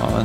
Ja,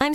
I'm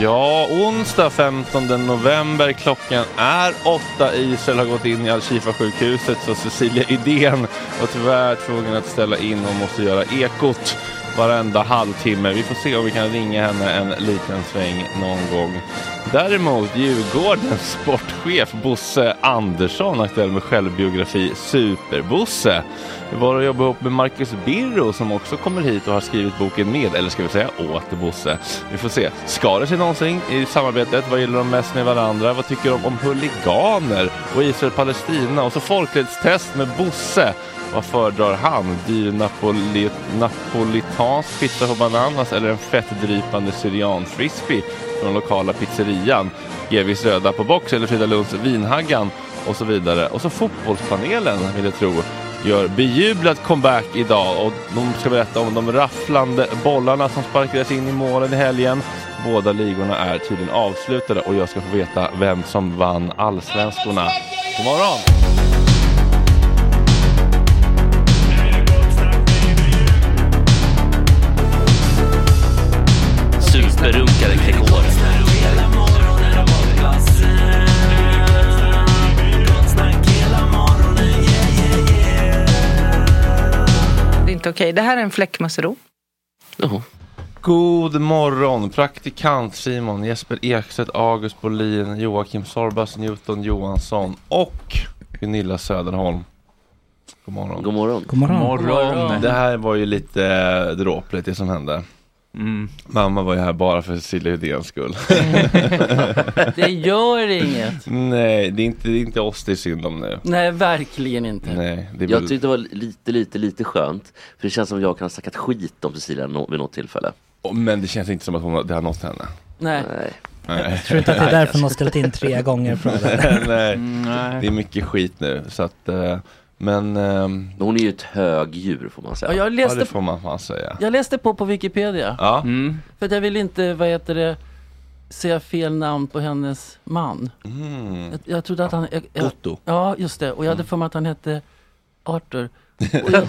Ja, onsdag 15 november. Klockan är åtta. Israel har gått in i Al-Shifa sjukhuset så Cecilia Idén var tyvärr tvungen att ställa in och måste göra ekot varenda halvtimme. Vi får se om vi kan ringa henne en liten sväng någon gång. Däremot Djurgårdens sportchef Bosse Andersson aktuell med självbiografi Superbosse. Det var att jobba ihop med Marcus Birro som också kommer hit och har skrivit boken med, eller ska vi säga åt Bosse. Vi får se. Skar det sig någonsin i samarbetet? Vad gillar de mest med varandra? Vad tycker de om huliganer och Israel-Palestina? Och så folklighetstest med Bosse. Vad föredrar han? Dyr napoli napolitansk pizza på bananas eller en fettdrypande syrian-frisbee från lokala pizzerian? GVs röda på box eller Frida Lunds vinhaggan? Och så vidare. Och så fotbollspanelen, vill jag tro, gör bejublad comeback idag. Och de ska berätta om de rafflande bollarna som sparkades in i målen i helgen. Båda ligorna är tydligen avslutade och jag ska få veta vem som vann allsvenskorna. God morgon! Superrunkare Gregor. Det är inte okej. Det här är en fläckmussero. God morgon, praktikant Simon, Jesper Ekstedt, August Bolin, Joakim Sorbas, Newton Johansson och Gunilla Söderholm. God morgon. God morgon. God morgon. morgon. Det här var ju lite eh, dråpligt det som hände. Mm. Mamma var ju här bara för Cecilia Uddéns skull. Det gör inget. Nej, det är, inte, det är inte oss det är synd om nu. Nej, verkligen inte. Nej, det är Jag väl- tyckte det var lite, lite, lite skönt. För det känns som jag kan ha snackat skit om Cecilia nå- vid något tillfälle. Åh, Men det känns inte som att hon, har- det har nått henne. Nej. Nej. Nej. Tror inte att det är därför de har ställt in tre gånger frågan. Nej. Nej. Det är mycket skit nu, så att, eh, men ehm, Men hon är ju ett högdjur får man säga. Ja, jag, ja, det läste, får man fan säga. jag läste på på Wikipedia. Ja. Mm. För att jag vill inte, vad heter det, säga fel namn på hennes man. Jag, jag trodde att han... Jag, jag, Mm. Otto. Mm. Ja, just det. Och jag hade för mig att han hette Arthur. Och jag,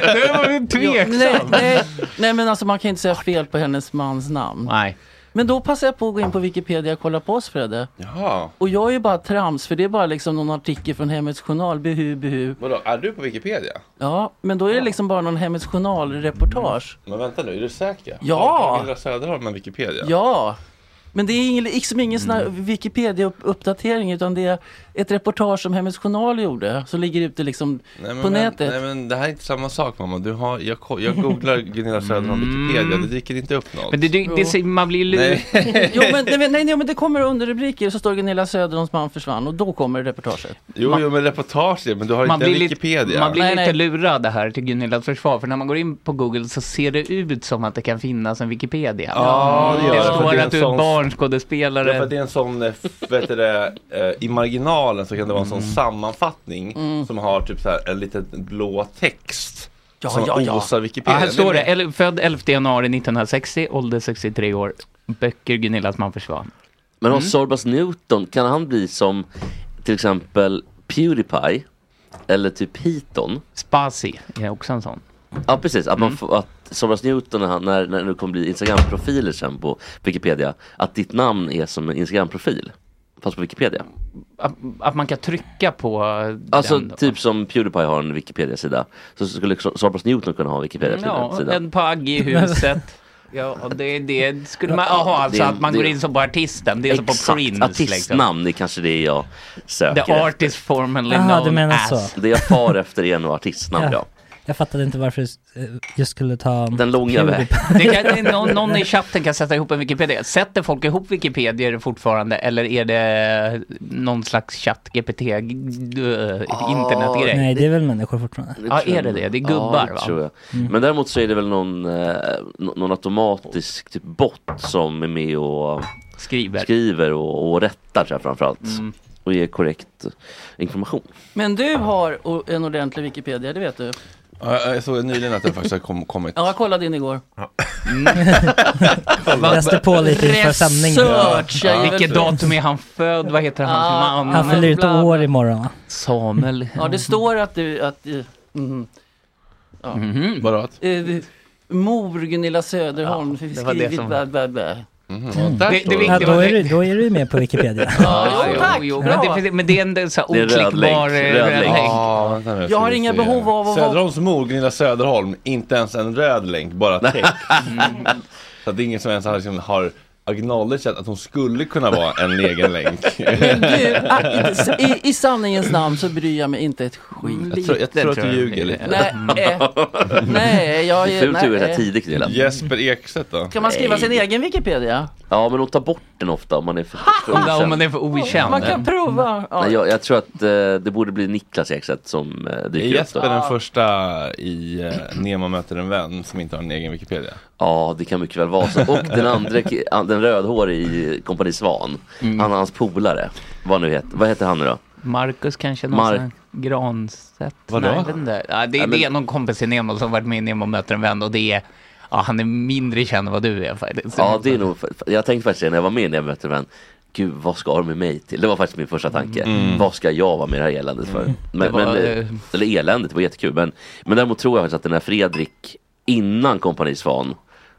jag, nej, nej, nej, men alltså man kan inte säga fel på hennes mans namn. Nej. Men då passar jag på att gå in på Wikipedia och kolla på oss, Fredde. Jaha. Och jag är ju bara trams, för det är bara liksom någon artikel från Hemmets Journal, behu, behu. Vadå, är du på Wikipedia? Ja, men då är det liksom bara någon Hemmets Journal-reportage. Mm. Men vänta nu, är du säker? Ja. Har Camilla Söderholm med Wikipedia? Ja! Men det är ingen, liksom ingen sån här Mm. Wikipedia-uppdatering utan det är ett reportage som Hemmets Journal gjorde som ligger ute liksom Nej, men, på vänt- nätet. Nej men det här är inte samma sak mamma. Du har, jag, ko- jag googlar Gunilla Söderholm Wikipedia, det dyker inte upp något. Men det, det, det, ser- man blir lurad. Nej. Jo, men, nej, men- nej, nej, men det kommer underrubriker så står Gunilla Söderholms man försvann och då kommer reportaget. Jo, jo men reportage, men du har Man inte en blir, lite, Wikipedia. man blir Nej, nej. lite lurad det här till Gunillas försvar, för när man går in på Google så ser det ut som att det kan finnas en Wikipedia. Ja, det gör det det. för står det en att du är sån- barnskådespelare. Ja, för att det är en sån, eh, f- vet du det, eh, i marginalen så kan det vara en Mm. sån sammanfattning som har typ så här en liten blå text. Ja, som ja, ja. osar Ja, Wikipedia. här står det, Nej, Eller- född 11 januari 1960, ålder 63 år. Böcker Gunillas man försvann. Mm. Men om Sorbas Newton, kan han bli som till exempel Pewdiepie? Eller typ Python? Spasi är också en sån. Ja precis, att, man får, att Sorbas Newton när, han- när, när det kommer bli Instagram-profiler sen på Wikipedia, att ditt namn är som en Instagram-profil. Fast på Wikipedia. Att, att man kan trycka på Alltså den. då. typ som Pewdiepie har en Wikipedia-sida. Så skulle Sor- Sorbas Newton kunna ha en Ja, Wikipedia-sida. en pagg i huset. Ja, och det, det skulle man, jaha, alltså Det- att man det- går in som på artisten, det är som på Prince liksom. artistnamn är kanske det jag The söker efter. artist formerly Jaha, du known menar as. så. Det jag far efter är nog artistnamn ja. Ja. Jag fattade inte varför eh, jag skulle ta... Den långa vägen. Det kan, någon, någon i chatten kan sätta ihop en Wikipedia. Sätter folk ihop Wikipedia fortfarande eller är det någon slags chatt-GPT, äh, internetgrej? Nej, det är väl människor fortfarande. Ja, är det det? Det är gubbar, ja, va? tror jag. Mm. Men däremot så är det väl någon, eh, nå- någon automatisk typ bot som är med och Skriver. Mm. skriver och, och rättar tror jag framförallt. Och ger korrekt information. Men du har o- en ordentlig Wikipedia, det vet du. men- Ja, jag såg nyligen att det faktiskt har kom, kommit. Ja, jag kollade in igår. Mm. Läste på lite inför sändningen. Research! jag är väl- Vilket datum är han född? Vad heter hans Ah, man? Han fyller ut Bla, bla. år imorgon va? Samuel. Ja, Mhm. det står att du, att, eh, mhm. Bara att, Eh, mor Gunilla Söderholm det var det skrivit som- bä, bä, bä. Mhm, mm. Där Det- står det Ja, viktiga- då är du, då är du med på Wikipedia. Ja, jo, tack! men, bra. det, finns- men det är en så här Det är röd oklickbar länk, eh, röd röd länk. länk. Ah, vänta nu, Jag har ska vi inga se. behov av att vara- Söderholms mor, Gunilla Söderholm, inte ens en röd länk, bara text. Så att det är ingen som ens har, liksom, har Agnalde känt att hon skulle kunna vara en egen länk. ah, I, I sanningens namn så bryr jag mig inte ett skit. Jag tror, jag tror att du ljuger lite. Mm. Nej, eh, nej jag Det är fult att göra det här nej. tidigt Gunilla. Jesper Ekstedt då? Kan man skriva Nej. sin egen Wikipedia? Ja men de tar bort den ofta om man är för, för Undrar om man okänd. är för okänd. Man kan prova. Ja. Nej, jag, jag tror att eh, det borde bli Niklas Ekstedt som eh, Är dyker upp Jesper då. den första i eh, Nemo möter en vän som inte har en egen Wikipedia? Ja det kan mycket väl vara så. Och den andra, ki- an- den rödhårige i Kompani Svan. Mm. Han och hans polare. Vad nu heter, vad heter han nu då? Marcus kanske någon Mar- sån här Granstedt? Vadå? Nej, jag vet inte. Ja, det, Ja, men- det är någon kompis i Nemo som varit med i Nemo möter en vän och det är, ja, han är mindre känd än vad du är faktiskt. Ja det är nog, jag tänkte faktiskt det när jag var med när jag mötte en vän. Gud vad ska de med mig till? Det var faktiskt min första tanke. Vad ska jag vara med i det här eländet för? Men, Mm. Det var, men, eh, eh, eller eländet, det var jättekul. Men, men däremot tror jag faktiskt att den här Fredrik innan Kompani Svan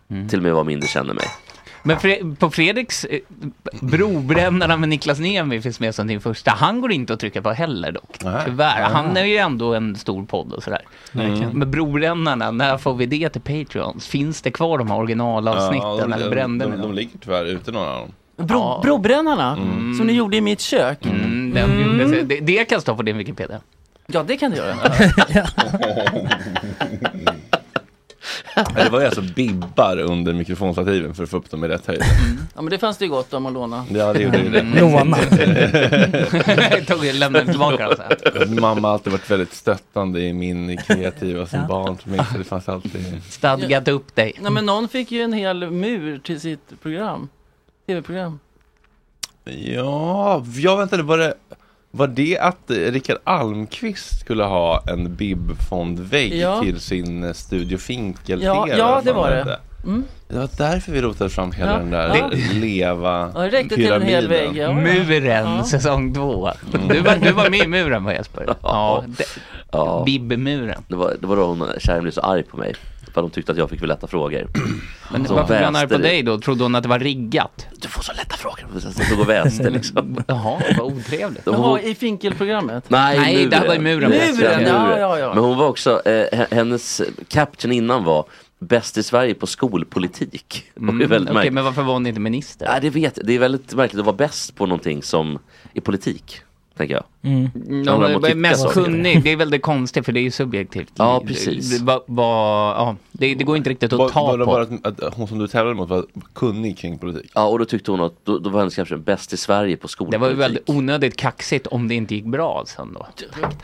Mm. till och med var mindre känd än mig. Men Fre- på Fredriks eh, Brobrännarna med Niklas Niemi finns med som din första. Han går inte att trycka på heller dock. Nej. Tyvärr. Han är ju ändå en stor podd och sådär. Men Brobrännarna, när får vi det till Patreons? Finns det kvar de här originalavsnitten Ja, de, eller de, brände de, ni de, dem? ligger tyvärr ute några av dem. Bro, Ja. Brobrännarna, som ni gjorde i mitt kök. Mm, den gjorde sig- det, det kan stå på din Wikipedia. Ja, det kan du göra. Nej, Det var ju alltså bibbar under mikrofonstativen för att få upp dem i rätt höjd. Ja, men det fanns det ju gott om att låna. Ja, det gjorde ju det. Låna. Tog, lämnade tillbaka alltså. alltså. dem sen. Mamma har alltid varit väldigt stöttande i min kreativa som barn. Som inte, det fanns alltid... Stadgat upp dig. Nej, men någon fick ju en hel mur till sitt program. Tv-program. Ja, jag väntade. Var det, var det att eh, Rickard Almqvist skulle ha en bibfondvägg Ja. till sin eh, Studio Finkel? Ja, TV, ja, vad det fan var det. Mm. hette? Det var därför vi rotade fram hela Ja, den där ja. leva Ja, det räckte till en hel vägg. Ja, Muren, Ja. säsong två. Mm. Du var, du var med i muren va Jesper? Ja. det- Ja. Bibbemuren. Det var, det var då hon, tjejen blev så arg på mig. För att de tyckte att jag fick för lätta frågor. Men Som varför blev han arg på väster- dig då? Trodde hon att det var riggat? Du får så lätta frågor. Så jag stod och väste liksom. Jaha, Mm. vad otrevligt. De- Jaha, i finkelprogrammet. Nej, Nej, muren. det här var ju muren. Muren, ja, ja, ja. Men hon var också, eh, he- hennes caption innan var bäst i Sverige på skolpolitik. det är väldigt Mm. Okej, märkligt. men varför var hon inte minister? Nej, det, vet, det är väldigt märkligt att vara bäst på någonting som i politik, tänker jag. Mm. Ja, handlar om men att tycka mest saker. kunnig, det är väldigt konstigt för det är ju subjektivt. Ja, Det- precis. Det, va, va, ja, det, det går inte riktigt att Var, ta var det på. bara att, att hon som du tävlade mot var kunnig kring politik? Ja, och då tyckte hon att då, då var hennes caption bäst i Sverige på Det skolpolitik. var ju väldigt onödigt kaxigt om det inte gick bra sen då.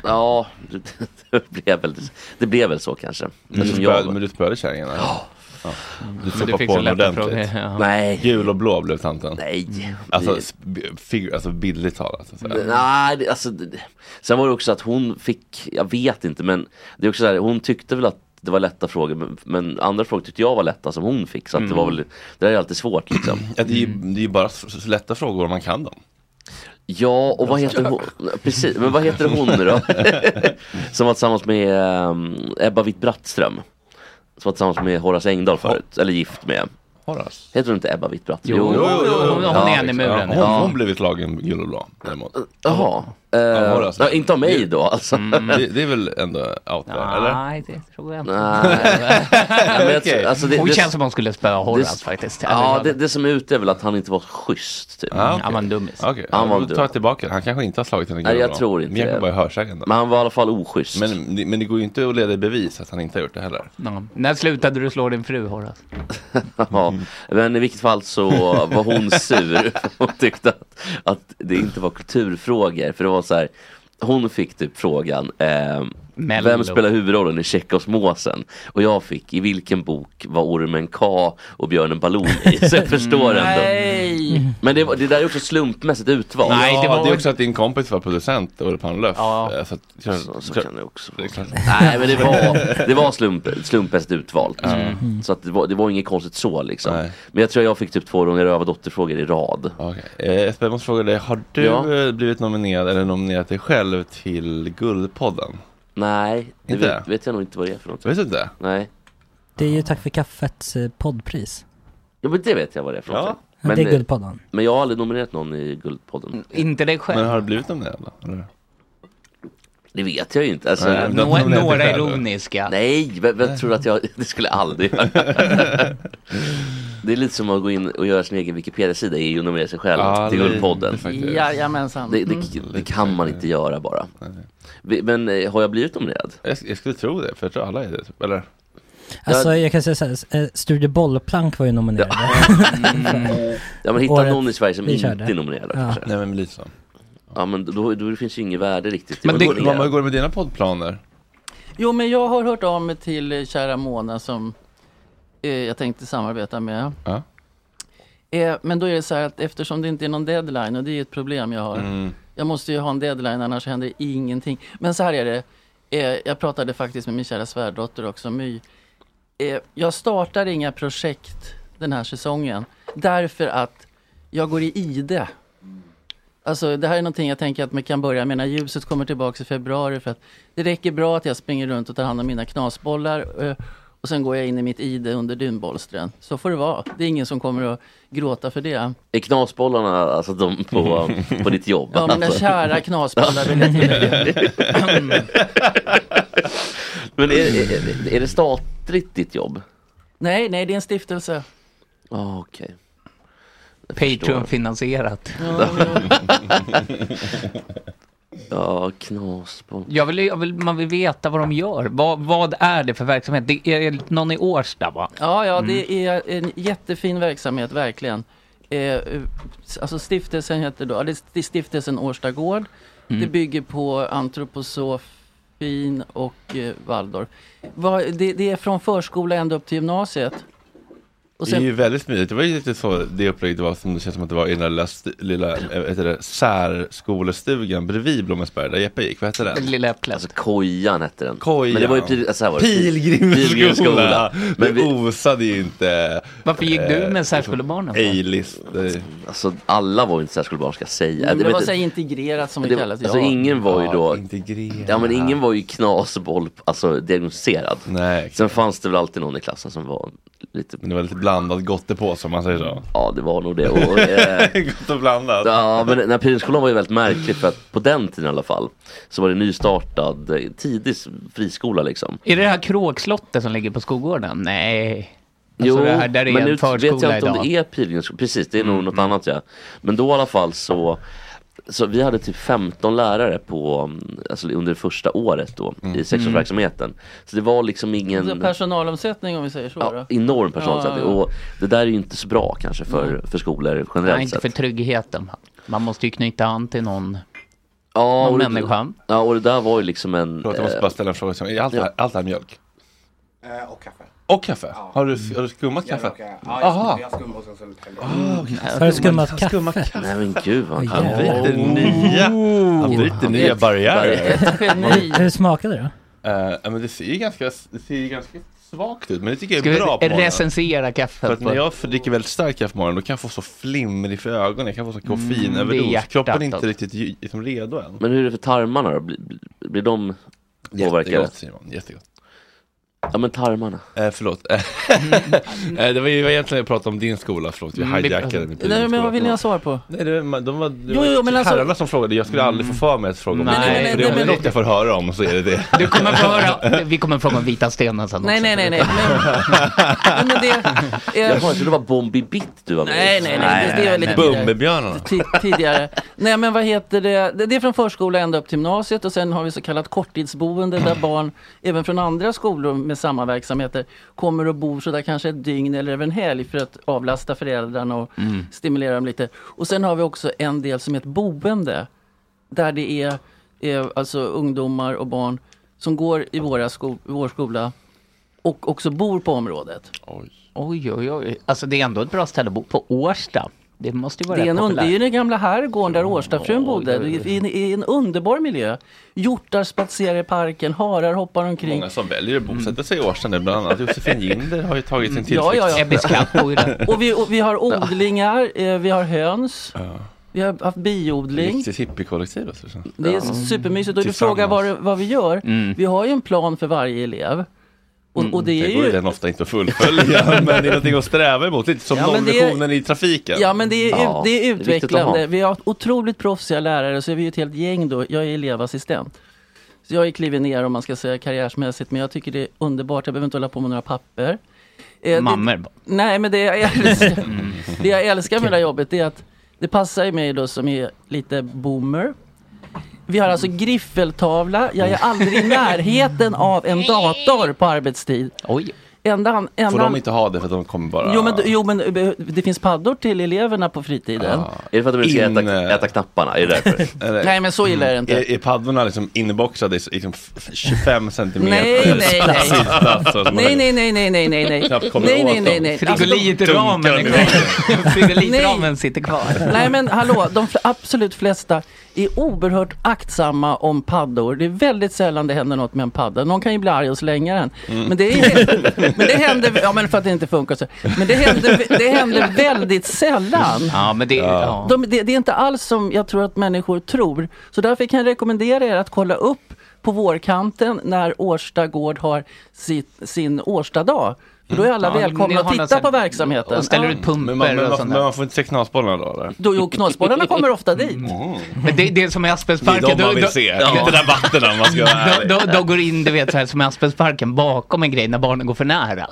Ja, det, det, blev väl, det blev väl så kanske. Men Men som du jag, spöade- Men du spöade kärringen? eller? Ja. Du Men soppade på den ordentligt? Ja. nej, Gul och blå blev tanten? nej. Alltså, Det- sp- figur, alltså bildligt talat. Så att säga. Nej, det- alltså, det- sen var det också att hon fick, jag vet inte men det är också så här, hon tyckte väl att det var lätta frågor men, men andra frågor tyckte jag var lätta som hon fick så att det var väl, det där är alltid svårt liksom. Mm. Ja, det, är ju, det är ju bara så så lätta frågor om man kan dem. Ja och vad heter hon, precis, men vad heter hon nu då? som var tillsammans med ehm, Ebba Witt-Brattström. Som var tillsammans med Horace Engdahl förut, eller gift med. Horace. Heter hon inte Ebba Witt-Brattström? Jo, hon, hon Ja, liksom. är en i muren. hon, ja. hon blev utslagen gul och blå däremot. Jaha. Eh, Ja, Horace. ja, inte av mig då alltså. Det, det är väl ändå out there, eller? Mm. Nej, det tror jag inte. Nej. Ja, men jag tror- alltså, det- hon det- känns som hon skulle spöa Horace det- faktiskt. Ja, det, det som är ute är väl att han inte var schysst. Typ. Ja, Han var en dummis. Okej, Han var då tar dum. jag tillbaka det. Han kanske inte har slagit henne gul Nej, jag och blå. tror inte Men jag det. kan bara är hörsägen då. Men han var i alla fall oschysst. Men, det- men det går ju inte att leda i bevis att han inte har gjort det heller. Ja. När slutade du slå din fru Horace? Ja. Men i vilket fall så var hon sur. Hon tyckte att, att det inte var kulturfrågor. För det var så här, hon fick typ frågan eh, Mello. Vem spelar huvudrollen i Tjeckosmåsen? Och jag fick i vilken bok var ormen K och björnen Baloo i? Så jag förstår ändå. Nej! Men det, var, det där är också slumpmässigt utvalt. Nej, ja, det det, var- är också att din kompis var producent, Olle Pannlöf. Ja. Eh, Så, att- så, Så, så kan det också vara. det är klart. Nej men det var, det var slump, slumpmässigt utvalt. Så att det, var, det var inget konstigt så liksom. Nej. Men jag tror jag fick typ två gånger röva dotterfrågor i rad. Okej. Eh, Jesper, jag måste fråga dig, har du Ja. eh, blivit nominerad eller nominerat dig själv till Guldpodden? Nej, det Inte? vet, vet jag nog inte vad det är för något. Vet du inte? Nej, Det är ju Tack för kaffets eh, poddpris. ja, men det vet jag vad det är för Ja. något. Men, Men, eh, det är Guldpodden. men jag har aldrig nominerat någon i Guldpodden. Mm, Inte dig själv? Men har du blivit nominerad då? eller? Det vet jag ju inte. Alltså, Nej, nej, men- Nå- de- de- de- några de- de- ironiska. vem, vem tror att jag, det skulle jag aldrig göra. Det är lite som att gå in och göra sin egen Wikipedia-sida i och nominera sig själv Ja, till det- Guldpodden. det faktiskt. Jajamensan. Det, det, Mm. det kan man inte göra bara. Vi- Men eh, har jag blivit nominerad? Jag, skulle tro det, för jag tror alla är det. typ. Eller? Alltså jag kan säga såhär, Studio Bollplank var ju nominerade. Mm. Ja men hitta Eh, Året någon i Sverige som vi inte körde. är nominerad då, Ja. kanske. Nej men lite så. Ja men då, då finns ju inget värde riktigt. i Men att det, nominera. mamma, hur går det med dina poddplaner? Jo, men jag har hört av mig till eh, kära Mona som eh, jag tänkte samarbeta med. Ja. Eh, men då är det så här att eftersom det inte är någon deadline och det är ett problem jag har. Mm. Jag måste ju ha en deadline annars händer ingenting. Men så här är det. Eh, jag pratade faktiskt med min kära svärdotter också, My. Eh, jag startar inga projekt den här säsongen därför att jag går i ide. Alltså det här är någonting jag tänker att man kan börja med när ljuset kommer tillbaka i februari för att det räcker bra att jag springer runt och tar hand om mina knasbollar eh, och sen går jag in i mitt ide under dynbolstren. Så får det vara. Det är ingen som kommer att gråta för det. Är knasbollarna alltså de på, på ditt jobb? Ja, mina Alltså. kära knasbollar vill jag tillägga. Men är, är, är det statligt ditt jobb? Nej, nej, det är en stiftelse. Ja okej. Patreon-finansierat. Ja, Ja, knasboll. Jag vill, jag vill, man vill veta vad de gör. Vad, vad är det för verksamhet? Det är någon i Årsta va? Ja, ja, Mm. det är en jättefin verksamhet, verkligen. Eh, alltså stiftelsen heter då, ja, det är stiftelsen Årsta Gård. Mm. Det bygger på antroposofin och eh, Waldorf. Vad- det, det är från förskola ända upp till gymnasiet. Och Det är sen, ju väldigt smidigt. Det var ju lite så det upplägget var som det känns som att det var i den där lilla, st- lilla eh, vad heter det, särskolestugan bredvid Blommensberg där Jeppe gick. Vad hette den? Lilla äpplet. Alltså kojan hette den. Kojan. Men det var ju pri- alltså, så här var det. Pilgrimsskola! Men Men vi, osade ju inte Varför gick du eh, med särskolebarnen? för? A-list. Det- alltså alla var ju inte särskolebarn ska jag säga. men det vet- var så här integrerat som det det- kallas. alltså ja. ingen var ju då, Integrerad. ja men ingen var ju knasboll, alltså diagnostiserad. Nej, Sen fanns det väl alltid någon i klassen som var lite, men det var lite blandad gottepåse som man säger så. ja det var nog det. Och, eh, Gott och blandat. Ja, men den här Pirenskolan var ju väldigt märklig för att på den tiden i alla fall så var det nystartad, eh, tidig s- friskola liksom. Är det det här kråkslottet som ligger på skolgården? Nej. jo, Alltså det här, där är men en nu vet jag förskola inte om idag. det är Pilgrimsskolan. Precis, det är Mm, nog något annat ja. Men då i alla fall så, så vi hade typ 15 lärare på, mm, alltså under det första året då Mm. i sexårsverksamheten. Så det var liksom Alltså ingen personalomsättning om vi säger så. ja, då. enorm personalomsättning. Ja, ja, ja. Och det där är ju inte så bra kanske för, för skolor generellt Nej, inte sett. för tryggheten. Man måste ju knyta an till någon, ja, någon och det, människa. ja, och det där var ju liksom en... Förlåt, jag måste eh, bara ställa en fråga. som- Är allt det här, allt det här mjölk? och kaffe. Och kaffe? Har, du, har du skummat kaffe? Aha. Ah, jag skummar och sen så häller Har du skummat kaffe? Oh. Nej men gud vad Åh, han jävlar. Det är nya, han bryter nya barriärer. Ett geni. Hur smakade det då? Eh, ja, men det ser ju ganska, det ser ju ganska svagt ut, men det tycker jag Ska är bra på vi morgonen. recensera kaffet? För att när jag dricker väldigt stark kaffe på morgonen, då kan jag få så flimmer för ögonen, jag kan få så det är koffeinöverdos. hjärtat Kroppen är inte alltså. riktigt ju- liksom redo än. Men hur är det för tarmarna då? Blir, blir de påverkade? Jättegott Simon, jättegott. Ja men tarmarna. Eh, förlåt. Eh, det var ju egentligen jag pratade om din skola, förlåt. Jag Mm, vi- hijackade min Nej, men vad vill ni ha jag... svar på? Nej, det var, de var, det Jo, var typ jo, men alltså- Mm. herrarna som frågade, jag skulle aldrig få för mig att fråga om Nej, det. nej, nej, För det är nej, om det är men- något jag får höra om så är det det. Du kommer få höra, vi kommer få höra om vita stenen sen Nej, också. nej, nej, nej. Men, Nej, men det, Jag eh, tror det var Bombi Bitt du var med i. nej, nej, nej, det, det var lite tidigare. Bumbibjörnarna. Ti- tidigare. Nej men vad heter det? Det det är från förskola ända upp till gymnasiet och sen har vi så kallat korttidsboende där barn även från andra skolor med samma verksamheter kommer och bor sådär kanske ett dygn eller även helg för att avlasta föräldrarna och stimulera dem lite. Och sen har vi också en del som är ett boende där det är, är alltså ungdomar och barn som går i våra sko- vår skola och också bor på området. Oj, oj, oj. Alltså det är ändå ett bra ställe att bo på. Årsta. Det måste ju vara Det är, en, rätt un- det är ju populärt. den gamla herrgården där Årstafrun bodde. Det är en, i en underbar miljö. Hjortar spatserar i parken, harar hoppar omkring. Många som väljer att bosätta sig i Årsta nu, bland annat Josefin Ginder har ju tagit sin tillflykt. Mm. Ja, ja, ja. Ebbes katt bor ju där. Och vi, och vi har odlingar, eh, vi har höns, vi har haft biodling. Riktigt hippiekollektiv alltså. känns det. Det är supermysigt. Och du frågar vad, det- vad vi gör. Vi har ju en plan för varje elev. Och, och det är Mm. Det går ju ju... den ofta inte att fullfölja, men det är någonting att sträva emot. Lite som Ja, men det är- nollvisionen i trafiken. Ja men det är, Ja, ut, det det är är viktigt att ha. utvecklande. Vi har otroligt proffsiga lärare så är vi ju ett helt gäng då. Jag är elevassistent. Så jag har ju klivit ner om man ska säga karriärsmässigt men jag tycker det är underbart. Jag behöver inte hålla på med några papper. Eh, det- Mammor bara. Nej, men det jag älskar, Mm. det jag älskar med det här jobbet är att det passar ju mig då som är lite boomer. Vi har alltså griffeltavla, jag är aldrig i närheten av en dator på arbetstid. Oj. Enda, enda, Får de inte ha det för att de kommer bara... Jo men, jo men eh, det finns paddor till eleverna på fritiden. Är det för att de ska äta, knapparna? Är det därför? Nej, men så illa är det inte. Är, är paddorna liksom inboxade i s- liksom f- f- 25 centimeter? Nej, nej, nej. sittplats, så att man Nej, nej, nej, nej, nej, nej, nej. alltså. Knappt kommer Nej, åt nej, nej, dem. nej. Alltså, Frigolitramen är kvar. Frigolitramen sitter kvar. Nej men hallå, de fl- absolut flesta är oerhört aktsamma om paddor. Det är väldigt sällan det händer något med en padda. Någon kan ju bli arg och slänga den. Mm. Men, det är, men det händer, ja men för att det inte funkar så. Men det händer, det händer väldigt sällan. Ja, men det... Ja. De, det, det är inte alls som jag tror att människor tror. Så därför kan jag rekommendera er att kolla upp på vårkanten när Årsta gård har sitt, sin Årstadag. För då är alla Mm. Ja, ni välkomna har att titta någon sån- på verksamheten. och ställer Ja. ut pumper Men man, men, och man, sånt men där. man får inte se knasbollarna då eller? Då, jo, knasbollarna kommer ofta dit. Mm. Men det, det är som i Aspensparken. Det är de man då- vill då- se, Ja. inte rabatterna om man ska vara De, ärlig. de, de går in, du vet, så här, som i Aspensparken, bakom en grej när barnen går för nära.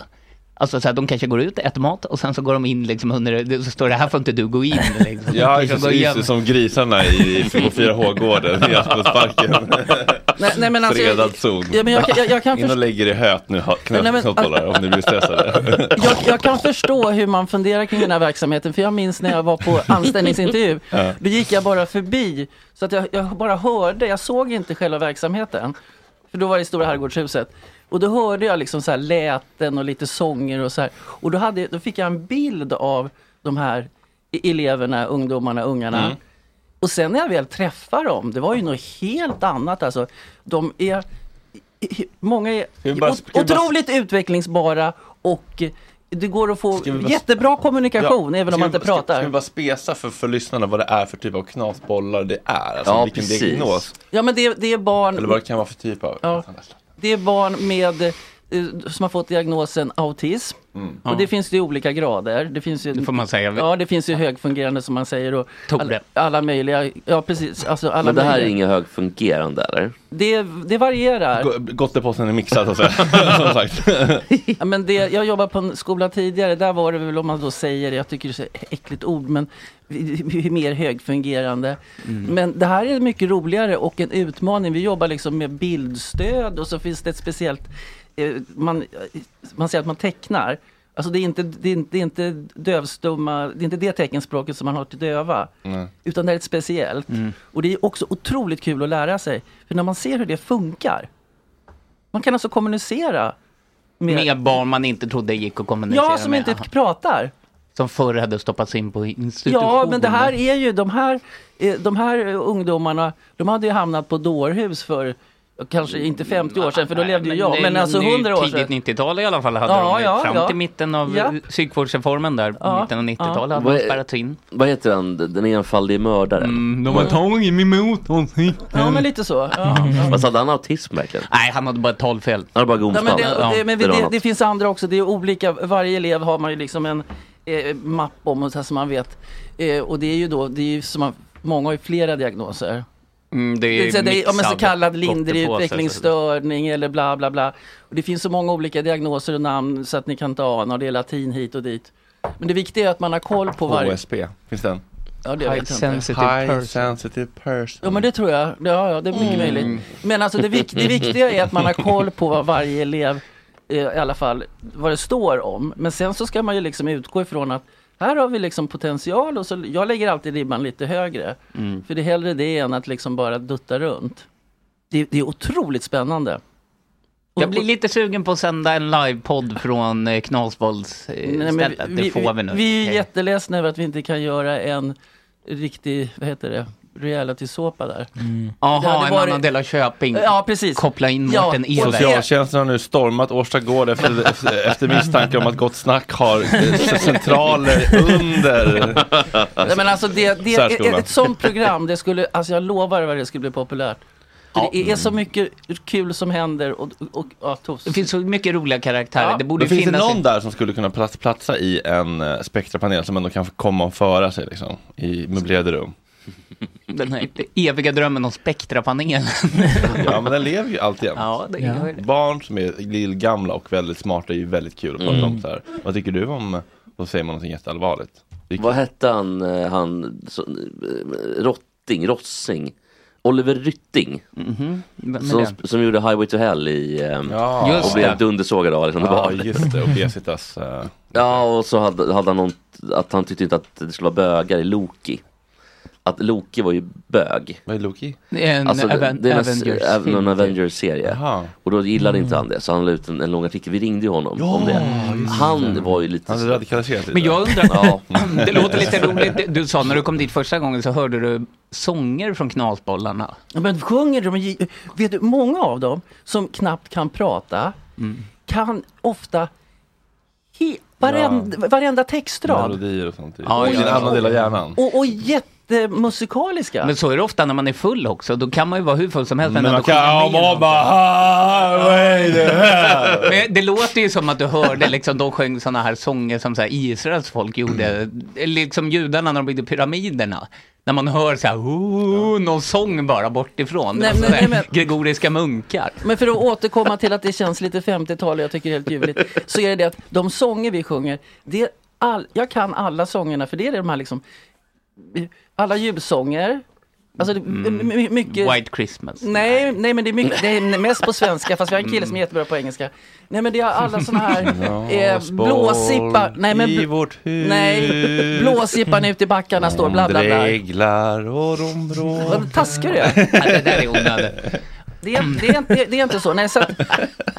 Alltså så här, de kanske går ut, äter mat och sen så går de in liksom under, det- så står det här får inte du gå in. Liksom. Jag är De går just, igenom. just som grisarna i 4H-gården i Aspensparken. Nej, nej, men alltså, Fredad zon. Ja, men jag kan- jag- jag kan In och först- lägg er i höet nu, ha- Nej, men- knasbollar, om ni blir stressade. jag, jag kan förstå hur man funderar kring den här verksamheten, för jag minns när jag var på anställningsintervju. Ja. Då gick jag bara förbi, så att jag, jag bara hörde, jag såg inte själva verksamheten. För då var det i Stora Herrgårdshuset. Och då hörde jag liksom så här läten och lite sånger och så här. Och då, hade, då fick jag en bild av de här e- eleverna, ungdomarna, ungarna. Mm. Och sen när jag väl träffar dem, det var ju något helt annat alltså. De är, i- i- många är vi bara- ot- ska vi bara- otroligt utvecklingsbara och eh, det går att få vi bara- jättebra kommunikation Ja. även om man Ska vi- inte ska- pratar. Ska vi bara spesa för, för lyssnarna vad det är för typ av knasbollar det är? Alltså Ja, vilken precis. diagnos? Ja men det, det är barn Eller vad det kan vara för typ av? Ja. Det är barn med, eh, som har fått diagnosen autism. Mm. Och det finns det i olika grader. Det finns ju, det får man säga. Ja, det finns ju högfungerande som man säger. Och alla, alla möjliga, ja precis. Alltså alla Men det här är möjliga. inga högfungerande eller? det, det varierar. Gottepåsen är mixad så att säga. Som sagt. Ja, men det, jag jobbade på en skola tidigare, där var det väl om man då säger, jag tycker det är så äckligt ord, men vi- vi är mer högfungerande. Mm. Men det här är mycket roligare och en utmaning. Vi jobbar liksom med bildstöd och så finns det ett speciellt, eh, man, man säger att man tecknar. Alltså det är inte, det är inte, det är inte dövstumma, det är inte det teckenspråket som man har till döva. Utan det är ett speciellt. Och det är också otroligt kul att lära sig. För när man ser hur det funkar. Man kan alltså kommunicera med, barn man inte trodde gick att kommunicera Ja, som med. inte pratar. Som förr hade stoppats in på institution. Ja, men det här är ju de här, eh, de här eh, ungdomarna, de hade ju hamnat på dårhus för eh, kanske inte 50 år sedan, för då levde ju jag, men alltså 100 år sedan. Tidigt 90-tal i alla fall hade Ja, de, ja, fram ja. till mitten av Ja. ja. psykvårdsreformen där, Ja, mitten av 90-talet, hade Vad de är- spärrat in. Vad heter den? Den enfaldige mördaren? Mm, de har tagit i min mot Ja, men lite så. Ja. Vad hade han autism verkligen? Nej, han hade bara ett talfel. Han hade bara Ja, gomsband. men det, det, men det det, var det, något. finns andra också, det är olika, varje elev har man ju liksom en eh, mapp om och så här som man vet. Eh, och det är ju då, det är ju som man, många har ju flera diagnoser. Mm, det Det är, vill säga, det är, ja, men så mixad kallad lindrig gottepåse, så- utvecklingsstörning eller bla bla bla. Och det finns så många olika diagnoser och namn så att ni kan inte ana och det är latin hit och dit. Men det viktiga är att man har koll på varje... HSP, finns den? Ja, det vet jag inte. High sensitive person. Ja men det tror jag, ja, ja det är Mm. mycket möjligt. Men alltså det, vik- det viktiga är att man har koll på vad varje elev eh, i alla fall, vad det står om. Men sen så ska man ju liksom utgå ifrån att här har vi liksom potential och så, jag lägger alltid ribban lite högre. Mm. För det är hellre det än att liksom bara dutta runt. Det, det är otroligt spännande. Jag blir lite sugen på att sända en livepodd från eh, Nej, men Knasbollsstället. vi, Det får vi nu. Vi är Okej. jätteledsna över att vi inte kan göra en riktig, vad heter det, reality-såpa där. Det Jaha, hade en varit- annan del av Köping. Ja, precis. Koppla in Ja, Mårten och Eberg. Socialtjänsten har nu stormat Årsta gård efter, efter- efter misstanke om att Gott Snack har eh, centraler under Nej, men alltså det, det ett, särskolan. ett sånt program, det skulle, alltså jag lovar vad det skulle bli populärt. För Det är så mycket kul som händer och, och, och ja, tos. Det finns så mycket roliga karaktärer. Det borde Men finns det finnas... någon där som skulle kunna plats, platsa i en eh, spektrapanel som ändå kan komma och föra sig liksom, i möblerade rum? Den här eviga drömmen om spektrapanelen. Ja men den lever ju alltid ja, det gör Ja. det. Barn som är lillgamla och väldigt smarta är ju väldigt kul att prata Mm. om så här. Vad tycker du om, eh, då säger man någonting jätteallvarligt. Vad hette han, eh, han så, eh, Rotting, Rossing? Oliver Rytting. Mhm. Vem är Som, det? som gjorde Highway to Hell i, ehm, Ja. Just och blev det. dundersågad av liksom, det Ja, var. just det, och Jessicas, Ja och så hade, hade han någon, att han tyckte inte att det skulle vara bögar i Loki. Att Loki var ju bög. Vad är Loki? Det är en det- Aven- det är en Avengers av- film, någon typ. Avengers-serie. Jaha. Och då gillade Mm. inte han det så han la ut en, en lång artikel. Vi ringde ju honom Ja, om det. just Han det. var ju lite... Han hade radikaliserat Men jag undrar, Ja. det låter lite roligt. Du sa när du kom dit första gången så hörde du sånger från Knasbollarna. Ja, Men sjunger de? i- Vet du, många av dem som knappt kan prata kan ofta he, varenda, varenda textrad. Melodier och sånt. typ. Ja, och i ja, en ja. annan del av hjärnan. Och, och jättemusikaliska. Men så är det ofta när man är full också. Då kan man ju vara hur full som helst. Men man ändå kan sjunga med ja, man någonting. bara highway to hell. Men det låter ju som att du hörde liksom, de sjöng sådana här sånger som så här, Israels folk gjorde. Liksom judarna när de byggde pyramiderna. När man hör så här, "Oh", någon sång bara bortifrån. Nej, Alltså, men- så här, nej, Gregoriska munkar. Men för att återkomma till att det känns lite 50-tal och jag tycker det är helt ljuvligt. Så är det det att de sånger vi sjunger, det är all, jag kan alla sångerna för det är de här liksom, alla julsånger. Alltså det, my- my- mycket... Mm. White Christmas. Nej, nej men det är, mycket, det är mest på svenska fast vi har en kille som är jättebra på engelska. Nej men det är alla såna här eh, Knasboll blåsippan, nej men i bl- vårt hus. nej, blåsippan ute i backarna står bla bla bla. Dreglar och de bråkar. Vad taskig du är. det där är onödigt. Det är, det, är, inte- det är inte så. Nej, så att,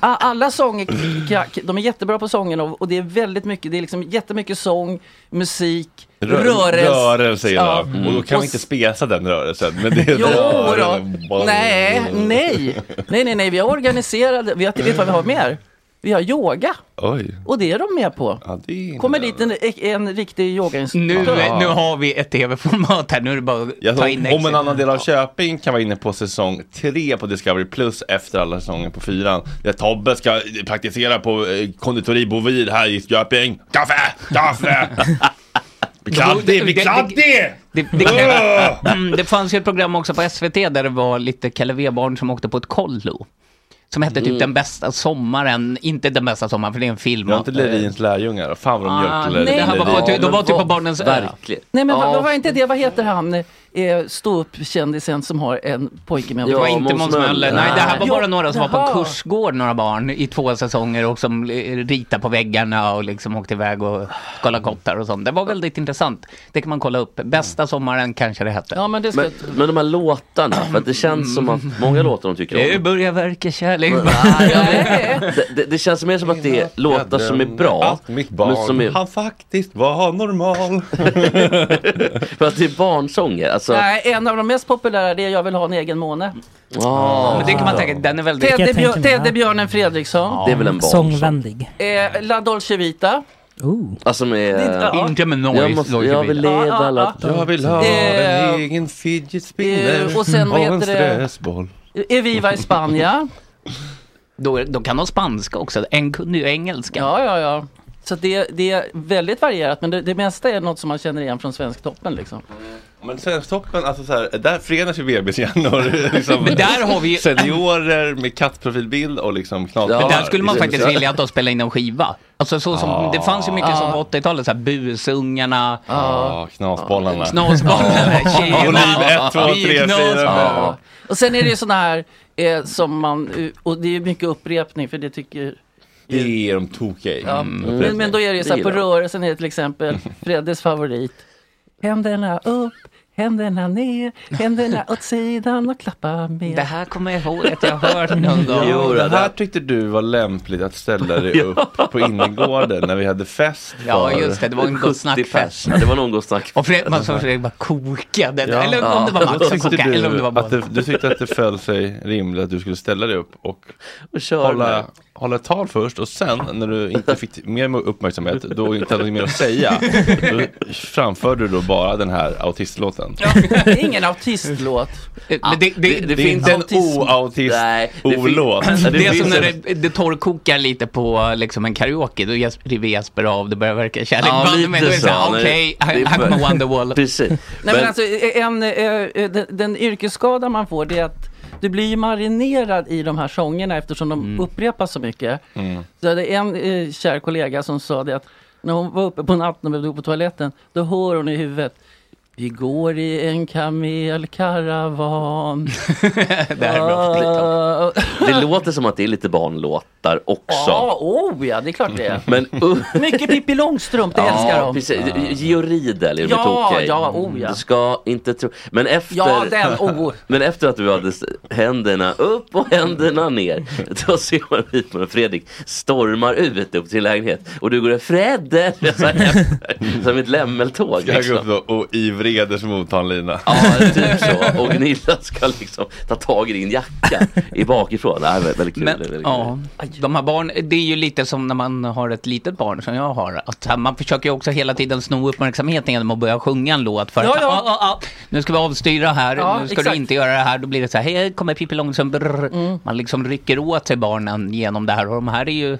a- alla sånger, k- k- de är jättebra på sången och, och det är väldigt mycket, det är liksom jättemycket sång, musik, Rö- rörelse. rörelse ja. Ja. Och då kan vi inte spesa den rörelsen. Men det är Jo, rörelse. då. Nej, nej, nej, nej, nej, vi har organiserade, vi har, vet du vad vi har mer? Vi har yoga Oj. och det är de med på. är Kommer dit en, en riktig Nu, yogainstruktör. nu har vi ett tv-format här, nu är det bara att Jag ta tror, in om en Excel. annan del av Köping kan vara inne på säsong tre på Discovery Plus efter alla säsonger på fyran. Där Tobbe ska praktisera på eh, konditori Bovid här i Köping. Kaffe! Kaffe! Kladdig! bli Kladdig! Det, det, kan- Mm, det fanns ju ett program också på SVT där det var lite Kalle V-barn som åkte på ett kollo. Som hette typ Mm. Den bästa sommaren, inte Den bästa sommaren för det är en film. Det var inte Lerins lärjungar. Fan vad de Ah, mjölkte Lerin. nej, han var på- Lerin. de var typ på Barnens ö. Verkligen. Nej men Ja. vad var inte det, vad heter han, eh, ståuppkändisen som har en pojke med Det var inte Måns Möller. Nej, det här var Jo, bara några som var på jaha. en kursgård, några barn, i två säsonger och som eh, ritade på väggarna och liksom åkte iväg och kollade kottar och sånt. Det var väldigt intressant. Det kan man kolla upp. Bästa sommaren kanske det hette. Ja, men det Men, men de här låtarna, för att det känns som att många låtar de tycker om. Det Mm. börjar verka kärlek. Det, det, det känns mer som att det är låtar som är bra. Att mitt barn, men som är, han faktiskt var normal. för att det är barnsånger. Alltså, Nej, en av de mest populära det är Jag vill ha en egen måne. ah. Men det kan man tänka, den är väldigt... Teddybjör- Teddybjörnen Fredriksson. Det är väl en barnsång. Sångvänlig. Eh, La Dolce Vita. Alltså med... Det- ja. Inte med jag, noise. måste, jag vill Ja, leva ja, alla... ja. Jag vill ha Eh, en egen fidget spinner eh, och sen, vad en heter det? stressboll. Eviva Eh, i Spanien. Då, då kan de spanska också. En kunde ju engelska. Ja, ja, ja. Så det, det är väldigt varierat men det, det mesta är något som man känner igen från Svensktoppen liksom. Men Svensktoppen, alltså så här, där förenas ju bebishjärnor. Liksom, Men där har vi ju- Seniorer med kattprofilbild och liksom knasbollar. Men där skulle man faktiskt vilja att de spelade in en skiva. Alltså så som, Ja. det fanns ju mycket Ja. som på 80-talet, så här busungarna, Ja, knasbollarna. knasbollarna, tjejerna, Volym ett, två, vi tre, knas- fyra, Ja. Och sen är det ju sådana här eh, som man, och det är ju mycket upprepning för det tycker Det är de tokiga i. Ja. Mm. Men, men då är det ju så här, på Mm, gillar jag. rörelsen är det till exempel Freddes favorit. Händerna upp, händerna ner, händerna åt sidan och klappa med. Det här kommer jag ihåg att jag har hört någon gång. Jo, det här tyckte du var lämpligt att ställa dig upp på innergården när vi hade fest Ja för- just det, det var en god 70 snackfest. Ja, det var någon god snack. Och Fred, man såg Fredrik bara kokade, Ja. eller om det var Då Max som tyckte kokade, du eller om det var att båda. det, Du tyckte att det föll sig rimligt att du skulle ställa dig upp och, köra hålla, hålla ett tal först och sen när du inte fick mer uppmärksamhet, då inte hade du mer att säga, då framförde du då bara den här autistlåten. procent. Det är ingen autistlåt. Men det, det, det är inte en oautist olåt. Det, är som när det, det torrkokar lite på liksom en karaoke, då jes- river Jesper av, det börjar verka kärlek. Ja, Men- lite men då är det så här, så. Okej, Det- I- det- I'm a wonderwall. Precis. Nej, men alltså, en, eh, eh, den, den yrkesskada man får det är att du blir ju marinerad i de här sångerna eftersom de upprepas så mycket. Så jag hade en eh, kär kollega som sa det att när hon var uppe på natten och behövde gå på toaletten, då hör hon i huvudet vi går i en kamelkaravan. Det här är bra. Det låter som att det är lite barnlåtar också. Ja, oh ja, det är klart det är. Men uh, Mycket Pippi Långstrump, det älskar de. precis. Georg Riedel är Ja, okej. ja, oh, ja. Du ska inte tro. Men efter, Ja, den, oh. men efter att du hade s- händerna upp och händerna ner. Då ser man Wiman och Fredrik stormar ut upp till lägenhet. Och du går Fredde! Så här efter, Som ett lämmeltåg. Ska jag gå upp Liksom. då och i vreders mot han Lina. Ja, typ så. Och Gunilla ska liksom ta tag i din jacka i bakifrån. Det här är väldigt kul. Men, det är väldigt kul. ja, de här barn, det är ju lite som när man har ett litet barn som jag har. Att man försöker ju också hela tiden sno uppmärksamheten genom att börja sjunga en låt. För att, Ja, ja. "Ah, ah, ah, nu ska vi avstyra här, Ja, nu ska exakt. Mm. du inte göra det här. Då blir det så här, hej, kommer Pippi Långstrump. brrr." Man liksom rycker åt sig barnen genom det här. Och de här är ju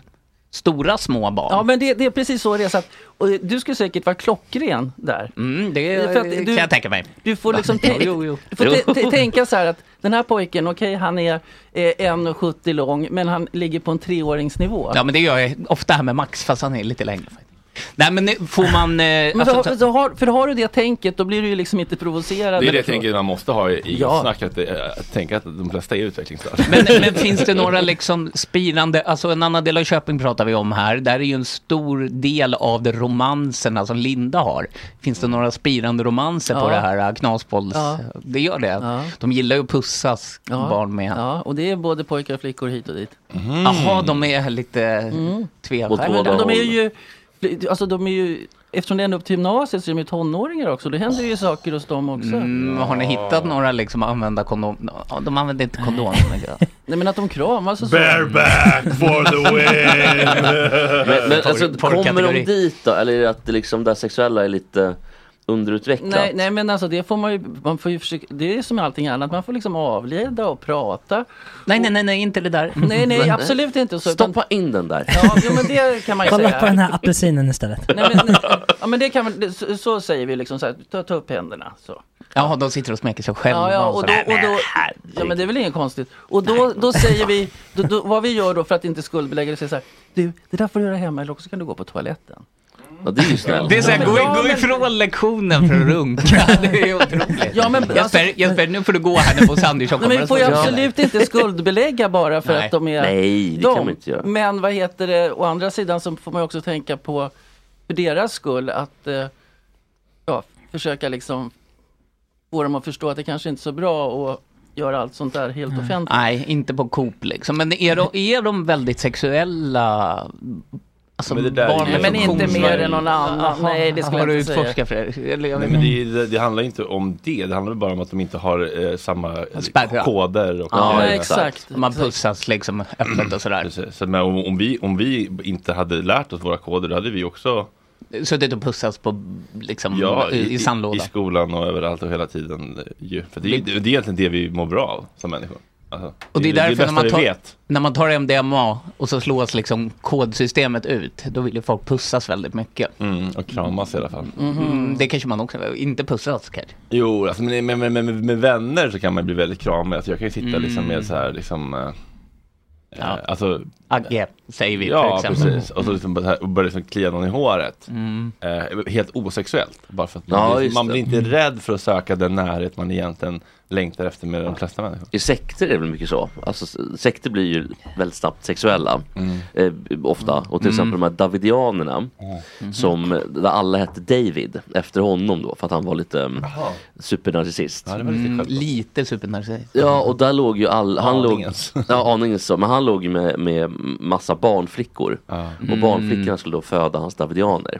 stora små barn. Ja men det, det är precis så det är. Så att, och du skulle säkert vara klockren där. Mm, det För att du- kan jag tänka mig. Du får liksom Jo, tänk- jo, jo. Du får Jo. tä- tä- tänka så här att den här pojken, okej han är eh, 1,70 lång men han ligger på en treåringsnivå. Ja, men det gör jag ofta här med Max, fast han är lite längre. faktiskt. Nej, men nu får man... eh, men alltså, så, så har, för har du det tänket då blir du ju liksom inte provocerad. Det är det eller jag så. tänker man måste ha i Ja. snack, att, det- att tänka att de flesta är utvecklingsstörda. Men, men finns det några liksom spirande, alltså en annan del av Köping pratar vi om här, där är ju en stor del av de romanserna som Linda har. Finns det några spirande romanser Ja. på det här eh, knasbolls... Ja. Det gör det. De gillar ju att pussas, Ja. barn med. Ja, och det är både pojkar och flickor hit och dit. Jaha, de är lite Åt tveksamma. båda Mm. Men de, de är håll. ju, alltså de är ju, eftersom det är ända upp till gymnasiet så är de ju tonåringar också. Det händer ju saker hos dem också. Mm, har ni hittat några liksom använda kondom? Ja, De använder inte kondom. men det- Nej men att de kramas och så. Bareback for the win! Men, men Porr- alltså, kommer de porrkategori. dit då? Eller är det att det, liksom, det här sexuella är lite underutvecklat? Nej, nej men alltså det får man ju, man får ju försöka, det är som med allting annat, man får liksom avleda och prata. Nej, nej, nej, nej, inte det där. Nej nej absolut inte så. utan- Stoppa in den där. Ja jo, men det kan man ju Kolla säga. på den här apelsinen istället. Nej, men, nej, ja men det kan man, det, så, så säger vi liksom så här, ta, ta upp händerna så. Ja, de sitter och smeker sig själva. Ja, ja, och så då, där. och då, ja men det är väl inget konstigt. Och då, då säger vi, då, då, vad vi gör då för att inte skuldbelägga det, säger så här, du det där får du göra hemma eller också kan du gå på toaletten. Ja, det är ju snällt. Det är såhär, gå, Ja, gå men- ifrån lektionen för att runka. Det är otroligt. Ja, men alltså- Jesper, Jesper, nu får du gå här när Bosse Andersson Nej, kommer. men vi får ju absolut inte skuldbelägga bara för Nej. att de är Nej, det de. kan man inte göra. Men vad heter det, å andra sidan så får man ju också tänka på för deras skull att eh, ja, försöka liksom få dem att förstå att det kanske inte är så bra att göra allt sånt där helt offentligt. Mm. Nej, inte på Coop liksom. Men är de, är de väldigt sexuella? Alltså, Men det där är ju- Nej, men inte mer än någon annan. Jaha, Nej, det skulle har jag du inte säga. utforskat Fredrik? Eller jag Nej, vet men inte. det, det, det handlar inte om det, det handlar bara om att de inte har eh, samma eh, Spärrar. koder. Och Ja, Nej, eh, exakt. Man pussas liksom öppet och sådär. Precis. Så, men om, om, vi, om vi inte hade lärt oss våra koder, då hade vi också Suttit och pussas på liksom ja, i, i i sandlådan. skolan och överallt och hela tiden. eh, Ju. För det, är- det är egentligen det vi mår bra av som människor. Alltså, Och det är därför bästa när, man vi tar, vet. när man tar MDMA och så slås liksom kodsystemet ut, då vill ju folk pussas väldigt mycket. Mm, och kramas i alla fall. Mhm. Mm, det kanske man också, inte pussas kanske. Jo, alltså, men, men, men, men med vänner så kan man bli väldigt kramig. Alltså, jag kan ju sitta liksom med så här, liksom, eh, Mm. Ja. eh, alltså, Agge, säger vi ja till exempel. Mm. precis. Och så liksom bara så här, och börjar liksom klia någon i håret. Eh, helt osexuellt. Bara för att man, Ja, blir, just man det. blir inte rädd för att söka den närhet man egentligen längtar efter med de flesta människor. I sekter är det väl mycket så. Alltså, s- sekter blir ju väldigt snabbt sexuella. Mm. Eh, ofta. Och till exempel de här Davidianerna. Mm-hmm. Som, där alla hette David efter honom då. För att han var lite um, supernarcissist. Ja, det var lite Mm, skönt. lite supernarcissist. Ja Mm. och där låg ju all, han Aningens. låg, ja aningens så, men han låg ju med, med massa barnflickor. Ja. Mm. Och barnflickorna skulle då föda hans davidianer.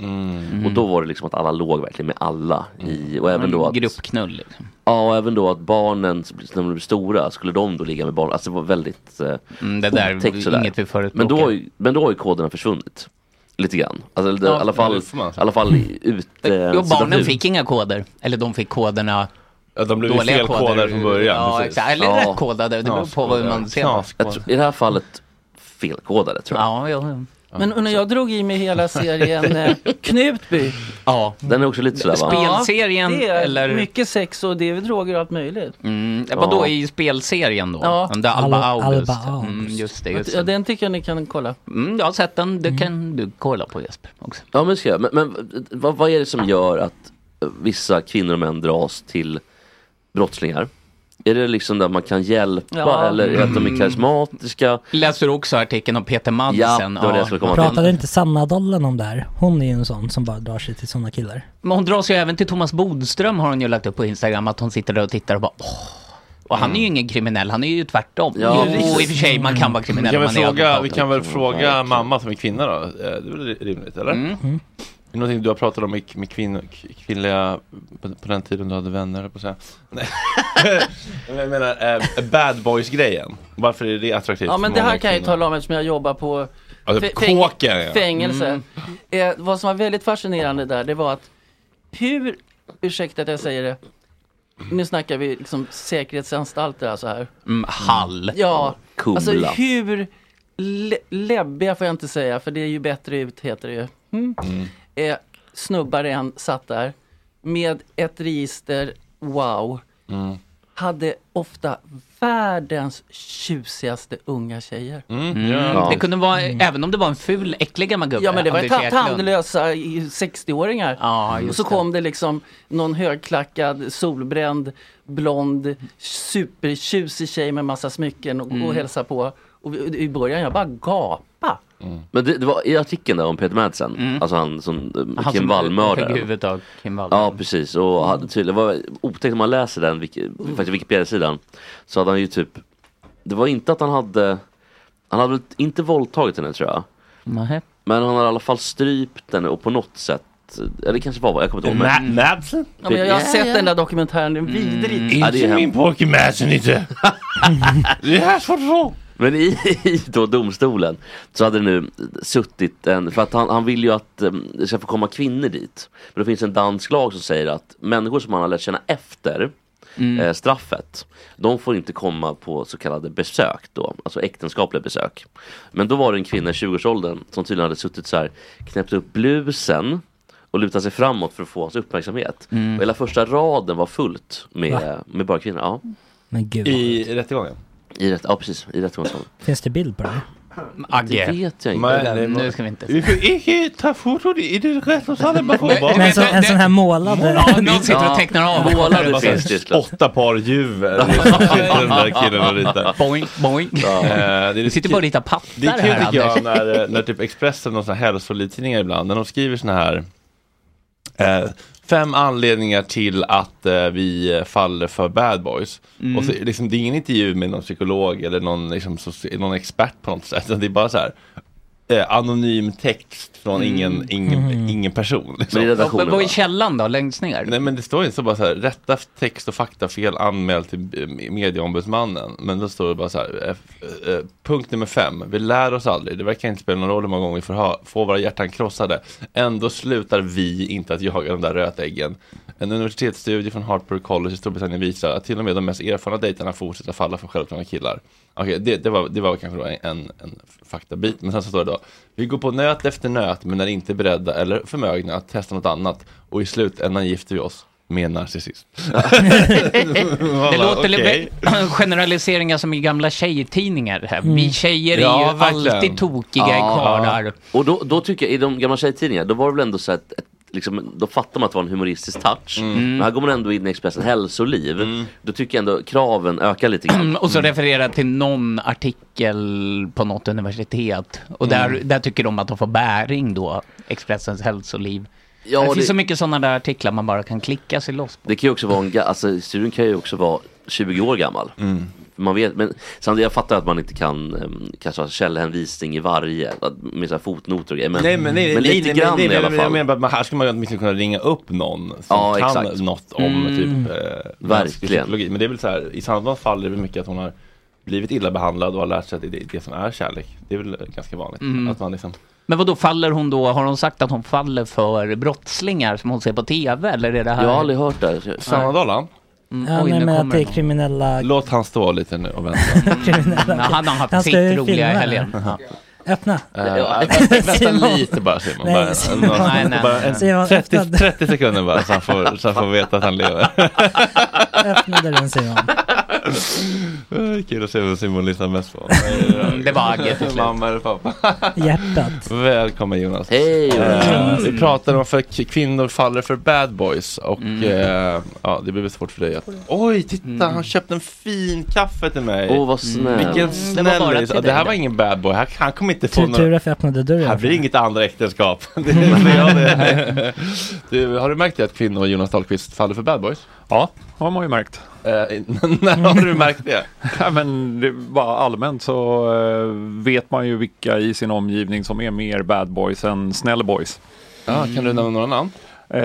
Och då var det liksom att alla låg verkligen med alla. I, och även då att, Gruppknull liksom. ja, och även då att barnen, som- när de blev stora, skulle de då ligga med barn. Alltså det var väldigt eh, Mm, det där är otäckt sådär. inget vi förespråkar. men, då har ju, men då har ju koderna försvunnit. Lite grann. Alltså, det- i alla det fall, får man i säga. alla fall i- ut... eh, Jo, barnen sidan ut. fick inga koder. Eller de fick koderna Ja, de blev ju dåliga felkodade koder från ur- början. Ja, precis. exakt. Eller Ja. rätt kodade, det beror på hur man ser på. Knaskodade. Jag tror- I det här fallet felkodade tror Ja, jag. ja, Men och när jag drog i mig hela serien eh, Knutby. ja. Mm. Den är också lite sådär va? Ja, det är eller? mycket sex och det är väl droger och allt möjligt. Mm, vadå Ja. i spelserien då? Ja. Den där Alba Al- August. Alba August. Mm, just det, Att- just ja, det. den tycker jag ni kan kolla. Mm, jag har sett den, det kan du kolla på Jesper. Ja men ska jag. Men, men vad, vad är det som gör att eh, vissa kvinnor och män dras till brottslingar? Är det liksom där man kan hjälpa Ja. eller är det att de är Mm. karismatiska? Läser du också artikeln om Peter Madsen? Ja, det var det jag skulle komma till. Pratade inte Sanna Dollen om det här? Hon är ju en sån som bara drar sig till såna killar. Men hon dras ju även till Thomas Bodström har hon ju lagt upp på Instagram att hon sitter där och tittar och bara åh. Och han är Mm. ju ingen kriminell, han är ju tvärtom. Ja, Ja, precis. och i och för sig, man kan vara Vi kriminell Mm. kan, om väl man är fråga, advokat. vi kan väl fråga mamma som är kvinna då? Eh, Det är väl rimligt eller? Mm. Är det någonting du har pratat om med, med kvinno, k- kvinnliga på, på den tiden du hade vänner höll jag på att säga? Nej. Men jag menar eh, bad boys grejen. Varför är det attraktivt? Ja men för det här typ många kan jag ju kvinnor? tala om eftersom jag jobbar på Alltså, fä- fäng- kåken, ja. fängelse. Mm. Eh, vad som var väldigt fascinerande där det var att hur, ursäkta att jag säger det, nu snackar vi liksom säkerhetsanstalter alltså här. Mm, Hall. Ja, Kumla. alltså hur le- läbbiga får jag inte säga för det är ju bättre ut heter det ju. Mm. Eh, snubbar en satt där med ett register, wow, Mm. hade ofta världens tjusigaste unga tjejer. Mm. Det kunde vara, även om det var en ful, äcklig gammal gubbe. Ja men det var ju Anders ta- Eklund. tandlösa i- 60-åringar. Ja, just och så det. kom det liksom någon högklackad, solbränd, blond, supertjusig tjej med massa smycken och, Mm. och hälsa på. Och vi- i början jag bara gapa. Mm. Men det, det var i artikeln där om Peter Madsen, alltså han som eh, Mm. Han Kim som högg Wall-mördaren. huvudet av Kim Wall. Ja precis och hade tydligen, det var otäckt om man läser den, Wiki- faktiskt Wikipedia-sidan, så hade han ju typ, det var inte att han hade, han hade väl inte våldtagit henne tror jag. Nähä. Men han har i alla fall strypt henne och på något sätt eller det kanske var vad jag kommer inte ihåg. men- Ma- Madsen? Ja, men jag, jag har Ja, sett ja. den där dokumentären, den är Mm. vidrig. Ja, det är hemskt. Det här är svårt att få. Men i, i då domstolen så hade det nu suttit en, för att han, han vill ju att eh, det ska få komma kvinnor dit. Men det finns en dansk lag som säger att människor som han har lärt känna efter eh, straffet, de får inte komma på så kallade besök då, alltså äktenskapliga besök. Men då var det en kvinna i 20-årsåldern som tydligen hade suttit så här, knäppt upp blusen och lutat sig framåt för att få hans uppmärksamhet. Mm. Och hela första raden var fullt Va? med, med bara kvinnor. Ja. Men gud. I rättegången? I rätt, ja precis, i rättegångssalen. Finns det bild på det? Agge. Det vet jag inte. Men det var- Nu ska vi inte... Vi får inte ta foton i det rättssalen. bara för att vara- Men en, sån, en sån här målad. Målade finns det. Åtta par juver. Den där killen och ritar. Boing, boing. Ja. Eh, Du sitter bara och ritar pattar Det är kul här, tycker jag Anders. när, eh, när typ Expressen och såna här hälsolidtidningar ibland, när de skriver såna här eh, Fem anledningar till att eh, vi eh, faller för bad boys. Mm. Och så, liksom, det är ingen intervju med någon psykolog eller någon, liksom, soci- någon expert på något sätt. utan Det är bara så här eh, anonym text från Mm. ingen, ingen, ingen person. Liksom. Vad vad är källan då, längst ner? Nej men det står inte så bara så här, rätta text och faktafel anmäl till eh, medieombudsmannen. Men då står det bara så här, eh, eh, punkt nummer fem, vi lär oss aldrig, det verkar inte spela någon roll hur många gånger vi får, ha, får våra hjärtan krossade. Ändå slutar vi inte att jaga de där rötäggen. En universitetsstudie från Hartford College i Storbritannien visar att till och med de mest erfarna dejterna fortsätter falla för självklara killar. Okej, det, det, var, det var kanske då en, en faktabit. Men sen så står det då, vi går på nöt efter nöt men är inte beredda eller förmögna att testa något annat. Och i slutändan gifter vi oss med en narcissist. Det låter okej. lite generaliseringar som i gamla tjejtidningar. Här. Mm. Vi tjejer är ju alltid tokiga i karlar. Och då, då tycker jag, i de gamla tjejtidningarna, då var det väl ändå så att ett, Liksom, då fattar man att det var en humoristisk touch. Mm. Mm. Men här går man ändå in i Expressen hälsoliv. Då tycker jag ändå kraven ökar lite grann. Mm. Och så referera till någon artikel på något universitet. Och där, Mm. där tycker de att de får bäring då, Expressens hälsoliv. Ja, det, det- finns så mycket sådana där artiklar man bara kan klicka sig loss på. Det kan ju också vara en, ga- alltså studion kan ju också vara 20 år gammal. Mm. Man vet, men samtidigt, jag fattar att man inte kan um, kanske ha källhänvisning i varje, att- med så här fotnoter och grejer. Men, nej men, nej, nej, lite nej, grann nej, i alla men Jag fall. menar bara, att man- här skulle man ju åtminstone kunna ringa upp någon som Ja, kan exakt. något om Mm. typ eh, mänsklig Verkligen. psykologi. Men det är väl så här, i Sandvans fall är det väl mycket att hon har blivit illa behandlad och har lärt sig att det är det som är kärlek. Det är väl ganska vanligt. Mm. Att man liksom, Men vad då faller hon då, har hon sagt att hon faller för brottslingar som hon ser på tv? Eller är det här? Mm, Jag har aldrig hört det. Sanna Dollan? Ja, nej, men att det är kriminella Låt han stå lite nu och vänta. kriminella. han har haft Han ska sitt ju roliga filma i det. helgen. Öppna. Ja, Eh, vänta, vänta lite bara Simon. Nej, bara, Simon. någon- Nej, nej, bara nej. en Simon, 30, öppna. 30 sekunder bara så han får, så han får veta att han lever. Öppnade den Simon. Eh, Kul att se vem Simon lyssnar mest på. Mm, det var Agge till slut. Mamma eller pappa. Hjärtat. Mm. Välkommen Jonas. Eh, Hej Jonas. Vi pratar om för k- kvinnor faller för bad boys och Mm. eh, ja, det blir svårt för dig att Oj, titta han köpte en fin kaffe till mig. Åh, vad snäll. Mm. Vilken Mm. Mm. Det var bara snällis. till Ja, Det här dig. var ingen bad boy. Han, han kommer inte få Tur, tur några. att jag öppnade dörren. Här blir det inget andra äktenskap. Det är jag det. du, har du märkt det att kvinnor och Jonas Dahlqvist faller för bad boys? Ja, har man ju märkt. Eh, när har du märkt det? Ja, men det, bara allmänt så eh, vet man ju vilka i sin omgivning som är mer bad boys än snäll boys. Ja, kan du nämna några namn? Eh,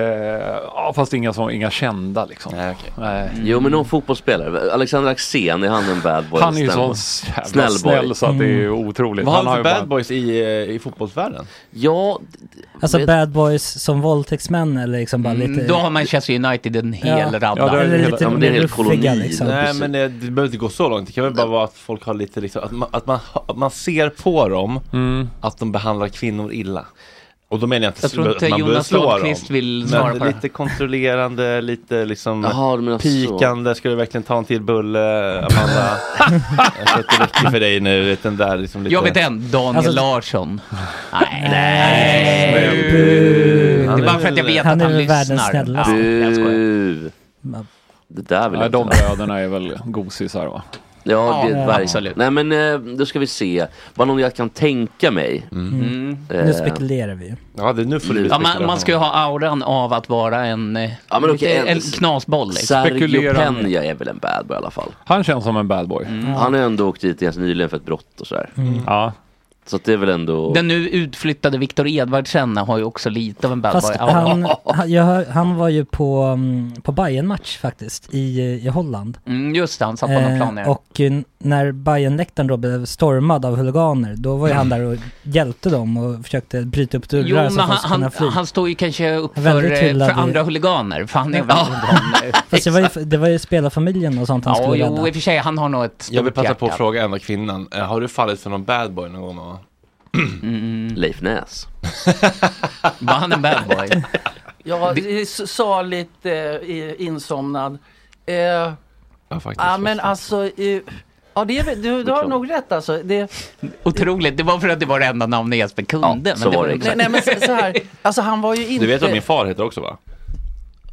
ja, fast inga, som, inga kända liksom. Nej, okej. Mm. Nej. Mm. Jo men någon fotbollsspelare, Alexander Axén, är han en bad boy? Han är ju Snäll sån boy. jävla Snäll boy. snäll så att det är Mm. otroligt. Vad har Han han har för ju bad bara- boys i, eh, i fotbollsvärlden? Ja, Alltså bad boys som våldtäktsmän eller liksom bara lite... Mm, Då har Manchester United en hel Ja. radda. Ja, det är Eller hela- lite ja, men det är en hel ruffiga, koloni. liksom. Nej precis. men det, det behöver inte gå så långt. Det kan väl bara vara att folk har lite liksom, att man, att man, att man ser på dem att de behandlar kvinnor illa. Och då menar jag inte Jag tror att inte man behöver Jonas slå dem. Dahlqvist vill svara Men på det. lite kontrollerande, lite liksom Jaha, du menar så. pikande. Ska du verkligen ta en till bulle Amanda? jag tror att det räcker för dig nu. Vet, den där, liksom, lite... Jag vet en, Daniel Alltså- Larsson. Nej, nej. Det Han är är bara för att jag väl- vet han att är han väl världens lyssnar. snällaste. Ja, jag skojar. Bu. Det där vill jag Nej, inte de ha. bröderna är väl gosisar va? Ja, det Ja, verkligen. absolut. Nej men eh, då ska vi se, vad någon jag kan tänka mig. Eh, Mm. Nu spekulerar vi ju. Ja, det, nu får du Ja, Mm. man, man ska ju ha auran av att vara en, eh, Ja, men okej, lite- en- en knasboll. Liksom. Sergio Spekulera. Peña är väl en bad boy i alla fall. Han känns som en bad boy. Mm. Han har ändå åkt dit ganska nyligen för ett brott och sådär. Ja. Så att det är väl ändå... Den nu utflyttade Viktor Edvardsen har ju också lite av en bad Fast boy. han, han, jag, hör- han var ju på, mm, på bayern match faktiskt i, i Holland. Mm, just det, han satt på någon plan. Eh, ja. och eh, när bayernläktaren då blev stormad av huliganer, då var ju han där och hjälpte dem och försökte bryta upp Jo, dörrar men så att han, de skulle kunna han, fly. han står ju kanske upp för, Väldigt eh, hyllad för i- andra huliganer. För han är väl Fast det var, ju, det var ju spelarfamiljen och sånt han Ja, skulle jo, i rädda. och för sig, han har nog ett stort Jag vill passa på hjärta. att fråga enda kvinnan. eh, Har du fallit för någon bad boy någon gång? Noah? Mm. Leif Näs. Var han en bad boy? Ja, det... sa lite eh, insomnad. Eh, Ja, faktiskt. Ja men alltså, eh, ja, det är, väl- du, du har Beklart. nog rätt alltså. Det, Otroligt, det var för att det var det enda namnet Jesper kunde. Ja, så var det nej, exakt. nej men så, så här, alltså han var ju inte... Du vet vad min far heter också va?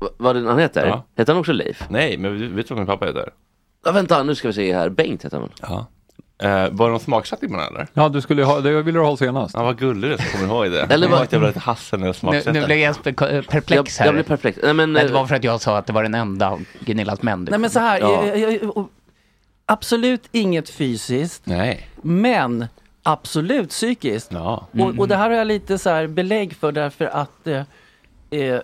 Va- Vad den- han heter? Ja. Heter han också Leif? Nej, men du- vet du vad min pappa heter? Ja, vänta, nu ska vi se här. Bengt heter han väl? Ja. Eh, var det någon smaksättning på den här, eller? Ja, du skulle ju ha, det ville du ha senast. Ja, vad gullig du är som kommer ihåg det. Eller Eller vad- var det lite hassen eller Nu, smaksättaren? nu blev Jesper ko- eh, Jag, perplex här. jag blev perplex. Nej men... Nej, det var eh, för att jag sa att det var den enda Gunillas män. du Nej men så kunde. här, Ja. eh, eh, eh, och- absolut inget fysiskt, Nej. men absolut psykiskt. Ja. Och, och det här har jag lite så här belägg för därför att eh, eh,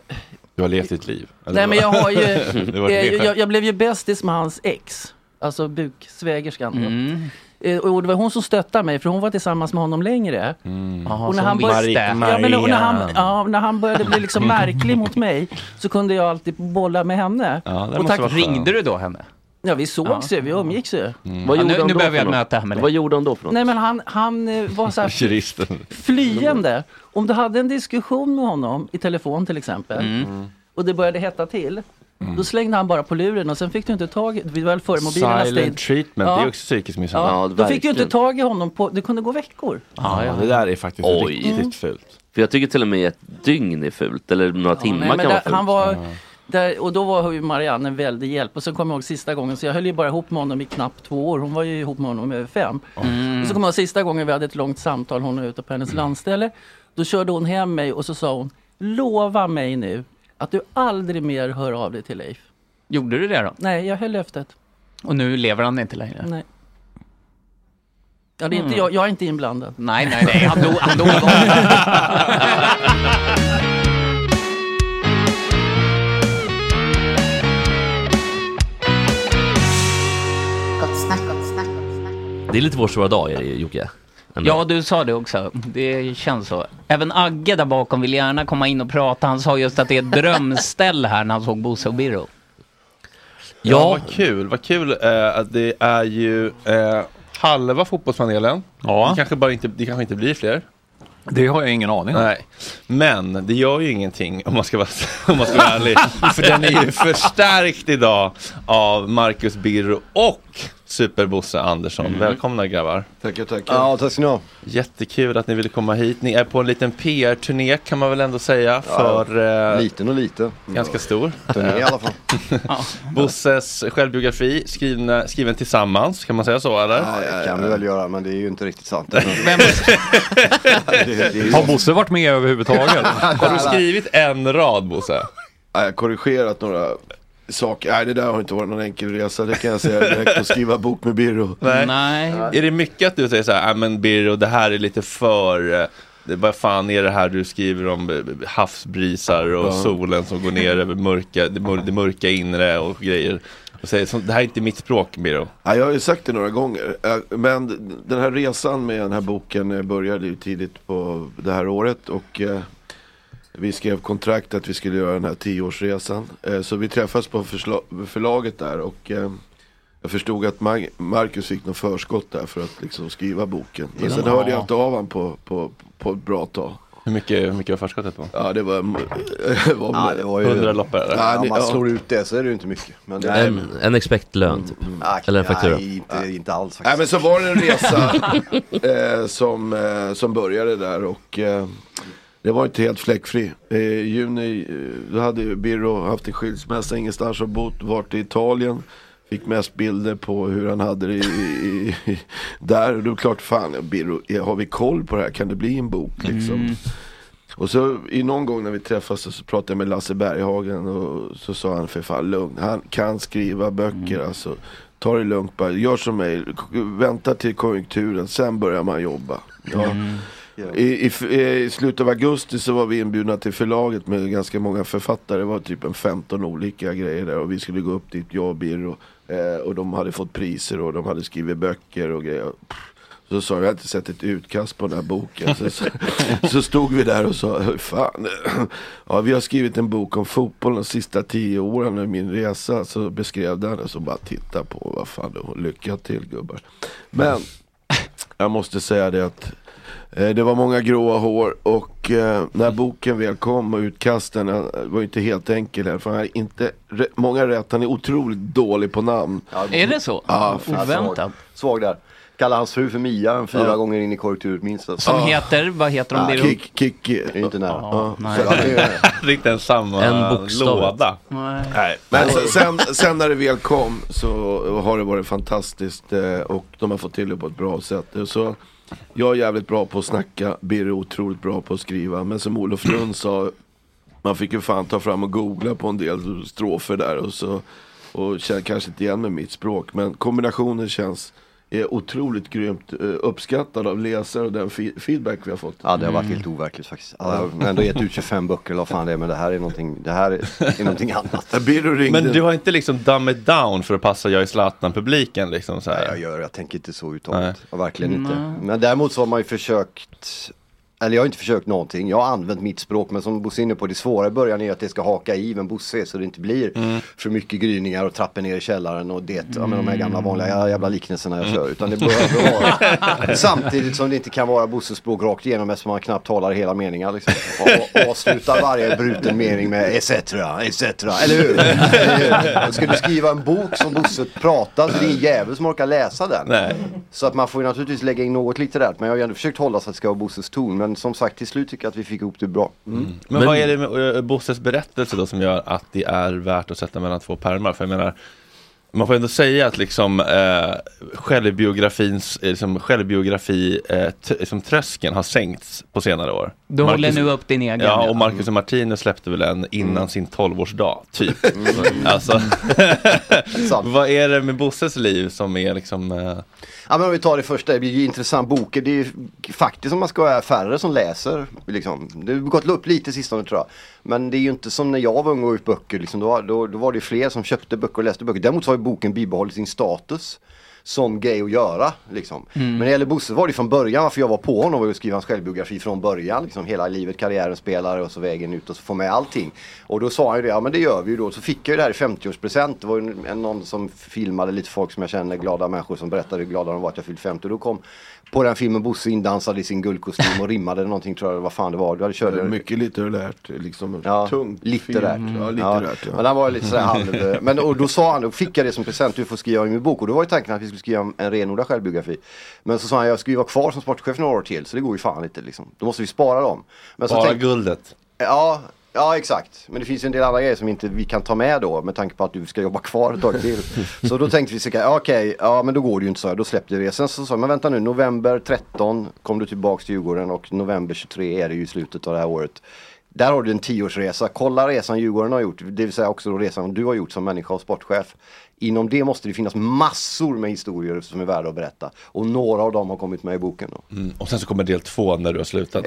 Du har levt ditt liv. Eller Nej men jag har ju, Det var det eh, jag, skämt. jag blev ju bästis med hans ex, alltså buksvägerskan. då. Mm. Eh, och det var hon som stöttade mig för hon var tillsammans med honom längre. Mm. Jaha, och när så han visste. började- Ja, men och när, han, Maria. ja, när han började bli liksom märklig mot mig så kunde jag alltid bolla med henne. Ja, det och måste tack, vara skönt. Mm. Ringde du då henne? ja, vi sågs ju, vi umgicks ju. Vad Ja, gjorde nu- han nu behöver då för jag ett något? möte här med dig. Vad gjorde han då för något? Nej men han, han eh, var så här Juristen. flyende. Om du hade en diskussion med honom i telefon till exempel Mm. och det började hetta till. Mm. Då slängde han bara på luren och sen fick du inte tag Vi var väl före mobilernas tid. Silent treatment, Ja. det är också psykisk misshandel. Ja, Ja, då fick du inte verkligen. tag i honom på, det kunde gå veckor. Ja, det där är faktiskt Oj. riktigt fult. För jag tycker till och med ett dygn är fult, eller några Ja, timmar nej, men kan vara där, fult. han var, där, och då var ju Marianne en väldig hjälp. Och sen kommer jag ihåg sista gången, så jag höll ju bara ihop med honom i knappt två år. Hon var ju ihop med honom i över fem. Och så kommer jag ihåg sista gången vi hade ett långt samtal, hon och jag ute på hennes Mm. landställe. Då körde hon hem mig och så sa hon, lova mig nu att du aldrig mer hör av dig till Leif. Gjorde du det då? Nej, jag höll löftet. Och nu lever han inte längre? Nej. Ja, det är inte, jag, jag är inte inblandad. Mm. Nej, nej, nej, han dog, han dog av Det är lite vår stora dag, är det, Jocke. Ändå. Ja, du sa det också. Det känns så. Även Agge där bakom vill gärna komma in och prata. Han sa just att det är ett drömställ här när han såg Bosse och Birro. Ja, vad kul. Vad kul eh, att det är ju eh, halva fotbollspanelen. Det, kanske bara inte, det kanske inte blir fler. Det har jag ingen aning om. Nej. Men det gör ju ingenting om man ska vara, om man ska vara ärlig. För den är ju förstärkt idag av Marcus Birro och Superbosse Andersson. Mm. Välkomna grabbar. Tackar, tackar. Ja, tack ska ni ha. Jättekul att ni ville komma hit. Ni är på en liten PR-turné kan man väl ändå säga. För, eh, liten och liten. Ganska stor. Turné i alla fall. Bosses självbiografi skriven, skriven tillsammans, kan man säga så eller? Ja, det kan vi väl göra, men det är ju inte riktigt sant. Har Bosse varit med överhuvudtaget? Har du skrivit en rad Bosse? Jag har korrigerat några saker. Nej, det där har inte varit någon enkel resa, det kan jag säga direkt. Att skriva bok med Birro. Nej. Är det mycket att du säger så här, "Ah, men Birro, det här är lite för... eh, det- Vad fan är det här du skriver om eh, havsbrisar och Ja. solen som går ner över mörka, det, mör, det mörka inre och grejer. Och säger, "Så- det här är inte mitt språk Birro. Ja, jag har ju sagt det några gånger. Eh, Men den här resan med den här boken eh, började ju tidigt på det här året. Och eh, vi skrev kontrakt att vi skulle göra den här tioårsresan. Eh, Så vi träffades på försla- förlaget där. Och eh, jag förstod att Mag- Marcus fick något förskott där för att liksom skriva boken. Men sen Ja. hörde jag inte av honom på, på, på ett bra tag. Hur mycket, hur mycket var förskottet på? Ja det var, var, Ja, det var ju- 100 loppar, eller? Ja, Om man man slår slår ut det så är det ju inte mycket. Men det En, en expectlön typ. Eller en faktura. Nej, inte, inte alls faktiskt. Nej, men så var det en resa eh, som, eh, som började där och eh, det var inte helt fläckfri. Eh, I juni eh, då hade ju Birro haft en skilsmässa, ingenstans att bo, varit i Italien. Fick mest bilder på hur han hade det i, i, i, där. Och då är det klart, fan Birro, eh, har vi koll på det här? Kan det bli en bok liksom? Mm. Och så i någon gång när vi träffades så- så pratade jag med Lasse Berghagen och så sa han för fan lugn, han kan skriva böcker alltså. Ta det lugnt bara, gör som mig, K- vänta till konjunkturen, sen börjar man jobba. Ja. Mm. I, i, f- eh, I slutet av augusti så var vi inbjudna till förlaget med ganska många författare, det var typ en 15 olika grejer där och vi skulle gå upp dit, jag och Birro. Eh, och de hade fått priser och de hade skrivit böcker och grejer. Så sa jag, jag har inte sett ett utkast på den här boken. Så, så, så stod vi där och sa, "Hur fan, ja, vi har skrivit en bok om fotboll de sista tio åren av min resa. Så beskrev den och så bara titta på, vad fan, och lycka till gubbar. Men jag måste säga det att eh, det var många gråa hår och eh, när boken väl kom och utkasten eh, var ju inte helt enkel här. För han är inte, re- många rätt, han är otroligt dålig på namn. Är det så? Ja, Oväntat. Svag där. Kallar hans fru för Mia en fyra gånger in i korrekturet minst. Som heter, vad heter de? Ja, det är kick, kick. Det är inte nära. Riktigt ens samma En bokstav. låda. Nej. Nej. Men sen, sen, sen när det väl kom så har det varit fantastiskt eh, och de har fått till det på ett bra sätt. Så jag är jävligt bra på att snacka, Birre är otroligt bra på att skriva. Men som Olof Lund sa, man fick ju fan ta fram och googla på en del strofer där och så och känner kanske inte igen med mitt språk. Men kombinationen känns är otroligt grymt eh, uppskattad av läsare och den fi- feedback vi har fått. Mm. Ja det har varit helt overkligt faktiskt. Ja, jag har ändå gett ut 25 böcker eller vad fan det är men det här är någonting, det här är någonting annat. Men du har inte liksom dumb it down för att passa jag är Zlatan-publiken liksom så här. jag gör, jag tänker inte så uttalat. Ja, verkligen inte. Men däremot så har man ju försökt eller jag har inte försökt någonting. Jag har använt mitt språk men som Bosse är inne på, det svåra i början är att det ska haka i vem Bosse är så det inte blir för mycket gryningar och trappor ner i källaren och det, ja, med de här gamla vanliga jävla liknelserna jag kör. Utan det behöver vara samtidigt som det inte kan vara Bosses språk rakt igenom eftersom man knappt talar hela meningar. Liksom. Och, och avsluta varje bruten mening med etc. etc. Eller hur? Eller hur? Ska du skriva en bok som Bosse pratar så det är ingen jävel som orkar läsa den. Så att man får ju naturligtvis lägga in något litterärt men jag har ju ändå försökt hålla så att det ska vara Bosses ton. Men som sagt till slut tycker jag att vi fick ihop det bra. Mm. Mm. Men, vad är det med eh, Bosses berättelse då som gör att det är värt att sätta mellan två pärmar? För jag menar, man får ändå säga att liksom eh, självbiografins, eh, liksom, självbiografi, eh, t- liksom trösken har sänkts på senare år. Du håller nu upp din egen, Ja, ja. Mm. och Marcus och Martinus släppte väl en innan sin 12-årsdag, typ. Alltså, vad är det med Bosses liv som är liksom... Eh, Ja men om vi tar det första, det blir ju intressant boken. Det är ju faktiskt om man ska vara färre som läser. Liksom. Det har gått upp lite sistone tror jag. Men det är ju inte som när jag var ung och ut böcker. Liksom. Då, då, då var det ju fler som köpte böcker och läste böcker. Däremot så har ju boken bibehållit sin status. som grej att göra. Liksom. Mm. Men när det gäller Bosse var det från början, varför jag var på honom var ju att skriva hans självbiografi från början. Liksom, hela livet, karriären, spelare och så vägen ut och så få med allting. Och då sa han ju det, ja men det gör vi ju då. Så fick jag ju det här i 50-årspresent. Det var ju en- någon som filmade lite folk som jag känner, glada människor som berättade hur glada de var att jag fyllt 50. Och då kom på den filmen Bosse indansade i sin guldkostym och rimmade någonting tror jag, vad fan det var. Du hade kört Mycket litterärt, liksom Ja, tungt. litterärt. fint. Ja, litterärt. Ja. Men han var lite sådär halv... eh, Men och då sa han, då fick jag det som present, du får skriva i min bok. Och då var ju tanken att vi skulle skriva en renodlad självbiografi. Men så sa han, jag ska ju vara kvar som sportchef några år till, så det går ju fan inte liksom. Då måste vi spara dem. Men så Bara tänk- guldet. Ja, ja exakt. Men det finns ju en del andra grejer som inte vi kan ta med då med tanke på att du ska jobba kvar ett tag till. så då tänkte vi så här, ja, okej, ja men då går det ju inte så här, då släppte vi det. Sen så sa jag, men vänta nu, november 13 kom du tillbaks till Djurgården och november 23 är det ju i slutet av det här året. Där har du en tioårsresa, kolla resan Djurgården har gjort, det vill säga också då resan du har gjort som människa och sportchef. Inom det måste det finnas massor med historier som är värda att berätta. Och några av dem har kommit med i boken. Då. Mm. Och sen så kommer del två när du har slutat.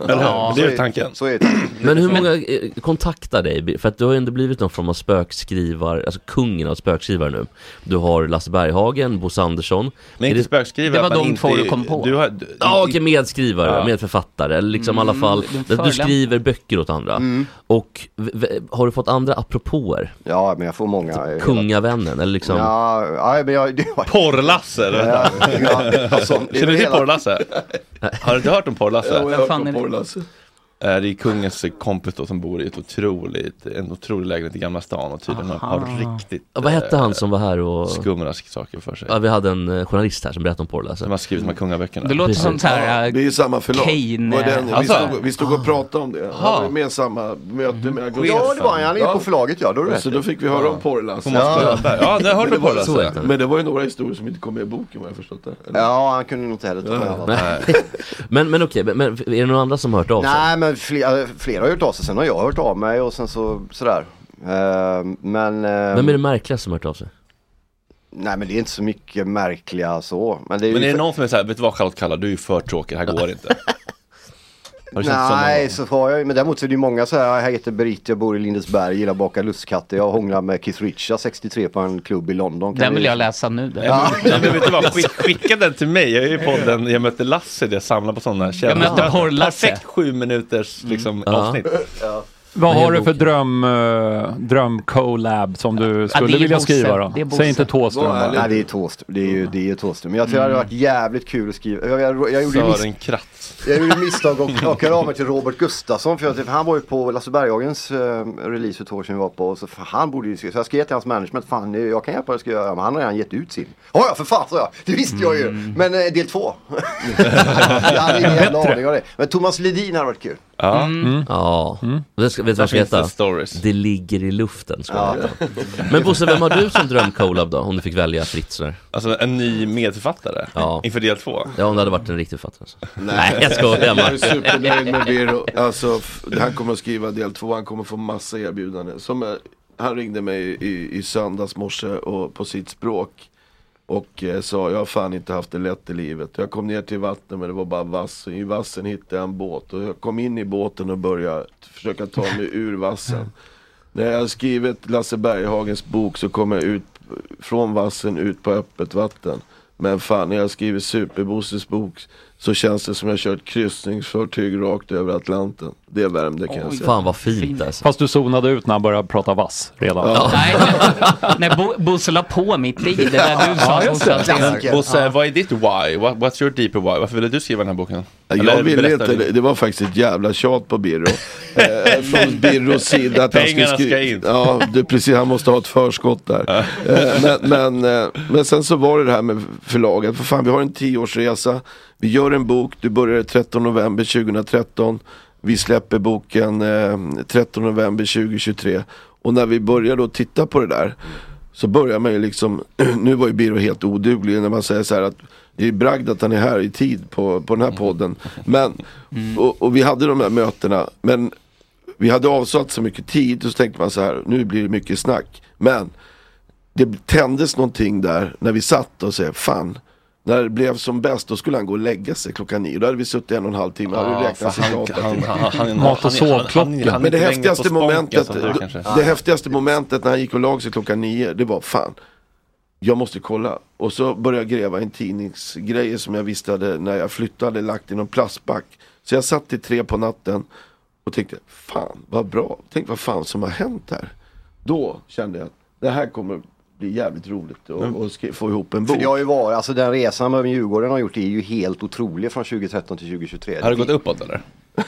Eller hur? Ja, det så är är- tanken. så är tanken. Men hur många eh, kontaktar dig? För att du har ju ändå blivit någon form av spökskrivare, alltså kungen av spökskrivare nu. Du har Lasse Berghagen, Bosse Andersson. Nej, Är inte spökskrivare. Det var men de inte- två du kom på. Du har, Ja, okej, medskrivare, Ja. medförfattare, eller liksom i alla Mm, fall, det är en du förolämpning. skriver böcker åt andra. Mm. Och v- v- har du fått andra apropåer? Ja, men jag får många. Kungavännen, eller liksom... Ja, nej, men jag, det var... Porrlasse? eller? Ja, ja, alltså, det är Känner du till hela- Porrlasse? Har du inte hört om Porrlasse? Jo, jag har hört om Porrlasse. Eh, Det är kungens kompis då som bor i ett otroligt, en otrolig lägenhet i Gamla stan och tydligen har- har Aha. riktigt Ja, vad hette eh, han som var här och... Skumrask saker för sig. Ja, vi hade en eh, journalist här som berättade om alltså. Porrlasse. Som har skrivit de här kungaböckerna. Det låter som så eh, här, Det är ju samma förlag. Kane- Och den, Alltså? vi, stod, vi stod och pratade om det. Ah. Han var med i samma möte med Augusti. Ja, det var han. Han är på förlaget, ja. Då har Så du rätt. Alltså, då fick vi höra om Porrlasse. Thomas Ja. Sjöberg. Ja, det har Men hört det om var- Porrlasse. Så heter han. Men det var ju några historier som inte kom med i boken vad jag förstått det. Eller? Ja, han kunde nog inte heller ta med alla. Nej. men men okej, men, men är det några andra som har hört av sig? Nej, men flera, flera har hört av sig. Sen har jag hört av mig och sen så sådär. Ehm, men... ehm, Vem är det märkligaste som har hört av sig? Nej, men det är inte så mycket märkliga så. Men det är, ju Men är det för- någon som är såhär, vet du vad Charlotte Kalla, du är ju för tråkig, det här går inte. Har du känt så någon Nej, så har jag ju- Men däremot så är det ju många så här. Jag heter Berit, jag bor i Lindesberg, gillar att baka lustkatter. Jag hånglar med Keith Richards 63 på en klubb i London. Den ni- vill jag läsa nu. den. Ja. Nej, men vet du vad, Skick, skicka den till mig. Jag är ju i podden, jag mötte Lasse, där jag samlar på sådana källor. mötte Porr-Lasse. Perfekt sju minuters liksom, Mm. Ja. avsnitt. Vad Nej, har du för boken. dröm, eh, dröm collab som du Ja, det skulle är vilja Bosse. skriva då? Det är Bosse. Säg inte Thåström Vad ärligt. bara. Nej, det är Thåström. Det är Mm. ju, det är ju Thåström. Men jag tror det hade varit jävligt kul att skriva. Jag, jag, jag gjorde ju Sören Kratz. Jag gjorde misstag och, och hörde av mig till Robert Gustafsson för, jag, för han var ju på Lasse Berghagens eh, release för två år sedan vi var på. Och så, fan, han borde ju, så jag skrev till hans management, fan eh, jag kan hjälpa dig att skriva, men han har redan gett ut sin. Ja, ja, för fan sa jag, det visste jag ju. Mm. Men eh, del två. jag hade ingen jävla Bättre. aning om det. Men Thomas Ledin hade varit kul. Ja. Ja. Det ska, vet du Mm. Där vad det finns det ska heta? Det ligger i luften. Ska det heta. Men Bosse, vem har du som drömcollab då? Om du fick välja fritt sådär. Alltså en ny medförfattare? Ja. Inför del två? Ja, om det hade varit en riktig författare. Alltså. Nej, jag skojar Jag är supernöjd med Martin. Bero. Alltså, f- han kommer att skriva del två, han kommer få massa erbjudanden. Som, eh, han ringde mig i, i söndags morse och, på sitt språk. Och eh, sa, jag har fan inte haft det lätt i livet. Jag kom ner till vattnet men det var bara vass. Och I vassen hittade jag en båt. Och jag kom in i båten och började försöka ta mig ur vassen. När jag har skrivit Lasse Berghagens bok så kommer jag ut från vassen ut på öppet vatten. Men fan, när jag skriver Superbosses bok så känns det som jag kört kryssningsfartyg rakt över Atlanten. Det värmde kan jag säga. Fan vad fint alltså. Fast du zonade ut när han började prata vass redan. Ja. Nej, när Bo- Bosse la på mitt i det där du sa. Bosse, att det- Bosse, vad är ditt why? What, what's your deeper why? Varför ville du skriva den här boken? Jag Eller ville berätta inte, det. din- det var faktiskt ett jävla tjat på Birro. eh, från Birros sida. Att han Pengarna skri- ska in. Ja, det, precis. Han måste ha ett förskott där. eh, men, men, eh, men sen så var det det här med förlaget. För fan, vi har en tioårsresa. Vi gör en bok. Du börjar 13 november 2013. Vi släpper boken eh, 13 november 2023. Och när vi börjar då titta på det där så börjar man ju liksom, nu var ju Birro helt oduglig när man säger så här att det är bragd att han är här i tid på, på den här podden. Men, och, och vi hade de här mötena, men vi hade avsatt så mycket tid och så tänkte man så här, nu blir det mycket snack. Men det tändes någonting där när vi satt och sa, fan, när det blev som bäst då skulle han gå och lägga sig klockan nio. Då hade vi suttit en och en halv timme, hade vi Ja, räknat för cirka han- åtta han- timmar. han- han- Mat och han- sovklocka. han- han- han- Men det han- han- häftigaste han- han- han- momentet, han- han- han- han- han- han- det häftigaste momentet när han gick och lag sig klockan nio, det var fan. jag måste kolla. Och så började jag gräva i en tidningsgrejer som jag visste hade, när jag flyttade, lagt i någon plastback. Så jag satt till tre på natten och tänkte, fan vad bra, tänk vad fan som har hänt här. Då kände jag att det här kommer bli jävligt roligt Mm. och, och skri- få ihop en För bok. det har ju varit, alltså den resan med Djurgården har gjort är ju helt otrolig från 2013 till 2023. Har det gått uppåt eller?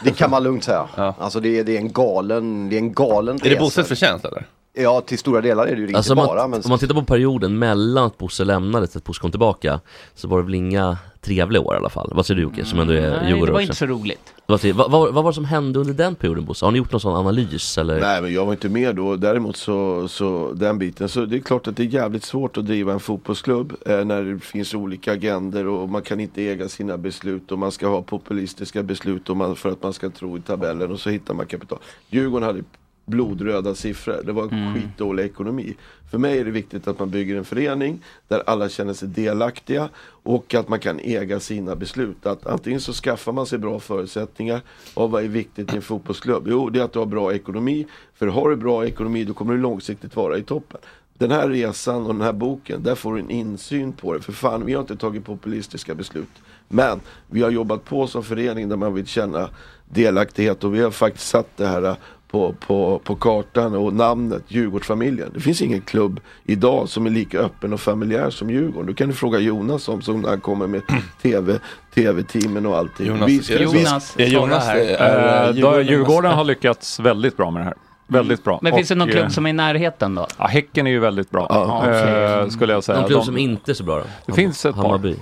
Det kan man lugnt säga. Alltså det är, det är en galen, det är en galen Är det resa. Bosses förtjänst eller? Ja, till stora delar är det ju det, Alltså om inte man, bara. Men om man tittar på perioden mellan att Bosse lämnade till att Bosse kom tillbaka så var det väl inga trevliga år i alla fall. Vad säger du Jocke som ändå är Mm, Nej, Djurgårdare det var också? inte så roligt. Vad, säger- vad, vad, vad var det som hände under den perioden Bosse? Har ni gjort någon sån analys eller? Nej men jag var inte med då, däremot så, så den biten. Så det är klart att det är jävligt svårt att driva en fotbollsklubb eh, när det finns olika agender och man kan inte äga sina beslut och man ska ha populistiska beslut och man, för att man ska tro i tabellen och så hittar man kapital. Djurgården hade blodröda siffror, det var Mm. skitdålig ekonomi. För mig är det viktigt att man bygger en förening där alla känner sig delaktiga och att man kan äga sina beslut. Att antingen så skaffar man sig bra förutsättningar. Och vad är viktigt i en fotbollsklubb? Jo, det är att du har bra ekonomi. För har du bra ekonomi, då kommer du långsiktigt vara i toppen. Den här resan och den här boken, där får du en insyn på det. För fan, vi har inte tagit populistiska beslut. Men vi har jobbat på som förening där man vill känna delaktighet och vi har faktiskt satt det här på, på, på kartan och namnet Djurgårdsfamiljen. Det finns ingen klubb idag som är lika öppen och familjär som Djurgården. Du kan du fråga Jonas om som när han kommer med TV, TV-teamen och allting. Jonas, Vi ska- är det så? vi- Jonas, är Jonas det? Eh, Djurgården- Djurgården har lyckats väldigt bra med det här. Väldigt bra. Men finns det någon Och, eh, klubb som är i närheten då? Ja, Häcken är ju väldigt bra. Ja, eh, okej. skulle jag säga. Någon klubb De- som inte är så bra då? Det finns ett Hammarby.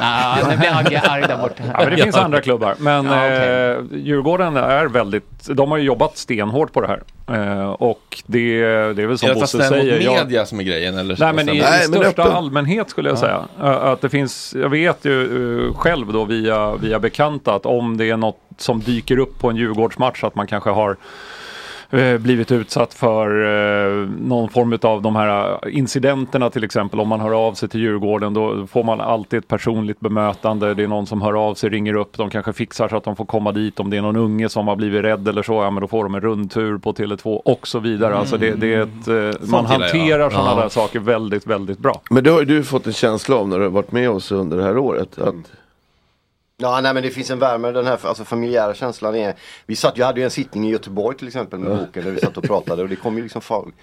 Ja, nu blir Agge arg där borta. Ja, men det finns andra klubbar. Men Ja, eh, Djurgården är väldigt, de har ju jobbat stenhårt på det här. Eh, och det, det är väl som Är det Bosse fastän mot säger. jag- media som är grejen eller? Nej men i, i Nej, men största öppen- allmänhet skulle jag Ja. säga. Ö, Att det finns, jag vet ju eh, själv då via, via bekanta att om det är något som dyker upp på en Djurgårdsmatch att man kanske har eh, blivit utsatt för eh, någon form av de här incidenterna till exempel. Om man hör av sig till Djurgården då får man alltid ett personligt bemötande. Det är någon som hör av sig, ringer upp, de kanske fixar så att de får komma dit. Om det är någon unge som har blivit rädd eller så, ja men då får de en rundtur på Tele2 och så vidare. Mm. Alltså det, det är ett, eh, Sånt man gillar jag. hanterar sådana Ja. där saker väldigt, väldigt bra. Men det har ju du fått en känsla av när du har varit med oss under det här året. Att Mm. Ja, nej men det finns en värme, den här alltså, familjära känslan är. Vi satt, jag hade ju en sittning i Göteborg till exempel med boken där vi satt och pratade och det kom ju liksom folk,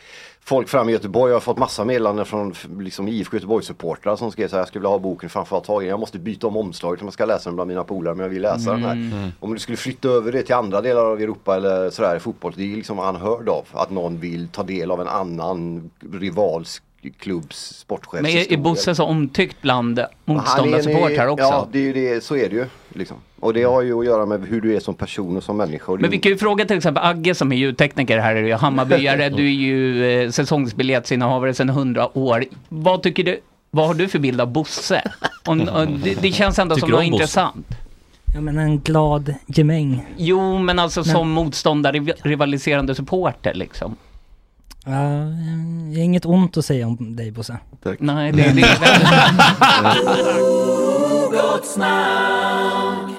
folk fram i Göteborg. Jag har fått massa meddelanden från f- liksom, IFK Göteborg-supportrar som skrev så här, jag skulle vilja ha boken framför att ta i den. Jag måste byta om omslaget om jag ska läsa den bland mina polare men jag vill läsa den här. Mm. Om du skulle flytta över det till andra delar av Europa eller sådär i fotboll, det är ju liksom unheard of att någon vill ta del av en annan rivals klubbs sportchefs Men är, är historia. Bosse så omtyckt bland Han är motståndarsupportrar en- också? Ja, det är ju det, så är det ju. Liksom. Och det har ju att göra med hur du är som person och som människa. Och det- Men vi kan ju fråga till exempel Agge som är ljudtekniker här, är ju Hammarbyare, du är ju eh, säsongsbiljettsinnehavare sedan 100 år. Vad tycker du, vad har du för bild av Bosse? Om, om, det, det känns ändå Tycker som du något om Bosse? intressant. Ja men en glad gemäng. Jo, men alltså Men- som motståndare, rivaliserande supporter liksom. Ja, eh, inget ont att säga om dig Bosse. Nej, det, det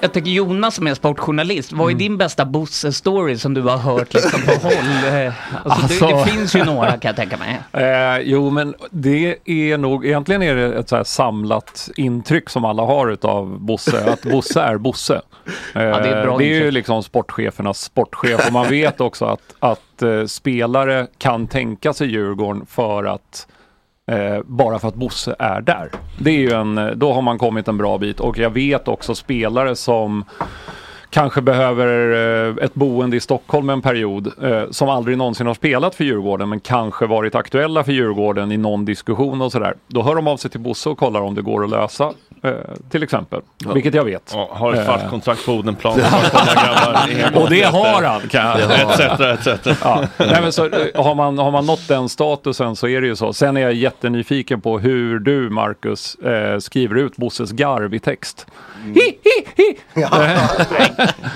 Jag tycker Jonas som är sportjournalist, vad är din bästa Bosse-story som du har hört liksom på håll? Eh, Alltså, Det, det Alltså- finns ju några kan jag tänka mig. Eh, jo, men det är nog, egentligen är det ett så här samlat intryck som alla har utav Bosse, att Bosse är Bosse. Eh, det är ett bra ju intryck. liksom sportchefernas sportchef och man vet också att, att eh, spelare kan tänka sig Djurgården för att Eh, bara för att Bosse är där. Det är ju en, eh, då har man kommit en bra bit och jag vet också spelare som kanske behöver eh, ett boende i Stockholm en period eh, som aldrig någonsin har spelat för Djurgården men kanske varit aktuella för Djurgården i någon diskussion och sådär. Då hör de av sig till Bosse och kollar om det går att lösa eh, till exempel. Ja. Vilket jag vet. Ja, har ett svart Eh, kontrakt på Odenplan. grabbar. och det har han kan jag Det har han. Etc, etc. Ja. Nej, men så, eh, har, man, har man nått den statusen så är det ju så. Sen är jag jättenyfiken på hur du, Marcus, Mm. eh, skriver ut Bosses garv i text. Hi, hi, hi!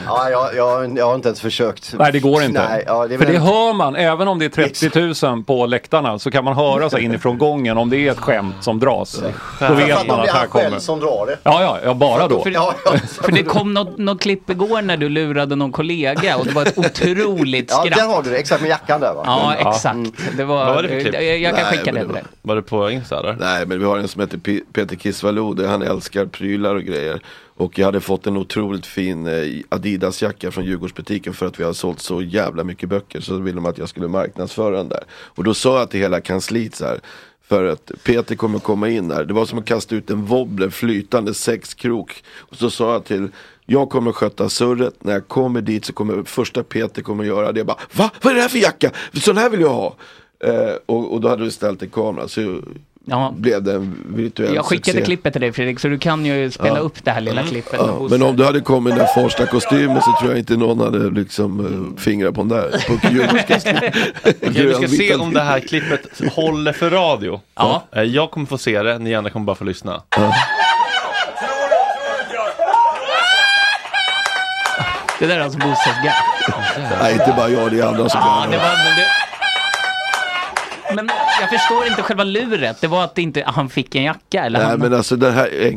Ja, jag, jag, jag har inte ens försökt. Nej, det går inte. Nej, ja, det är För väl- det hör man, även om det är 30 000 på läktarna så kan man höra så här inifrån gången om det är ett skämt som dras. Då Fast vet man det att är här han själv kommer... som drar det. Ja, ja, ja, bara då. För, för det kom något, något klipp igår när du lurade någon kollega och det var ett otroligt Ja, skratt. där har du det. Exakt med jackan där va? Ja, Mm. exakt. Det var, Vad var det för klipp? jag, jag kan Nej, men skicka det det till dig. Var det på Insta eller? Nej men vi har en som heter P- Peter Kisvalou, han älskar prylar och grejer. Och jag hade fått en otroligt fin eh, Adidas-jacka från Djurgårdsbutiken för att vi har sålt så jävla mycket böcker. Så ville de att jag skulle marknadsföra den där. Och då sa jag till hela kansliet så här. För att Peter kommer komma in här. Det var som att kasta ut en wobbler flytande sexkrok. Och så sa jag till jag kommer sköta surret, när jag kommer dit så kommer första Peter kommer göra det. Jag bara, Va? Vad är det här för jacka? Sån här vill jag ha! Eh, och, och då hade du ställt en kamera så blev det en virtuell Jag skickade succé. klippet till dig Fredrik, så du kan ju spela Ja. upp det här lilla klippet. med Ja, Bosse. men om du hade kommit i den första kostymen så tror jag inte någon hade liksom eh, fingrat på den där. På Djurgårdskansliet. Okej, vi ska se om det här klippet håller för radio. Ja. Eh, Jag kommer få se det, ni andra kommer bara få lyssna. Det där är alltså Bosses gaff. Nej, inte bara jag, det är andra som Ja, kan det det. var, men, det... men jag förstår inte själva luret. Det var att inte han fick en jacka eller Nej han... men alltså den här eh,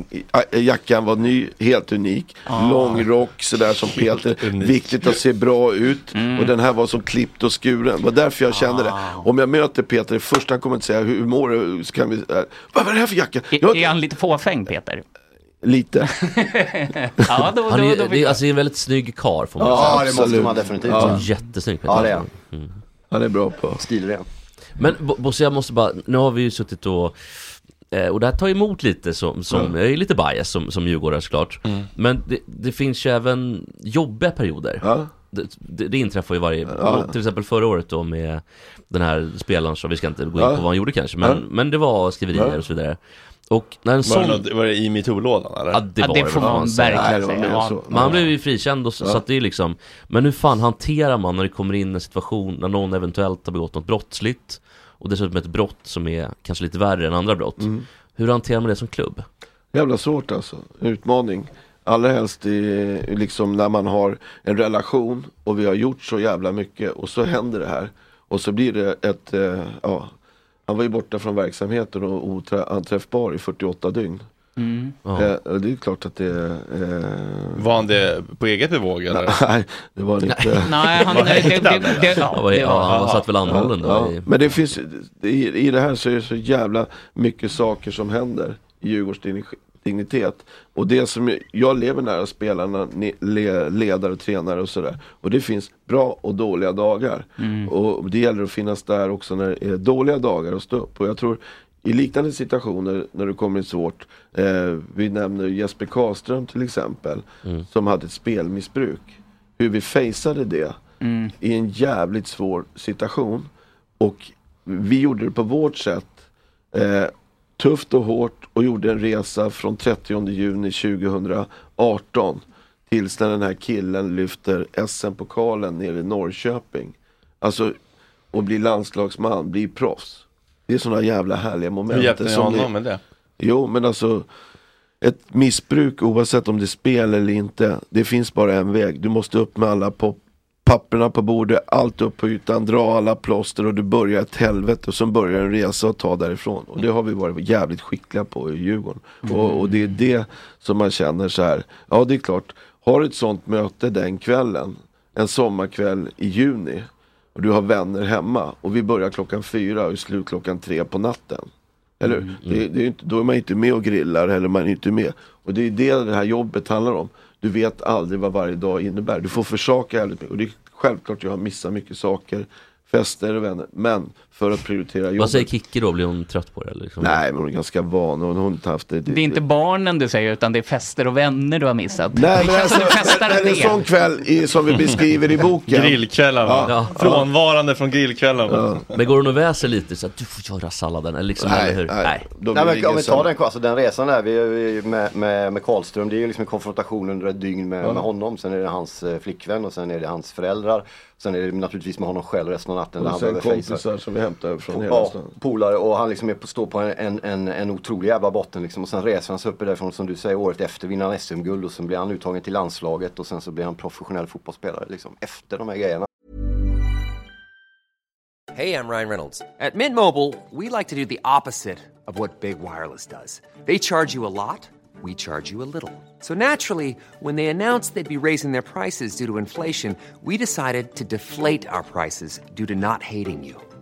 eh, jackan var ny, helt unik. Lång rock sådär som Peter. Viktigt att se bra ut. Mm. Och den här var som klippt och skuren. Det var därför jag kände det. Om jag möter Peter, det första han kommer att säga, hur mår du? Så kan vi, eh, vad är det här för jacka? Jag, Är han lite fåfäng Peter? Lite. Ja, då, då, Han är, då, ju- då, det är, alltså, det är en väldigt snygg karl får man Ja, säga. det måste Absolut. man definitivt Ja. säga. Jättesnygg Ja, det är han. Mm. Han är bra på stilren. Men Bo- Bosse, jag måste bara, nu har vi ju suttit och eh, och det här tar emot lite som, som Mm. jag är lite bias som, som djurgårdare såklart. Mm. Men det, det finns ju även jobbiga perioder. Det, det, det inträffar ju varje, Ja. till exempel förra året då med den här spelaren som, vi ska inte gå in Ja. på vad han gjorde kanske, men, Ja. men det var skriverier Ja. och så vidare. Och när en Var, sån... det något, var det i metoo-lådan eller? Ja det var vad fan säger. Men han blev ju frikänd och så, Ja. så att det är liksom Men hur fan hanterar man när det kommer in en situation när någon eventuellt har begått något brottsligt Och dessutom ett brott som är kanske lite värre än andra brott Mm. Hur hanterar man det som klubb? Jävla svårt alltså, utmaning. Allra helst i, liksom när man har en relation och vi har gjort så jävla mycket och så händer det här. Och så blir det ett, eh, ja, han var ju borta från verksamheten och oträ- anträffbar i 48 dygn. Mm. Eh, och det är klart att det... Eh... Var han det på eget bevåg eller? Nej, det var han inte. Nej, han- Var det- det- häktad, det- eller? det- ja, det- ja, han satt väl anhållen då i- Men det finns, i, i det här så är det så jävla mycket saker som händer i Djurgårds digni- dignitet. Och det som, jag lever nära spelarna, ni- le, ledare, tränare och sådär. Och det finns bra och dåliga dagar. Och det gäller att finnas där också när det är dåliga dagar och stå upp. Och jag tror i liknande situationer när det kommer svårt, eh, vi nämner Jesper Karlström till exempel, som hade ett spelmissbruk. Hur vi faceade det Mm. i en jävligt svår situation. Och vi gjorde det på vårt sätt. Eh, tufft och hårt och gjorde en resa från 30 juni 2018 tills när den här killen lyfter SM-pokalen nere i Norrköping. Alltså, och blir landslagsman, blir proffs. Det är sådana jävla härliga moment. Hur hjälpte ni som honom med det? Jo, men alltså ett missbruk oavsett om det är spel eller inte, det finns bara en väg. Du måste upp med alla pop papperna på bordet, allt upp på ytan, dra alla plåster och du börjar ett helvete och sen börjar en resa och ta därifrån. Och det har vi varit jävligt skickliga på i Djurgården. Och, och det är det som man känner så här, ja det är klart, har du ett sånt möte den kvällen, en sommarkväll i juni, och du har vänner hemma och vi börjar klockan fyra och är slut klockan tre på natten. Eller hur? Det, det är ju inte, Då är man inte med och grillar eller man är inte med. Och det är det det här jobbet handlar om. Du vet aldrig vad varje dag innebär. Du får försaka jävligt mycket. Och det är självklart jag har missat mycket saker. Fester och vänner. Men för att prioritera jobbet. Vad säger Kikki då? Blir hon trött på det? eller Liksom? Nej men hon är ganska van. Hon har inte haft det. Det är inte barnen du säger utan det är fester och vänner du har missat. Nej men alltså, Festare är det en det. sån kväll i, som vi beskriver i boken. Grillkvällen va? Ja. Frånvarande från grillkvällen va? Men går hon och väser lite så att du får göra salladen eller liksom, Nej, eller hur? nej. De vill Nej, men, om ingen vi tar sallad. den, alltså, den resan där vi, vi, med, med, med Karlström, det är ju liksom en konfrontation under ett dygn med, Ja. med honom. Sen är det hans eh, flickvän och sen är det hans föräldrar. Sen är det naturligtvis med honom själv resten av natten. när Och han sen behöver kompisar som vi hämtar från hela Ja, stan. polare och han liksom är på, står på en, en, en, en otrolig jävla botten liksom. Och sen reser han sig upp därifrån som du säger året efter vinner han SM-guld och sen blir han uttagen till landslaget och sen så blir han professionell fotbollsspelare liksom. Efter de här grejerna. Hey, I'm Ryan Reynolds. At Mint Mobile, we like to do the opposite of what Big Wireless does. They charge you a lot, we charge you a little. So naturally, when they announced they'd be raising their prices due to inflation, we decided to deflate our prices due to not hating you.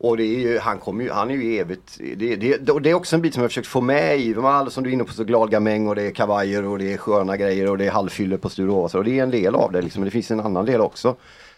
Och det är ju, han, kommer ju, han är ju evigt, det, det, och det är också en bit som jag försökt få med i, de här som du är inne på, så glad gamäng och det är kavajer och det är sköna grejer och det är halvfyller på Sturehof och det är en del av det liksom, men det finns en annan del också.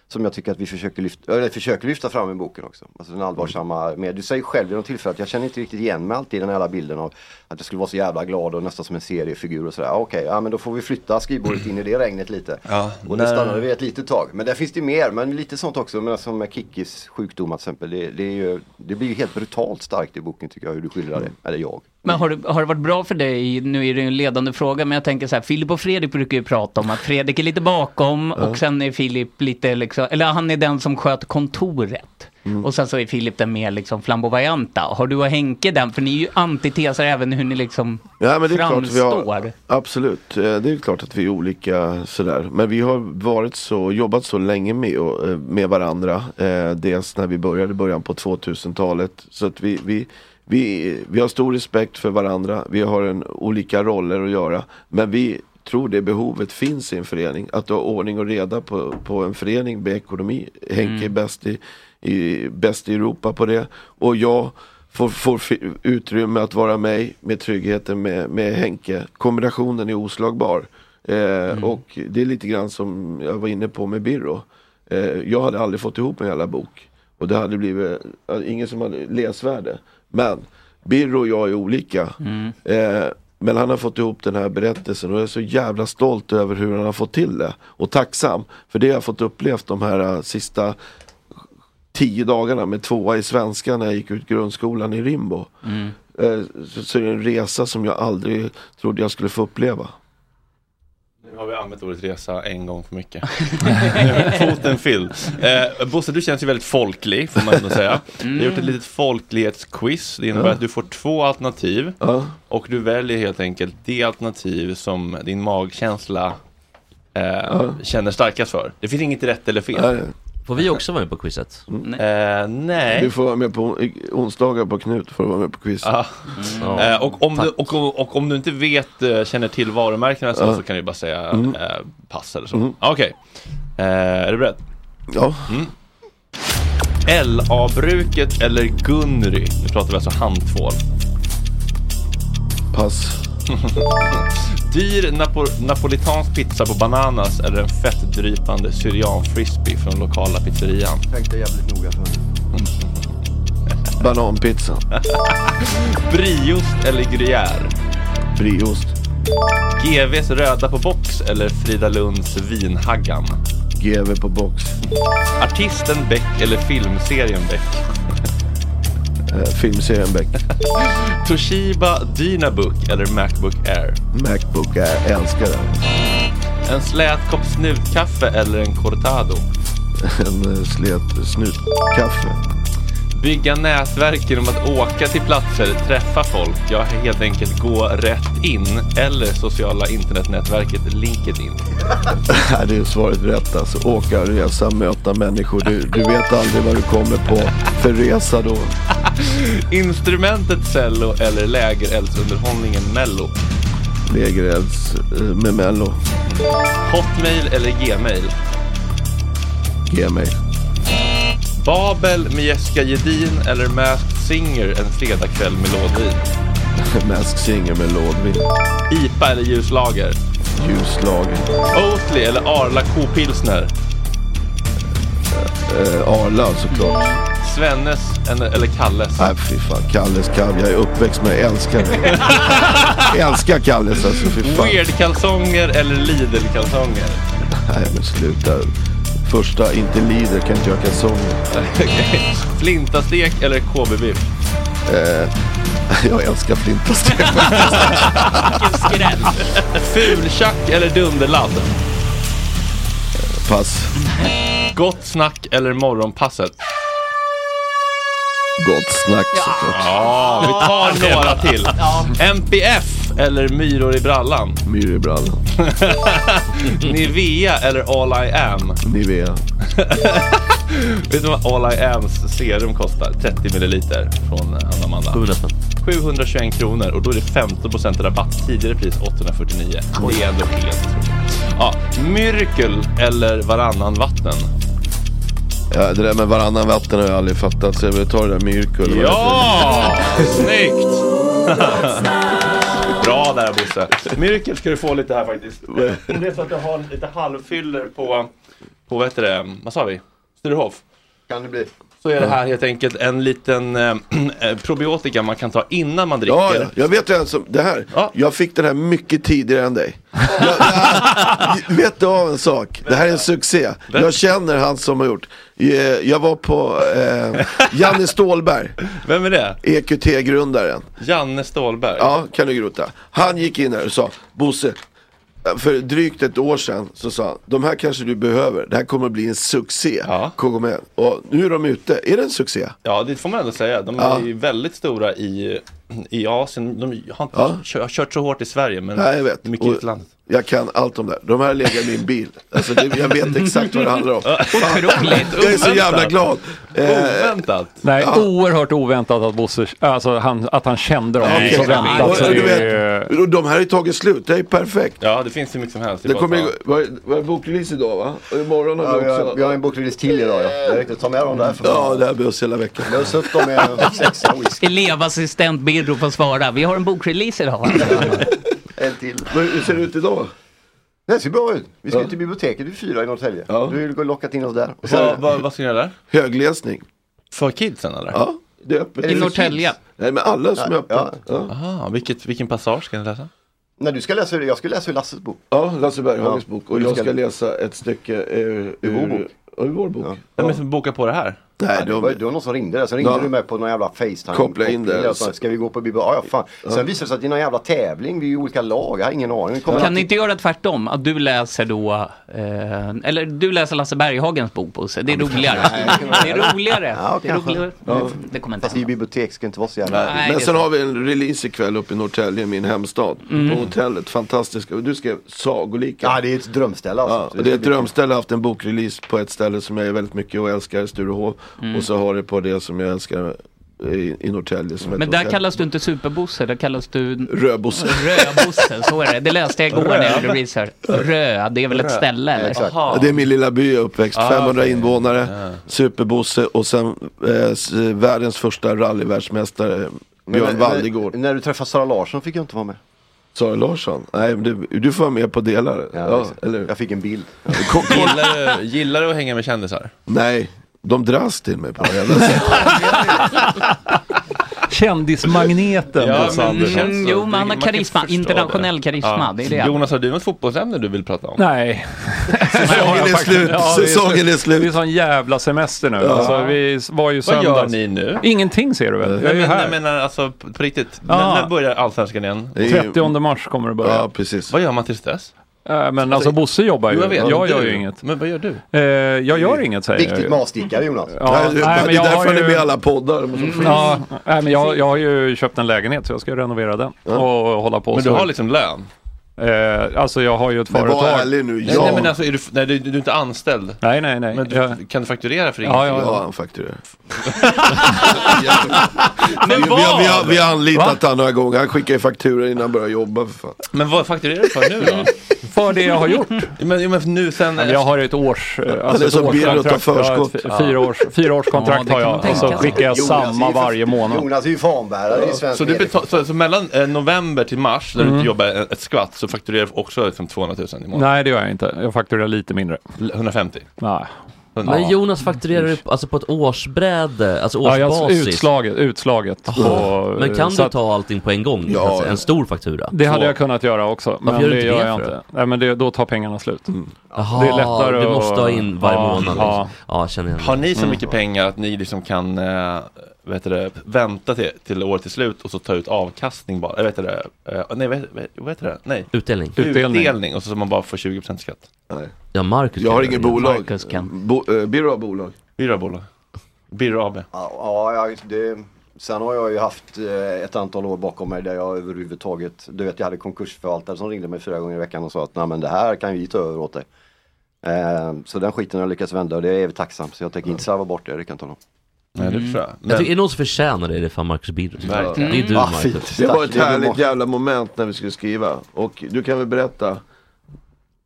Som jag tycker att vi försöker lyfta, eller försöker lyfta fram i boken också. Alltså den allvarsamma, med, du säger själv vid något tillfälle att jag känner inte riktigt igen mig alltid i den här bilden av att jag skulle vara så jävla glad och nästan som en seriefigur och sådär. Ja, Okej, ja men då får vi flytta skrivbordet in i det regnet lite. Ja, Och det stannade vi ett litet tag. Men där finns det mer, men lite sånt också. Men som med Kickis sjukdom till exempel. Det, det, är ju, det blir ju helt brutalt starkt i boken tycker jag, hur du skildrar det. Eller jag. Men har, du, har det varit bra för dig, nu är det ju en ledande fråga, men jag tänker så här, Filip och Fredrik brukar ju prata om att Fredrik är lite bakom och sen är Filip lite liksom, eller han är den som sköter kontoret. Mm. Och sen så är Filip den mer liksom flamboyanta. Har du och Henke den? För ni är ju antiteser även hur ni liksom Ja, men det är klart att vi framstår. har, absolut, Eh, det är klart att vi är olika sådär. Men vi har varit så, jobbat så länge med, och, eh, med varandra. Eh, Dels när vi började i början på 2000-talet. Så att vi, vi, vi, vi har stor respekt för varandra. Vi har en, olika roller att göra. Men vi tror det behovet finns i en förening. Att du har ordning och reda på, på en förening med ekonomi. Henke är bäst i, i, bäst i Europa på det. Och jag får, får fi- utrymme att vara mig med tryggheten med, med Henke. Kombinationen är oslagbar. Eh, Och det är lite grann som jag var inne på med Birro. Eh, jag hade aldrig fått ihop en jävla bok. Och det hade blivit, eh, ingen som hade läsvärde. Men Birro och jag är olika. Eh, men han har fått ihop den här berättelsen och jag är så jävla stolt över hur han har fått till det. Och tacksam för det jag har fått upplevt de här eh, sista tio dagarna med tvåa i svenska när jag gick ut grundskolan i Rimbo. Eh, Så, så är det en resa som jag aldrig trodde jag skulle få uppleva. Nu har vi använt ordet resa en gång för mycket. Nu är Kvoten fylld. Eh, Bosse, du känns ju väldigt folklig, får man ändå säga. Vi har gjort ett litet folklighetsquiz. Det innebär Ja. att du får två alternativ. Och du väljer helt enkelt det alternativ som din magkänsla eh, känner starkast för. Det finns inget rätt eller fel. Får vi också vara med på quizet? Eh, nej. Mm. Du får vara med på i- onsdagar på Knut får du vara med på quiz. Mm. Ja. Eh, och, om du, och, om- och om du inte vet, eh, känner till varumärkena så, Ja. så kan du bara säga Mm. eh, pass eller så. Mm. Okej, eh, är du beredd? Ja. Mm. LA-bruket eller Gunry? Nu pratar vi alltså handtvål. Pass. Dyr napo napolitansk pizza på Bananas eller en fettdrypande syrian frisbee från lokala pizzerian? Tänkte jävligt noga för Bananpizza. Briost eller gruyère? Briost. GVs röda på box eller Frida Lunds vinhaggan? GV på box. Artisten Beck eller filmserien Beck? Eh, filmserien Beck. Toshiba Dynabook eller Macbook Air? Macbook, jag älskar den. En slät kopp snutkaffe eller en cortado? En eh, slet snutkaffe. Bygga nätverk genom att åka till platser, träffa folk, ja helt enkelt gå rätt in eller sociala internetnätverket LinkedIn. Nej, det är svaret rätt alltså. Åka, resa, möta människor. Du, du vet aldrig vad du kommer på för resa då. Instrumentet cello eller lägereldsunderhållningen mello? Lägerelds eh, med Mello. Hotmail eller gmail? Gmail. Babel med Jessica Gedin eller Masked Singer en fredagkväll med lådvin? Mask Singer med Lådvin. IPA eller ljuslager? Ljuslager. Oatly eller Arla kopilsner? Eh, Arla såklart. Svennes en- eller Kalles? Nej, fy fan. Kalles kalv. Jag är uppväxt med, jag älskar det. Jag älskar Kalles alltså, fy fan. Weird-kalsonger eller Lidl-kalsonger? Nej, men sluta. Första, inte lider, kan inte göra kalsonger. Okej. Flintastek eller KB-biff? Eh, jag älskar flintastek. Fultjack eller dunderladd? Pass. Gott snack eller morgonpasset? Gott snack såklart. Ja, vi tar några till. MPF eller myror i brallan? Myror i brallan. Nivea eller All I Am? Nivea. Vet du vad All I Ams serum kostar? 30 milliliter från eh, Anna Amanda. 700 spänn. 721 kronor och då är det 15 rabatt. Tidigare pris 849. Det är ändå helt otroligt. Ja, Myrkel eller varannan vatten? Ja, det där med varannan vatten har jag aldrig fattat, så jag vill ta det där med Yrkul. Ja! Snyggt! Bra där Bosse. Myrkel ska du få lite här faktiskt. Om det är så att du har lite halvfyller på, på vad heter det, vad sa vi? Sturehof? Kan det bli. Så är det här helt enkelt en liten eh, probiotika man kan ta innan man dricker. Ja, ja, jag vet ju en som, det här, jag fick den här mycket tidigare än dig. Jag, jag, vet du av en sak? Det här är en succé. Jag känner han som har gjort. Eh, Jag var på eh, Janne Stålberg. Vem är det? EQT-grundaren. Janne Ståhlberg. Ja, kan du grota. Han gick in här och sa, Bosse, för drygt ett år sedan så sa han, de här kanske du behöver, det här kommer att bli en succé. Kom med. Och nu är de ute, är det en succé? Ja, det får man ändå säga. De är Ja. ju väldigt stora i, i Asien. De har inte Ja. kö- kört så hårt i Sverige, men Nej, jag vet. mycket i Och utlandet. Jag kan allt om det här. De här lägger i min bil. Alltså, det, jag vet exakt vad det handlar om. Otroligt! Jag är så jävla oväntat. glad. Eh, Oväntat! Nej, Ja. oerhört oväntat att Bosse, alltså han, att han kände dem. Nej, så okej. väntat. Och, så och det du är- vet, och de här har ju tagit slut, det är ju perfekt. Ja, det finns hur mycket som helst. Det kommer ju- var, var bokrelease idag va? Och imorgon har Ja, vi vi har- också. vi har en bokrelease till idag, ja. Det är riktigt. Ta med dem därifrån. Ja, det här behövs hela veckan. Lös upp dem med sex Elevassistent Birro får svara. Vi har en bokrelease idag. En till. Hur ser det ut idag? Det ser bra ut. Vi ska ju till biblioteket vid fyra i Norrtälje. Du har ju lockat in oss där. Och sen- Vad, vad, vad ska ni göra där? Högläsning. För kidsen eller? Ja, det är öppet. Är det I för Norrtälje? kids? Nej, men alla som är Ja, öppet. Ja. Aha, vilket, vilken passage ska ni läsa? Nej, du ska läsa, jag ska läsa ur Lasses bok. Ja, Lasse Berghagens Ja. bok. Och jag ska läsa ett stycke ur, Ur vår ur, bok. ur vår bok. Vem är det som bokar på det här? Nej, det, var, det var någon som ringde där, sen ringde Ja. du med på någon jävla Facetime. Koppla in det. Och sa, Ska vi gå på bio? Ja, ja, fan. Sen visade det sig att det är någon jävla tävling, vi är ju olika lag, jag har ingen aning. Vi kommer Kan alltid- ni inte göra tvärtom? Att du läser då, eh, eller du läser Lasse Berghagens bok Bosse. Det är roligare. Det är roligare. Ja, Det är roligare. Ja. Det kommer inte Fast i bibliotek ska inte vara så jävla... Nej, men sen har vi en release ikväll uppe i Norrtälje, min hemstad. Mm. På hotellet, fantastiska. Och Du skrev sagolika. Ja, det är ett drömställe alltså. Ja, och det är ett drömställe, jag har haft en bokrelease på ett ställe som jag är väldigt mycket och älskar, Sturehof. Mm. Och så har det på det som jag älskar eh, i, i Norrtälje. Som Men där kallas du inte superbosse, där kallas du... Rödbosse. Rödbosse, så är det. Det läste jag igår när jag gjorde Rö. research. Rö, det är väl ett ställe eller? Ja, Det är min lilla by jag är uppväxt, Ah, 500 okej. invånare, superbosse och sen eh, s- världens första rallyvärldsmästare Men- Björn men- Waldegård. När du träffade Sara Larsson fick jag inte vara med. Sara Larsson? Nej, men du, du får vara med på delar. Ja, exakt. eller? Jag fick en bild. Gillar du, gillar du att hänga med kändisar? Nej, de dras till mig på något jävla sätt. Kändismagneten. alltså. Ja, Bosse men, Andersson. Mm, jo, man har man kan karisma. förstå Internationell karisma, det är det. Jonas, har du något fotbollsämne du vill prata om? Nej. Säsongen är slut. Säsongen är slut. Det är sån jävla semester nu. Ja. Alltså, vi var ju Vad gör söndags. ni nu? Ingenting ser du väl? Jag är Jag, ju men, här. jag menar alltså på på riktigt, Ja. när, när börjar Allsvenskan igen? 30 mars kommer det börja. precis. Vad gör man tills dess? Äh, men alltså Bosse jobbar ju. Jo, Jag, jag vet. Men gör du- ju inget. Men vad gör du? Eh, jag gör inget säger jag ju. Viktigt med avstickare Jonas. Ja, Nej, det- nej, men det är jag därför har han är ju- med i alla poddar. som Mm. finns. Mm. Ja, nej, men jag, jag har ju köpt en lägenhet så jag ska renovera den och hålla på Men så. du har liksom lön? Eh, alltså jag har ju ett företag. Nej, nej, men alltså, är du, nej, du, du är inte anställd. Nej, nej, nej. Men du, kan du fakturera för Ja, ja, ja. Ja, han fakturerar. men vi, vi, har, vi, har, vi har anlitat Va? honom några gånger. Han skickar ju fakturor innan han börjar jobba för fan. Men vad fakturerar du för nu då? för det jag har gjort. Men, men nu sen... Men jag har ett års... eh, Han är ett som Birro och tar årskontrakt. Jag har ett förskott. f- Fyra års, fyra års kontrakt har jag och så skickar jag samma varje månad. Jonas är ju fanbärare i svensk Så, du media. betal, så, så mellan eh, november till mars, när du Mm. inte jobbar eh, ett ett skvatt, så fakturerar du också liksom 200 000 i månaden? Nej, det gör jag inte. Jag fakturerar lite mindre. 150? Nej. Men Jonas fakturerar upp alltså på ett årsbräde, alltså Ja, jag- årsbasis? utslaget, utslaget. Jaha. på- eh, men kan så du att- ta allting på en gång? Ja. Alltså en stor faktura? Det hade Så- jag kunnat göra också, men Varför gör du det inte gör det jag för? inte. Nej, men det, då tar pengarna slut. Jaha, du måste ha in varje månad liksom. Ja, känner igen det. Har ni så Mm. mycket pengar att ni liksom kan eh, vet du, det, vänta till, till året till slut och så ta ut avkastning bara? Äh, Vet du, det, eh, nej, vad heter- vad heter det? Nej. Utdelning. Utdelning. och så så man bara får 20% skatt. Nej. Ja, Marcus Jag har kan inget göra det. bolag. Marcus kan. Bo, eh, Birro har bolag. Birro har bolag. Birro AB. Ja, ja, ja, det, sen har jag ju haft eh, ett antal år bakom mig där jag överhuvudtaget, du vet jag hade konkursförvaltare som ringde mig fyra gånger i veckan och sa att nej men det här kan vi ta över åt dig. Eh, så den skiten har jag lyckats vända och det är jag evigt tacksam så jag tänker inte slarva bort det, det kan jag tala om. Nej, det tror jag. Jag tycker, är det någon som förtjänar det, det är fan Marcus Birro. typ. Det är du Ah, Marcus. fint. Det var ett härligt jävla moment när vi skulle skriva. Och du kan väl berätta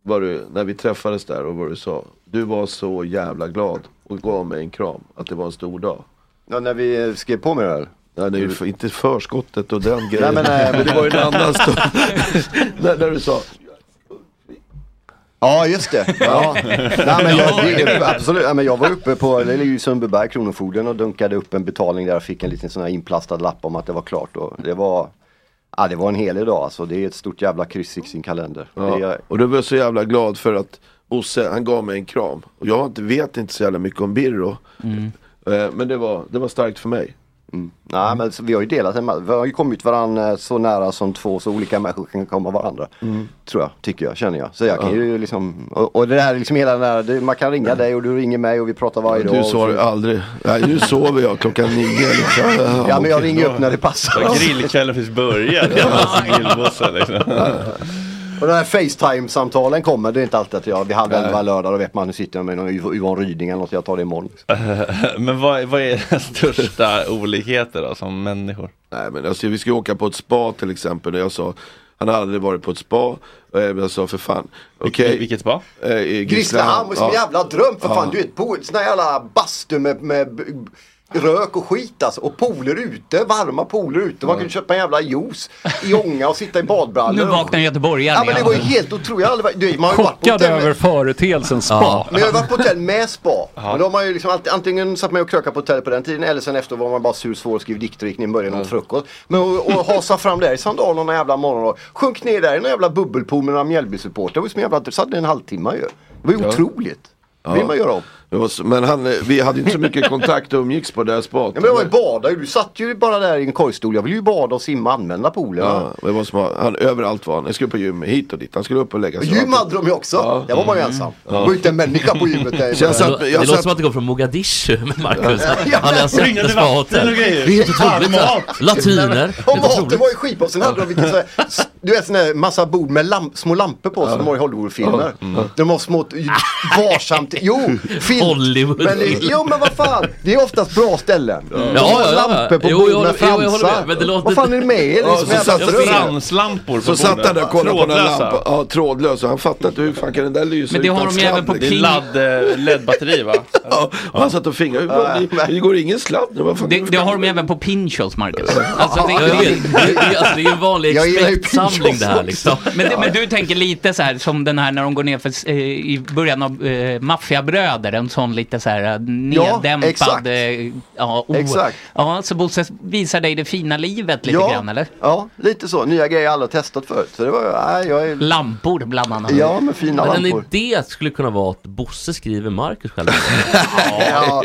vad du, när vi träffades där och vad du sa. Du var så jävla glad och gav mig en kram. Att det var en stor dag. Ja, när vi skrev på med det här? Mm. Nej, det är ju f- inte förskottet och den grejen. men, eh, men det var ju en annan stund. när, när du sa Ja just det. Ja. Nej, men jag, det absolut. Nej, men jag var uppe på, det ligger ju i Sundbyberg, Kronofogden och dunkade upp en betalning där jag fick en liten sån här inplastad lapp om att det var klart. Och det var, ja, det var en hel dag alltså. Det är ett stort jävla kryss i sin kalender. Det Ja, är, och då var jag så jävla glad för att Bosse, han gav mig en kram. Och jag har inte- vet inte så jävla mycket om Birro. Mm. Eh, Men det var, det var starkt för mig. Mm. nej men så vi har ju delat en ma- vi har ju kommit varandra så nära som två så olika människor kan komma varandra. Mm. Tror jag, tycker jag, känner jag. Så jag kan Ja. ju liksom, och, och det här är liksom hela den här, det- man kan ringa dig och du ringer mig och vi pratar varje dag. Du och sa så- det aldrig. Nej, nu sover jag klockan nio. liksom. Ja men jag ringer upp när det passar. Ja, Grillkvällen finns börjat. Ja. Grillbossen liksom. Och de här Facetime-samtalen kommer, det är inte alltid att jag vid halv Nej. elva lördag, då vet man nu sitter jag med någon Yv- Yvonne Ryding eller något, jag tar det imorgon. Men vad, vad är den största olikheter då, som människor? Nej men alltså vi ska ju åka på ett spa till exempel. Och jag sa, han har aldrig varit på ett spa. Och jag sa för fan. Okay. Vilket spa? I Grisslehamn, det är som en Ja. jävla dröm för Ja. fan. Du vet, bo, sån här jävla bastu med, med b- b- rök och skit alltså. Och pooler ute, varma pooler ute. Man kunde köpa en jävla juice i ånga och sitta i badbrallor. Nu vaknar göteborgaren Ja men det var ju helt otroligt. Jag har aldrig varit- du vet, man har ju varit på Chockad hotell med- över företeelsen spa. Men jag har varit på hotell med spa. Ja. Men då har man ju liksom alltid, antingen satt man och krökade på hotellet på den tiden eller sen efter var man bara sur, svår och skrev dikter och gick ner i början åt frukost. Men och, och hasa fram där i sandalerna någon jävla morgon och sjönk ner där i någon jävla bubbelpool med några Mjällbysupportrar. Det var ju som en jävla, satt där en halvtimme ju. Det var ju Ja. otroligt. Det vill Ja. man göra om. Det var så- Men han, eh, vi hade ju inte så mycket kontakt och umgicks på det här spat. Ja, men jag var ju badare, du satt ju bara där i en korgstol. Jag ville ju bada och simma och använda poolen. Ja, det var som, han, överallt var han. Jag skulle på gym hit och dit. Han skulle upp och lägga sig. Gym hade de ju också. Ja. Jag var bara ensam. Det var ju inte en människa på gymmet där. Så jag satt- det jag låter satt- som att det går från Mogadishu med Marcus. Ja. Han har sett det spa-hotell. Det är helt otroligt. Mat. Latiner. Och maten var ju skitbra. Sen hade de vilken sån här, s- du vet sån här massa bord med lamp, små lampor på som de har i Hollywoodfilmer. Ja. Mm. De har små, t- varsamt, jo, film. Hollywood. Men, det- jo men vad fan, det är oftast bra ställen. De Ja, har ja, ja. lampor på Jo, bord jag med håller- jo, jag håller med, men det fransar. låter- Vad fan är det med er? Ja, så satt jävla det- fel. Franslampor Så satt han där och kollade på den här Trådlösa. lampan. Ja, trådlös. Och han fattade inte hur fan kan den där lysa Men det har utan de ju även sladd, på liksom. Ping. Det är ladd, eh, LED-batteri va? ja, och han satt och fingrade. Hur bara, Det går ingen sladd nu. vad fan- Det, det har de ju även på Pinchos, Marcus. Alltså, Ja, jag vet. Det är- alltså, det är ju en vanlig Jag gillar ju expertsamling Pinchos det här, också. liksom. Men, det- men du tänker lite så här som den här när de går ner för, eh, i början av eh, Maffiabröder, en sån lite så här eh, Ja, neddämpad... exakt. eh, ja, o- Exakt. Ja, så Bosse visar dig det fina livet lite ja, grann, eller? Ja, lite så. Nya grejer jag aldrig har testat förut. Så det var, nej, jag är... Lampor bland annat. Ja, men fina Men en lampor. idé skulle kunna vara att Bosse skriver Marcus själv. Ja,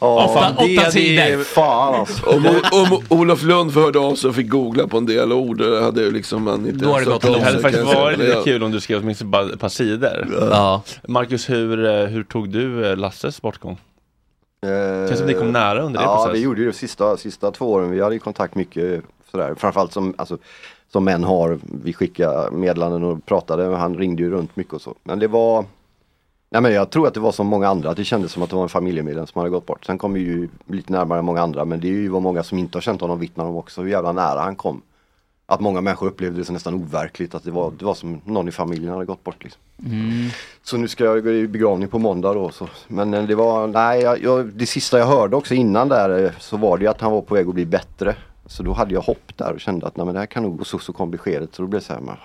Ja, Åtta- fan, det- åtta det- sidor. Fan alltså. Om, om Olof Lund hörde av sig och fick googla på en del ord, det hade ju liksom man inte ens hört av Det hade sig, faktiskt kan jag varit säga. lite kul om du skrev åtminstone bara ett par sidor. Ja. Marcus, hur, eh, hur tog du eh, Lasses bortgång? Känns som ni kom nära under det Eh, Ja, process. vi gjorde ju det sista, sista två åren. Vi hade ju kontakt mycket sådär. Framförallt som, alltså, som män har. Vi skickade meddelanden och pratade. Han ringde ju runt mycket och så. Men det var... Nej men jag tror att det var som många andra. Att det kändes som att det var en familjemedlem som hade gått bort. Sen kom vi ju lite närmare många andra. Men det är ju vad många som inte har känt honom vittnar om också. Hur jävla nära han kom. Att många människor upplevde det som nästan overkligt. Att det var, det var som någon i familjen hade gått bort. Liksom. Mm. Så nu ska jag gå i begravning på måndag då. Så. Men eh, det var, nej, jag, jag, det sista jag hörde också innan där eh, så var det ju att han var på väg att bli bättre. Så då hade jag hopp där och kände att nej men det här kan nog gå så, så kom beskedet. Så då blev det så här, men,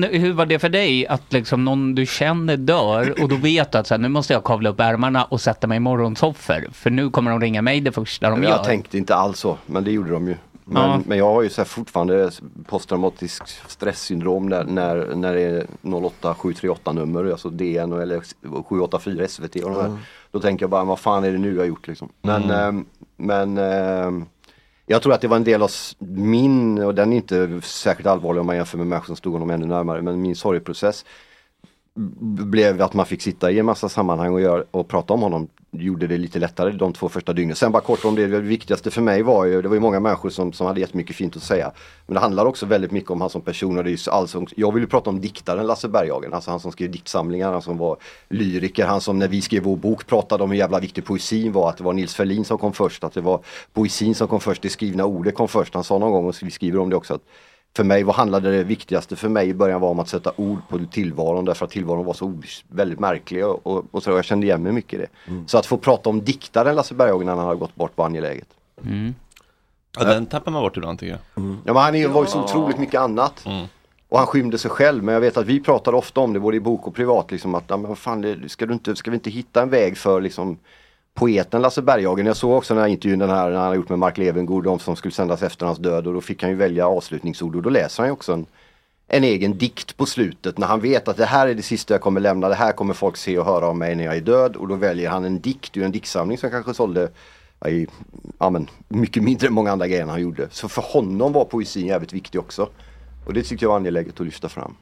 Men hur var det för dig att liksom någon du känner dör och då vet du att så här, nu måste jag kavla upp ärmarna och sätta mig i morgonsoffer för nu kommer de ringa mig det första de jag gör. tänkte inte alls så, men det gjorde de ju. Men, Ja. men jag har ju så här fortfarande posttraumatisk stresssyndrom när, när, när det är 08738 nummer, alltså DN och eller 784 SVT och de här. Ja. Då tänker jag bara, vad fan är det nu jag har gjort liksom. Men, Mm. ehm, men ehm, jag tror att det var en del av s- min, och den är inte särskilt allvarlig om man jämför med människor som stod honom ännu närmare, men min sorgeprocess b- blev att man fick sitta i en massa sammanhang och, göra, och prata om honom. Gjorde det lite lättare de två första dygnen. Sen bara kort om det, det viktigaste för mig var ju, det var ju många människor som, som hade jättemycket fint att säga. Men det handlar också väldigt mycket om han som person. Och det är ju så- alltså, jag vill ju prata om diktaren Lasse Berghagen, alltså han som skrev diktsamlingar, han som var lyriker, han som när vi skrev vår bok pratade om hur jävla viktig poesin var, att det var Nils Ferlin som kom först, att det var poesin som kom först, det skrivna ordet kom först. Han sa någon gång, och vi skriver om det också, att för mig, vad handlade det viktigaste för mig i början var om att sätta ord på tillvaron därför att tillvaron var så obes- väldigt märklig och, och, och så, jag kände igen mig mycket i det. Så att få prata om diktaren Lasse Berghagen när han hade gått bort var angeläget. Ja, den tappar man bort ibland tycker jag. Mm. Mm. Ja, men han är- var ju så otroligt mycket annat. Och han skymde sig själv, men jag vet att vi pratade ofta om det både i bok och privat. Liksom, att, ja, men vad fan, det- ska, du inte, ska vi inte hitta en väg för liksom, poeten Lasse Berghagen? Jag såg också den här intervjun den här, när han har gjort med Mark Levengood, de som skulle sändas efter hans död. Och då fick han ju välja avslutningsord och då läser han ju också en, en egen dikt på slutet. När han vet att det här är det sista jag kommer lämna, det här kommer folk se och höra om mig när jag är död. Och då väljer han en dikt ur en diktsamling som kanske sålde ja, i, ja, men, mycket mindre än många andra grejer han gjorde. Så för honom var poesin jävligt viktig också. Och det tyckte jag var angeläget att lyfta fram.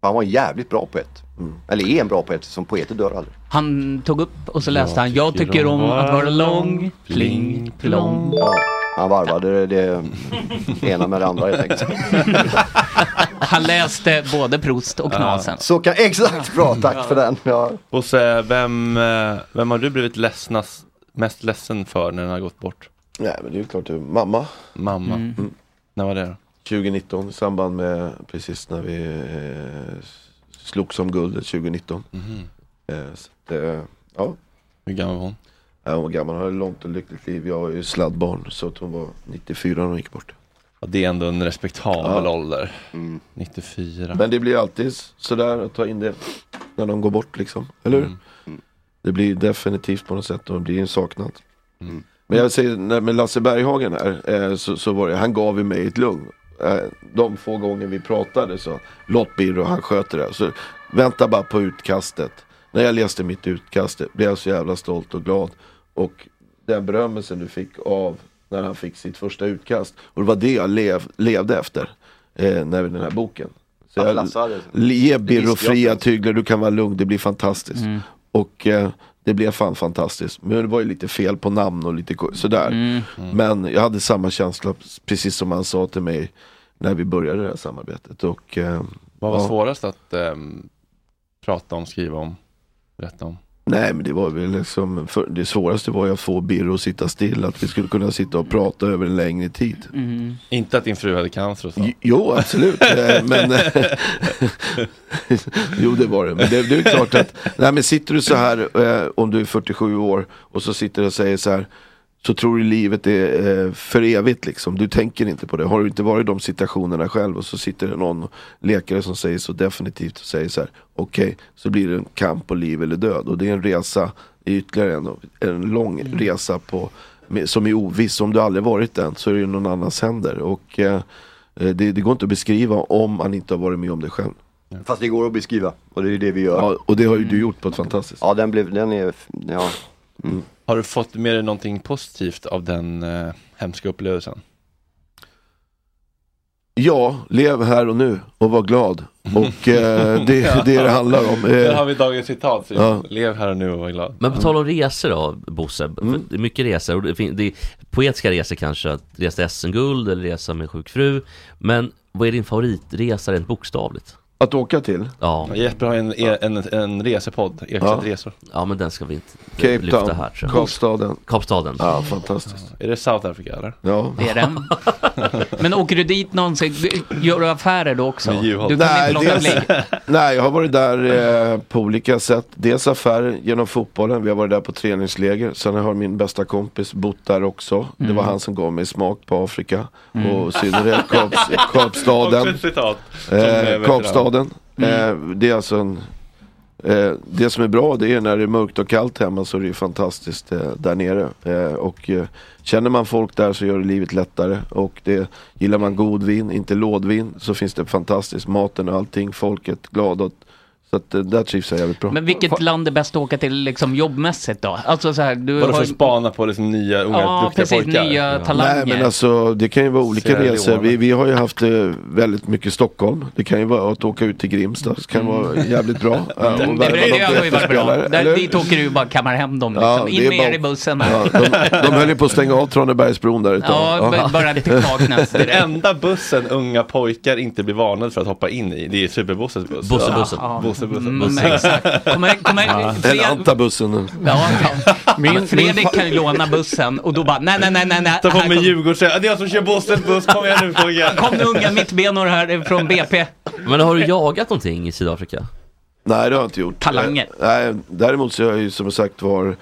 För han var en jävligt bra poet. Mm. Eller är en bra poet, som poeter dör aldrig. Han tog upp och så läste han, jag tycker om att vara lång, pling, plong. Ja, han varvade det, det ena med det andra helt enkelt. Han läste både Proust och Knasen. Så kan, exakt, bra, tack för den. Ja. Och så, vem, eh, vem har du blivit ledsnas, mest ledsen för när den har gått bort? Nej men det är ju klart, det är mamma. Mamma. Mm. När var det då? 2019 i samband med precis när vi eh, slogs om guldet 2019. Mhm. Eh, så att, eh, ja. Hur gammal var hon? Ja, hon var gammal, hon hade ett långt och lyckligt liv. Jag var ju sladdbarn så att hon var 94 när hon gick bort. Ja, det är ändå en respektabel Ja. Mm. ålder. 94. Men det blir alltid sådär att ta in det när de går bort liksom, eller Mm. hur? Det blir definitivt på något sätt och det blir en saknad. Mm. Mm. Men jag säger, när- med Lasse Berghagen här, eh, så, så var det, han gav ju mig ett lugn. Eh, De få gånger vi pratade så, låt Birro, han sköter det. Så vänta bara på utkastet. När jag läste mitt utkast blev jag så jävla stolt och glad. Och den berömmelsen du fick av när han fick sitt första utkast. Och det var det jag lev, levde efter. Eh, när, den här boken. Så Att jag, Lasse hade- ge Det visste Birro jag fria tyglar, du kan vara lugn, det blir fantastiskt. Mm. Och eh, det blev fan fantastiskt. Men det var ju lite fel på namn och lite ko- sådär. Mm. Men jag hade samma känsla, precis som han sa till mig när vi började det här samarbetet. Och, eh, Vad var ja. svårast att ehm, prata om, skriva om, berätta om? Nej men det var väl liksom, för, det svåraste var ju att få Birro att sitta still, att vi skulle kunna sitta och prata över en längre tid. Inte att din fru hade cancer och så? Jo, absolut. Eh, men, jo, det var det. Men det, det är ju klart att, nej men sitter du så här eh, om du är 47 år och så sitter du och säger så här så tror du livet är eh, för evigt liksom. Du tänker inte på det. Har du inte varit i de situationerna själv och så sitter det någon läkare som säger så definitivt och säger så här okej, så blir det en kamp på liv eller död och det är en resa, ytterligare en, en lång resa på, med, som är oviss. Om du aldrig varit den så är det ju någon annans händer och eh, Eh, Det, det går inte att beskriva om man inte har varit med om det själv. Fast det går att beskriva och det är det vi gör. och det har ju du gjort på ett fantastiskt Ja, den, blev, den är, f- ja, Har du fått med dig någonting positivt av den eh, hemska upplevelsen? Ja, lev här och nu och var glad. Och eh, det är det det handlar om. Eh, Där har vi dagens citat. Simon. ja. Lev här och nu och var glad. Mm. Men på tal om resor då, Bosse. för Det är mycket resor. Och det, fin- det är poetiska resor kanske, att resa SM-guld eller resa med sjuk fru. Men vad är din favoritresa rent bokstavligt? Att åka till? Ja. Jesper har en, e, en, en resepodd, Ekstedt Resor. Ja, men den ska vi inte Cape lyfta Town, här. tror jag. Kapstaden. Kapstaden. Ja, fantastiskt. Är det South Africa eller? Ja. Det är den. Men åker du dit någonsin, gör du affärer då också? Du kan inte låta dels- bli. nej, jag har varit där eh, på olika sätt. Dels affärer genom fotbollen. Vi har varit där på träningsläger. Sen har min bästa kompis bott där också. Det var Mm. han som gav mig smak på Afrika. Mm. Och i synnerhet Kaps- Kapstaden. Också ett citat. Som, eh, Eh, veteran. Kapstaden. Mm. Eh, det är alltså en Eh, det som är bra det är när det är mörkt och kallt hemma så är det ju fantastiskt eh, där nere. Eh, och eh, känner man folk där så gör det livet lättare. Och det, gillar man god vin, inte lådvin, så finns det fantastiskt. Maten och allting, folket, glada. och- Så att eh, där trivs jag jävligt bra. Men vilket land är bäst att åka till liksom jobbmässigt då? Alltså så här, du Bara för har... att spana på liksom nya unga Ja, duktiga precis, pojkar. nya talanger. Nej men alltså det kan ju vara olika Sierra Leone. resor. Vi, vi har ju haft eh, väldigt mycket Stockholm. Det kan ju vara att åka ut till Grimstad. Det kan vara jävligt bra. Ja, och Det, det, värva någon det har ju varit bra. efterspelare, eller Där, hur? dit åker du ju bara kammar hem dem liksom. Ja, det In är med bara- er i bussen. Ja, de, de höll ju på att stänga av Tranebergsbron där ett Ja, b- bara till Kaknäs. Den enda bussen unga pojkar inte blir varnade för att hoppa in i, det är superbussens buss. Bussebussen. Ja. Bussebussen. Mm, exakt. Kommer, kommer, Eller Fred, Antabussen. ja, Min- min- Fredrik kan ju låna bussen och då bara nej, nej, nej, nej, nej. Ta på här mig kom- Djurgården, det är jag som kör bussen, buss, kom igen nu pojkar. Kom nu unga mittbenor här från BP. Men har du jagat någonting i Sydafrika? Nej det har jag inte gjort. Talanger. Eh, Nej, däremot så är jag ju som sagt var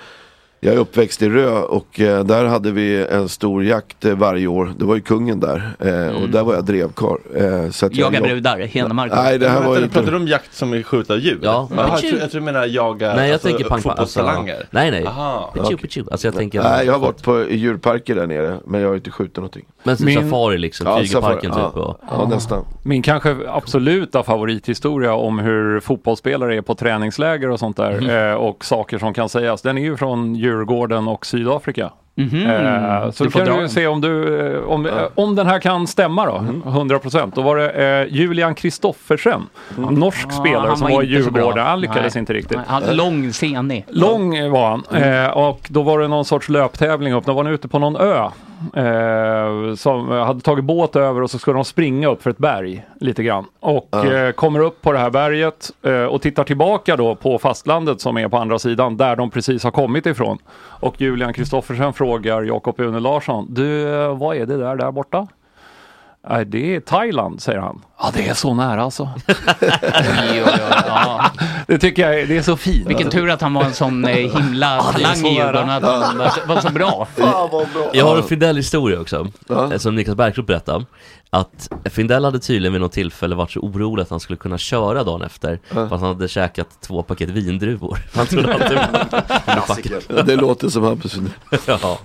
jag är uppväxt i Rö och eh, där hade vi en stor jakt eh, varje år. Det var ju kungen där eh, och där var jag drevkarl. Eh, så att jag- Mm. Jaga brudar, Henemark. Nej det här var ju Vänta, Pratar inte... du om jakt som är skjuta djur? Ja. Jaha, jag, tror, jag tror du menar jaga Nej, jag tänker pang- Eh, alltså, fotbollstalanger. alltså, nej, nej. Aha. Pichu, pichu. Alltså, jag tänker- Nej jag har varit på i djurparker där nere men jag har inte skjutit någonting. Men så Min- safari liksom, Ja, Tigerparken safari, typ ja. och- Ja nästan. Min kanske absoluta favorithistoria om hur fotbollsspelare är på träningsläger och sånt där Mhm. eh, och saker som kan sägas, den är ju från Djurgården och Sydafrika. Mm. Eh, så Du då får kan dra du den. se om, du, eh, om, eh, om den här kan stämma då, Mm. 100%. Då var det eh, Julian Kristoffersen, Mm. norsk Ja, spelare han som var var i inte så bra. Djurgården. Han lyckades Nej. inte riktigt. Nej, Han, lång, Mm. senig. Lång eh, var han eh, och då var det någon sorts löptävling upp. Då var han ute på någon ö. Eh, som eh, hade tagit båt över och så skulle de springa upp för ett berg lite grann. Och Ja. eh, kommer upp på det här berget eh, och tittar tillbaka då på fastlandet som är på andra sidan där de precis har kommit ifrån. Och Julian Kristoffersen frågar Jakob Une Larsson, du eh, vad är det där där borta? Nej, Äh, det är Thailand, säger han. Ja, det är så nära alltså. Det tycker jag är- det är så fint. alltså. Vilken tur att han var en sån eh, himla Ja, det är talang så i Djurgården. nära. Att han var så, var så bra. Jag har en Findell-historia också, eh, som Niklas Bergkrop berättade. Att Findell hade tydligen vid något tillfälle varit så orolig att han skulle kunna köra dagen efter, för att han hade käkat två paket vindruvor. Han trodde att det var Ja, Det låter som Hampus Ja.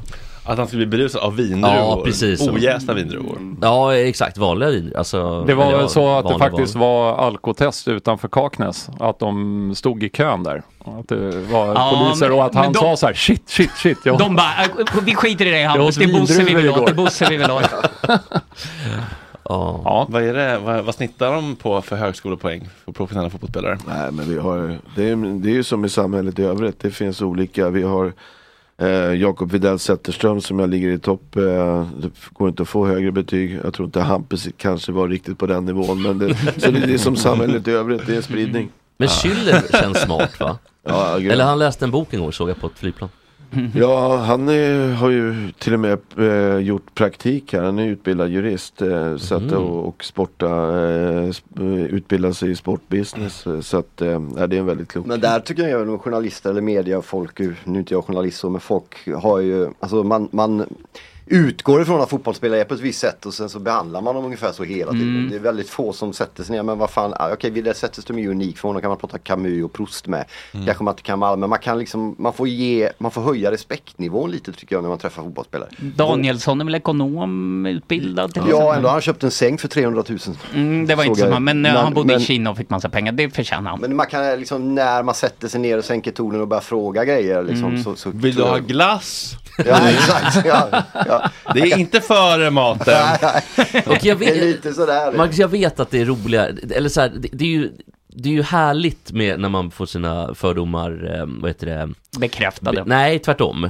Att han skulle bli berusad av vindruvor. Ja, precis. Ojästa vindruvor. Ja, exakt. Vanliga vindruvor. Alltså, Det var eller väl så att det vanliga faktiskt var alkotest utanför Kaknäs, att de stod i kön där. Att det var Ja, poliser men- och att men han de- sa så här shit, shit, shit. Jag... De bara, eh, vi skiter i dig Jag Hampus, åt det är Bosse vi vill vindruvor ha. Det är igår. Bosse vi vill ha. Ja. Vad, är det, vad, vad snittar de på för högskolepoäng för professionella fotbollsspelare? Nej men vi har, det är, det är ju som i samhället i övrigt, det finns olika. Vi har eh, Jakob Widell Zetterström som jag ligger i topp, eh, det går inte att få högre betyg. Jag tror inte Hampus kanske var riktigt på den nivån. Men det, så det, det är som samhället i övrigt, det är spridning. Men Schüller känns smart va? Ja, grymt. Eller han läste en bok en gång såg jag på ett flygplan. Ja, han eh, har ju till och med eh, gjort praktik här. Han är utbildad jurist eh, så att, Mm. Mhm. och, och sporta, eh, sp- eh, utbildar sig i sportbusiness. eh, Så att, eh, ja, det är en väldigt klok Men där tycker jag även om journalister eller media och folk, nu är inte jag journalist så, men folk har ju, alltså man, man utgår ifrån att fotbollsspelare är på ett visst sätt och sen så behandlar man dem ungefär så hela tiden. Mm. Det är väldigt få som sätter sig ner, men vad fan, ah, okej, okay, Vidar Zetterström är ju unik för honom kan man prata Camus och Proust med. Mm. Kanske man inte kan med alla, men man kan liksom, man får ge, man får höja respektnivån lite tycker jag när man träffar fotbollsspelare. Danielsson är väl ekonom, utbildad till Ja, exempel? ändå, han köpte en säng för 300 000. Mm, det var Såg inte samma, jag. men, eh, Men- han bodde men- i Kina och fick massa pengar, det förtjänar han. Men man kan eh, liksom, när man sätter sig ner och sänker tonen och börjar fråga grejer liksom, Mm. så, så... Vill du ha glass? Ja, exakt. Ja, ja. Det är inte före maten. Och jag vet, Det är lite sådär. Max, jag vet att det är roliga, eller så här, det, det är ju det är ju härligt med när man får sina fördomar, eh, vad heter det? Bekräftade. Be- nej, tvärtom.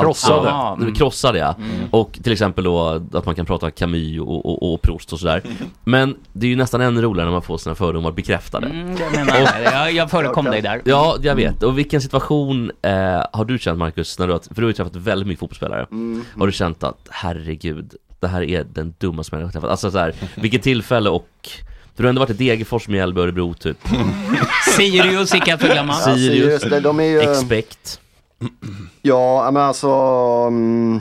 Krossade. Ah, mm. krossade ja. Mm. Och till exempel då att man kan prata Camus och, och, och Proust och sådär. Mm. Men det är ju nästan ännu roligare när man får sina fördomar bekräftade. Mm, det menar jag. Jag- jag förekom dig där. Mm. Ja, jag vet. Och vilken situation eh, har du känt Marcus, när du har, för du har ju träffat väldigt mycket fotbollsspelare. Mm. Har du känt att herregud, det här är den dummaste människan jag har träffat. Alltså så här, vilket tillfälle och för du har ändå varit i Degerfors, Mjällby, Örebro typ. Mm. Sirius icke att förglömma. Ja, Sirius, det- de är ju- Expect. Ja, men alltså... mm,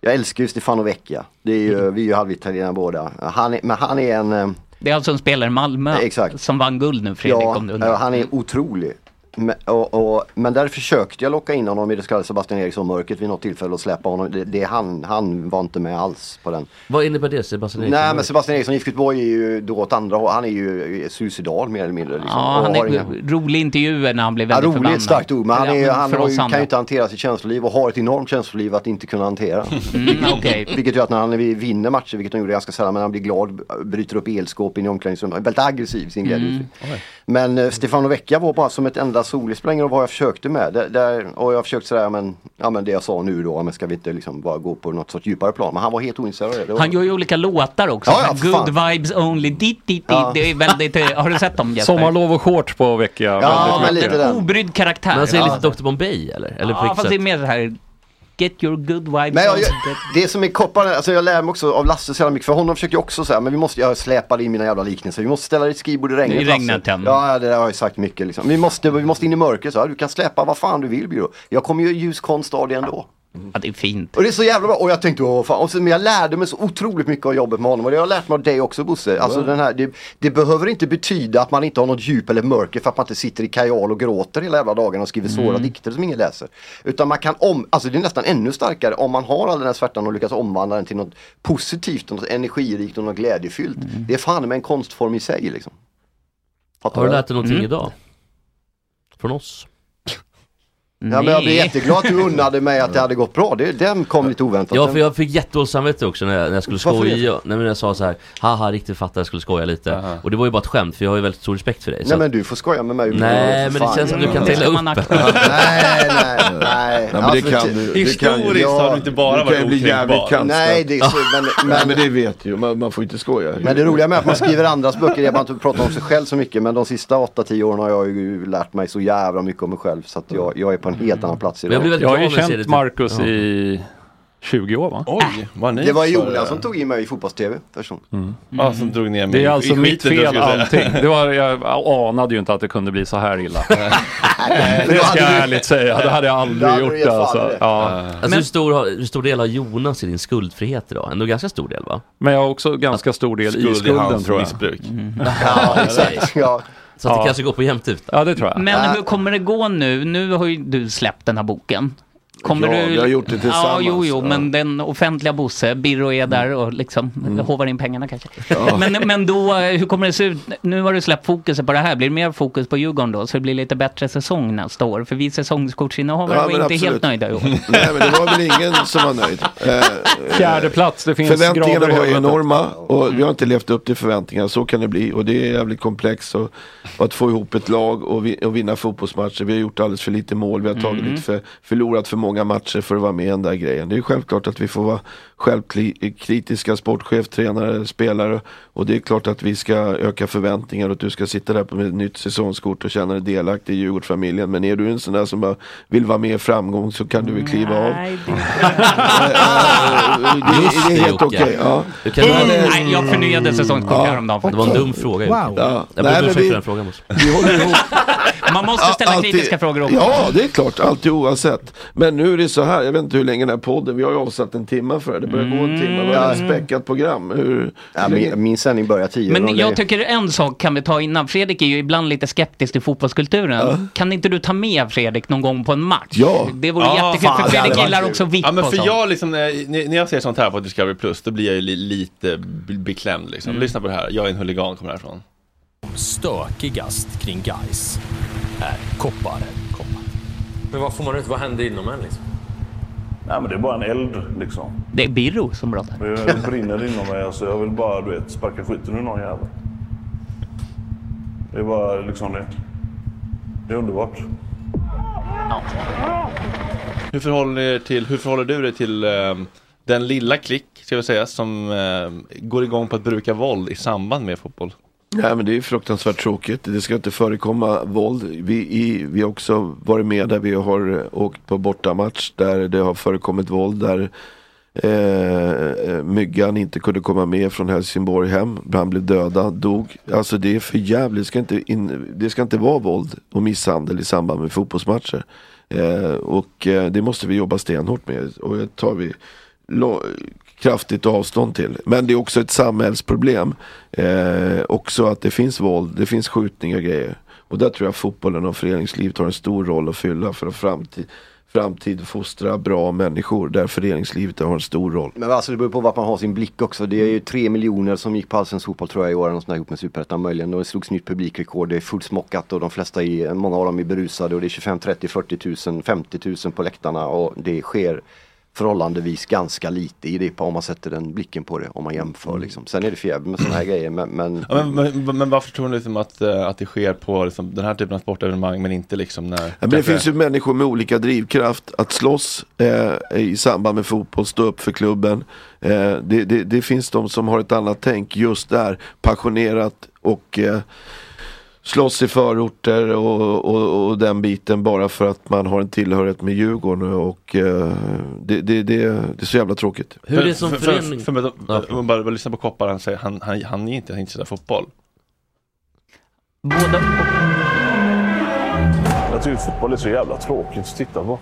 Jag älskar ju Stefano Vecchia. Det är ju, vi är ju halvitalienare båda. Han är, men han är en... eh, Det är alltså en spelare i Malmö som vann guld nu, Fredrik, om du undrar. Mm. ja, han är otrolig. Men, och, och, men där försökte jag locka in honom i det så kallade Sebastian Eriksson-mörkret vid något tillfälle och släppa honom. Det, det, han, han var inte med alls på den. Vad innebär det Sebastian Eriksson? Nej men Sebastian Eriksson, IFK Göteborg är ju då åt andra hållet. Han är ju suicidal mer eller mindre. Liksom. Ja, Och han har är inga- rolig intervjuer när han blir Ja, väldigt roligt är förbannad. ett starkt ord, men han, är, Ja, han för har, oss ju- kan andra. ju inte hantera sitt känsloliv och har ett enormt känsloliv att inte kunna hantera. Mm, okej. Vilket gör att när han vinner matcher, vilket han gjorde ganska sällan, men han blir glad, bryter upp elskåp in i omklädningsrummet. Han är Väldigt aggressiv i sin glädje. Mm. Men eh, Stefano Vecchia var bara som ett enda solis, spelar ingen roll vad jag försökte med. Där, där, och jag försökte säga, men, ja, men det jag sa nu då, men ska vi inte liksom bara gå på något sorts djupare plan? Men han var helt ointresserad av det. Han gör ju olika låtar också. Ja, ja, Så här, för Good vibes only, dit, dit, dit. Det är väldigt, eh, har du sett dem Jesper? Sommarlov och shorts på vecka. Ja, väldigt men mycket. lite den. Obrydd karaktär. Men han säger Ja. lite Dr Bombay eller? eller på ja, vilket fast det är sätt? mer så här, get your good vibes Men jag, only. jag, det som är kopparna, alltså jag lär mig också av Lasse så jävla mycket, för honom försökte jag också säga, men vi måste, jag släpade in mina jävla liknelser, vi måste ställa ditt skrivbord i regnet. I regnet, Lasse. ja. ja, det där har jag sagt mycket liksom. Vi måste, vi måste in i mörker, så här, du kan släpa vad fan du vill Byrå. Jag kommer ju i ljus konst av det ändå. Ja, det är fint. Och det är så jävla bra, och jag tänkte åh fan, och så, men jag lärde mig så otroligt mycket av jobbet med honom och det har jag lärt mig av dig också Bosse. Alltså, den här, det, det behöver inte betyda att man inte har något djup eller mörker för att man inte sitter i kajal och gråter hela jävla dagen och skriver svåra Mm. dikter som ingen läser. Utan man kan om, alltså det är nästan ännu starkare om man har all den här svärtan och lyckas omvandla den till något positivt, något energirikt och något glädjefyllt. Mm. Det är fan med en konstform i sig liksom. Fattar Har du det? lärt dig någonting Mm. idag? Från oss? Ja, men jag blir jätteglad att du unnade mig att det hade gått bra. Det, den kom lite oväntat. Ja, Den- för jag fick jättedåligt samvete också när jag, när jag skulle Varför det? skoja. Nej, men jag sa så här, haha, riktigt fattar jag skulle skoja lite. Och det var ju bara ett skämt, för jag har ju väldigt stor respekt för dig. så Nej att- men du får skoja med mig. Nej, men det känns som du kan trilla upp. Nej, nej, nej. Nej, men det kan du- det kan ju- ja, du kan ju bli jävligt kantslöp. Nej, det är så, men, Nej, men, men det vet ju, man, man får inte skoja. men det roliga med att man skriver andras böcker är att man inte pratar om sig själv så mycket. Men de sista 8-10 åren har jag ju lärt mig så jävla mycket om mig själv. Så att jag, jag är på en helt annan plats idag. jag har ju typ- känt Marcus i 20 år va? Oj, vad Det var Jonas som tog in mig i fotbolls-tv. förstås. Ja, som drog ner mig Mm. Det är i- alltså i mitt skiten, fel skulle jag säga. allting. Det var, jag anade ju inte att det kunde bli så här illa. Nej, det ska jag hade du- ärligt säga, det hade jag Då aldrig hade gjort du gett fan alltså. det. Ja. Alltså hur, stor, har- hur stor del har Jonas i din skuldfrihet idag? Ändå ganska stor del va? Men jag har också ganska stor del Skuld i i skulden hans tror jag. missbruk. Mm. Ja, exakt. Ja. Så att det Ja. kanske går på jämnt ut. Ja, det tror jag. Men hur kommer det gå nu? Nu har ju du släppt den här boken. Kommer Ja, du... vi har gjort det Ja, tillsammans. jo, jo, Ja. Mm. men den offentliga Bosse, Birro är där och liksom håvar in pengarna kanske. Men, men då, eh, hur kommer det se ut? Nu har du släppt fokuset på det här. Blir det mer fokus på Djurgården då? Så det blir lite bättre säsong nästa år? För vi säsongskortsinnehavare var men inte absolut. helt nöjda i år. Nej men det var väl ingen som var nöjd. Eh, Fjärde plats, det finns Förväntningarna grader i var helvetet. enorma och vi har inte levt upp till förväntningarna. Så kan det bli och det är jävligt komplext. Och, och att få ihop ett lag och, vi, och vinna fotbollsmatcher. Vi har gjort alldeles för lite mål. Vi har tagit Mm. lite för, förlorat för många matcher för att vara med i den där grejen. Det är självklart att vi får vara självkritiska sportchef, tränare, spelare. Och det är klart att vi ska öka förväntningar och att du ska sitta där på ett nytt säsongskort och känna dig delaktig i Djurgårdsfamiljen. Men är du en sån där som bara vill vara med i framgång så kan du väl kliva av. Eh, Just det är helt Jocke. okej, ja. Du kan- Mm, nej, jag förnyade säsongskort Ja. häromdagen Det var en faktiskt. dum fråga Wow. Jocke. Ja. Nej, Jag ber om men ursäkt vi- för den frågan. Bosse. Vi håller ihop. Man måste ställa Alltid- kritiska frågor också. Ja, det är klart. Alltid oavsett. Men nu är det så här, jag vet inte hur länge den här podden, vi har ju avsatt en timme för det. Det börjar gå en timme. Mm. Vi har ett späckat program. Hur, Ja, min, min sändning börjar tio. Men jag tycker en sak kan vi ta innan. Fredrik är ju ibland lite skeptisk till fotbollskulturen. Kan inte du ta med Fredrik någon gång på en match? Ja. Det vore Ja, jättekul, fan, för det Fredrik hade varit gillar kul. också VIP ja, men och för sånt. jag liksom, när, när när jag ser sånt här på Discovery Plus, då blir jag ju li, lite b- beklämd liksom. Mm. Lyssna på det här, jag är en huligan, kommer härifrån. Stökigast kring guys är koppar. Men vad får man ut? Vad händer inom en liksom? Nej men det är bara en eld liksom. Det är Birro som pratar. Det brinner inom mig. Alltså, jag vill bara du vet, sparka skiten ur någon jävel. Det är bara liksom det. Det är underbart. Hur förhåller, ni er till, hur förhåller du dig till ehm, den lilla klick, ska vi säga, som ehm, går igång på att bruka våld i samband med fotboll? Nej men det är ju fruktansvärt tråkigt. Det ska inte förekomma våld. Vi, i, vi har också varit med där vi har eh, åkt på bortamatch där det har förekommit våld. Där eh, eh, myggan inte kunde komma med från Helsingborg hem. Han blev dödad, dog. Alltså det är för jävligt. Det ska inte, in, det ska inte vara våld och misshandel i samband med fotbollsmatcher. Eh, och eh, det måste vi jobba stenhårt med. Och det tar vi lo- kraftigt avstånd till. Men det är också ett samhällsproblem. Eh, också att det finns våld, det finns skjutningar och grejer. Och där tror jag fotbollen och föreningslivet har en stor roll att fylla för att framtid, framtid fostra bra människor. Där föreningslivet har en stor roll. Men alltså det beror på vart man har sin blick också. Det är ju tre miljoner som gick på Allsvensk fotboll tror jag i år, eller något sånt där, ihop med Superettan möjligen. Och det slogs nytt publikrekord, det är fullsmockat och de flesta, är, många av dem är berusade och det är 25, 30, 40 tusen, 50 tusen på läktarna och det sker förhållandevis ganska lite i det om man sätter den blicken på det, om man jämför liksom. Sen är det för jävligt med sådana här grejer men, men, Mm. Ja, men, men, men varför tror ni liksom att, eh, att det sker på liksom, den här typen av sportevenemang men inte liksom när... Ja, men det finns ju människor med olika drivkraft att slåss eh, i samband med fotboll, stå upp för klubben. Eh, det, det, det finns de som har ett annat tänk just där, passionerat och eh, slåss i förorter och, och, och den biten bara för att man har en tillhörighet med Djurgården och eh, det, det, det, det är så jävla tråkigt. För- för, För, för, för, för, om man bara, bara lyssnar på Koppar, han säger han, han, han är inte intresserad av fotboll. Båda... Jag tycker fotboll är så jävla tråkigt att titta på.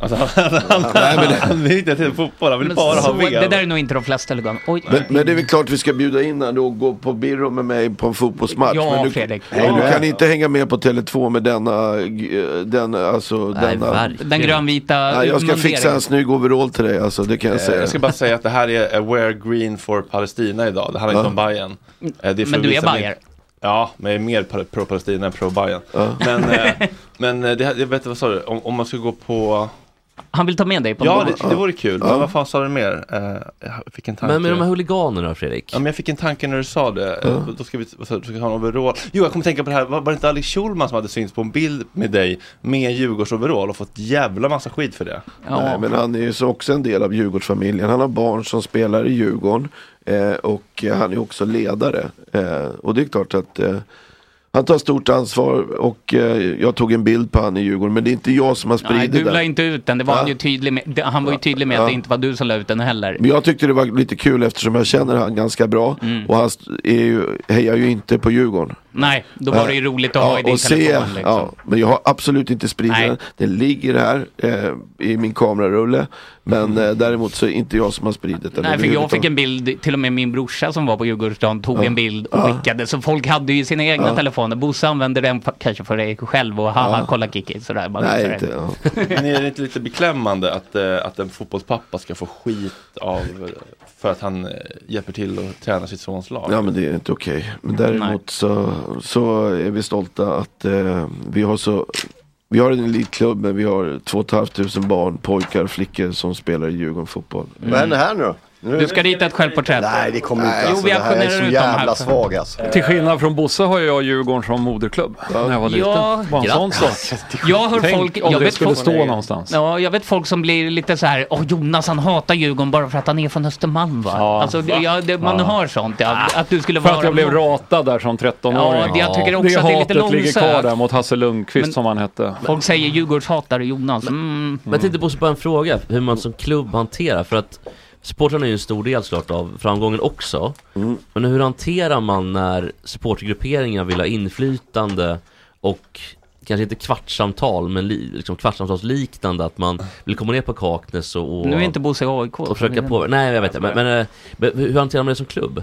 Alltså, han, han, han vill inte till fotboll, han vill Men bara ha så- VM. Det där är nog inte de flesta huliganer. Oj. Men, men det är väl klart vi ska bjuda in henne och gå på Birro med mig på en fotbollsmatch. Ja, men du, Fredrik. Nej, Ja. du kan inte hänga med på Tele2 med denna, eh, den, alltså, denna. Den grönvita Nej, jag ska munderingen. fixa en snygg overall till dig alltså, det kan jag Eh, säga. Jag ska bara säga att det här är Aware Green for Palestina idag. Det handlar Ja. inte om Bayern. Eh, det är för Mm. Men att du är visa min- Bayer. Ja, men jag är mer pa- pro-Palestina än pro-Bayern. Men, eh, men eh, det, här- jag vet inte, vad sa du? Om, om man ska gå på... Han vill ta med dig på en Ja, bana. det, det vore kul. Ja. Men vad fan sa du mer? Eh, jag fick en tanke. Men med de här huliganerna Fredrik? Ja, men jag fick en tanke när du sa det. Eh, Då ska vi vad sa du? ska vi ha en overall. Jo, jag kommer tänka på det här. Var, var det inte Alex Schulman som hade synts på en bild med dig med en Djurgårdsoverall och fått jävla massa skit för det? Nej, men han är ju så också en del av Djurgårdsfamiljen. Han har barn som spelar i Djurgården eh, och eh, han är också ledare. Eh, och det är klart att eh, han tar stort ansvar och eh, jag tog en bild på han i Djurgården men det är inte jag som har Nej, spridit du la den. inte ut den. Det var Va? han, ju tydlig med. Det- han var ju tydlig med Ja. att det inte var du som la ut den heller. Men jag tyckte det var lite kul eftersom jag känner han ganska bra och han st- är ju, hejar ju inte på Djurgården. Mm. Nej, då var det ju roligt att ha i din och se, telefon. Liksom. ja, men jag har absolut inte spridit den. Den ligger här eh, i min kamerarulle. Men eh, däremot så är inte jag som har spridit den. Mm. Nej, för jag fick överhuvudtaget. en bild, till och med min brorsa som var på Djurgårdsdagen tog Ja. en bild och skickade. Så folk hade ju sina egna Ja. telefoner. Bosse använde den för, kanske för dig själv och haha, kolla Kiki. Sådär, bara visade det. Men är det inte lite beklämmande att, eh, att en fotbollspappa ska få skit av eh, för att han eh, hjälper till och tränar sitt sons lag? Ja men det är inte okej. Men däremot så, så är vi stolta att eh, vi har så vi har en elitklubb men vi har 2 500 barn, pojkar och flickor som spelar i Djurgården fotboll. Mm. vad händer här nu då? Nu- Du ska rita ett självporträtt. Nej, det kommer inte Nej, alltså. jo, vi det här är auktionerar så ut dem jävla här. svag alltså. Till skillnad från Bosse har jag Djurgården som moderklubb när jag var liten. Ja, Bara en sån sak. grattis. Jag hör Tänk folk... om jag det vet skulle folk, stå någonstans. Ja, jag vet folk som blir lite så här, åh Jonas han hatar Djurgården bara för att han är från Östermalm va? Ja. Alltså, det, ja, det, man Ja. hör sånt, ja, att du skulle För vara... att jag blev ratad där som 13-åring. Ja, det- jag tycker också att det är lite hatet ligger kvar långsökt. där mot Hasse Lundqvist Men- som han hette. Folk säger Djurgårdshatare Jonas. Mm. Men jag tänkte Bosse på en fråga, hur man som klubb hanterar, för att supportrarna är ju en stor del såklart av framgången också. Men hur hanterar man när supportergrupperingar vill ha inflytande och Kanske inte kvartssamtal, men li, liksom kvartssamtalsliknande att man vill komma ner på Kaknäs och, och Nu är inte Bosse i AIK. och försöka påverka. Nej, jag vet inte. Men, men, eh, men hur hanterar man det som klubb?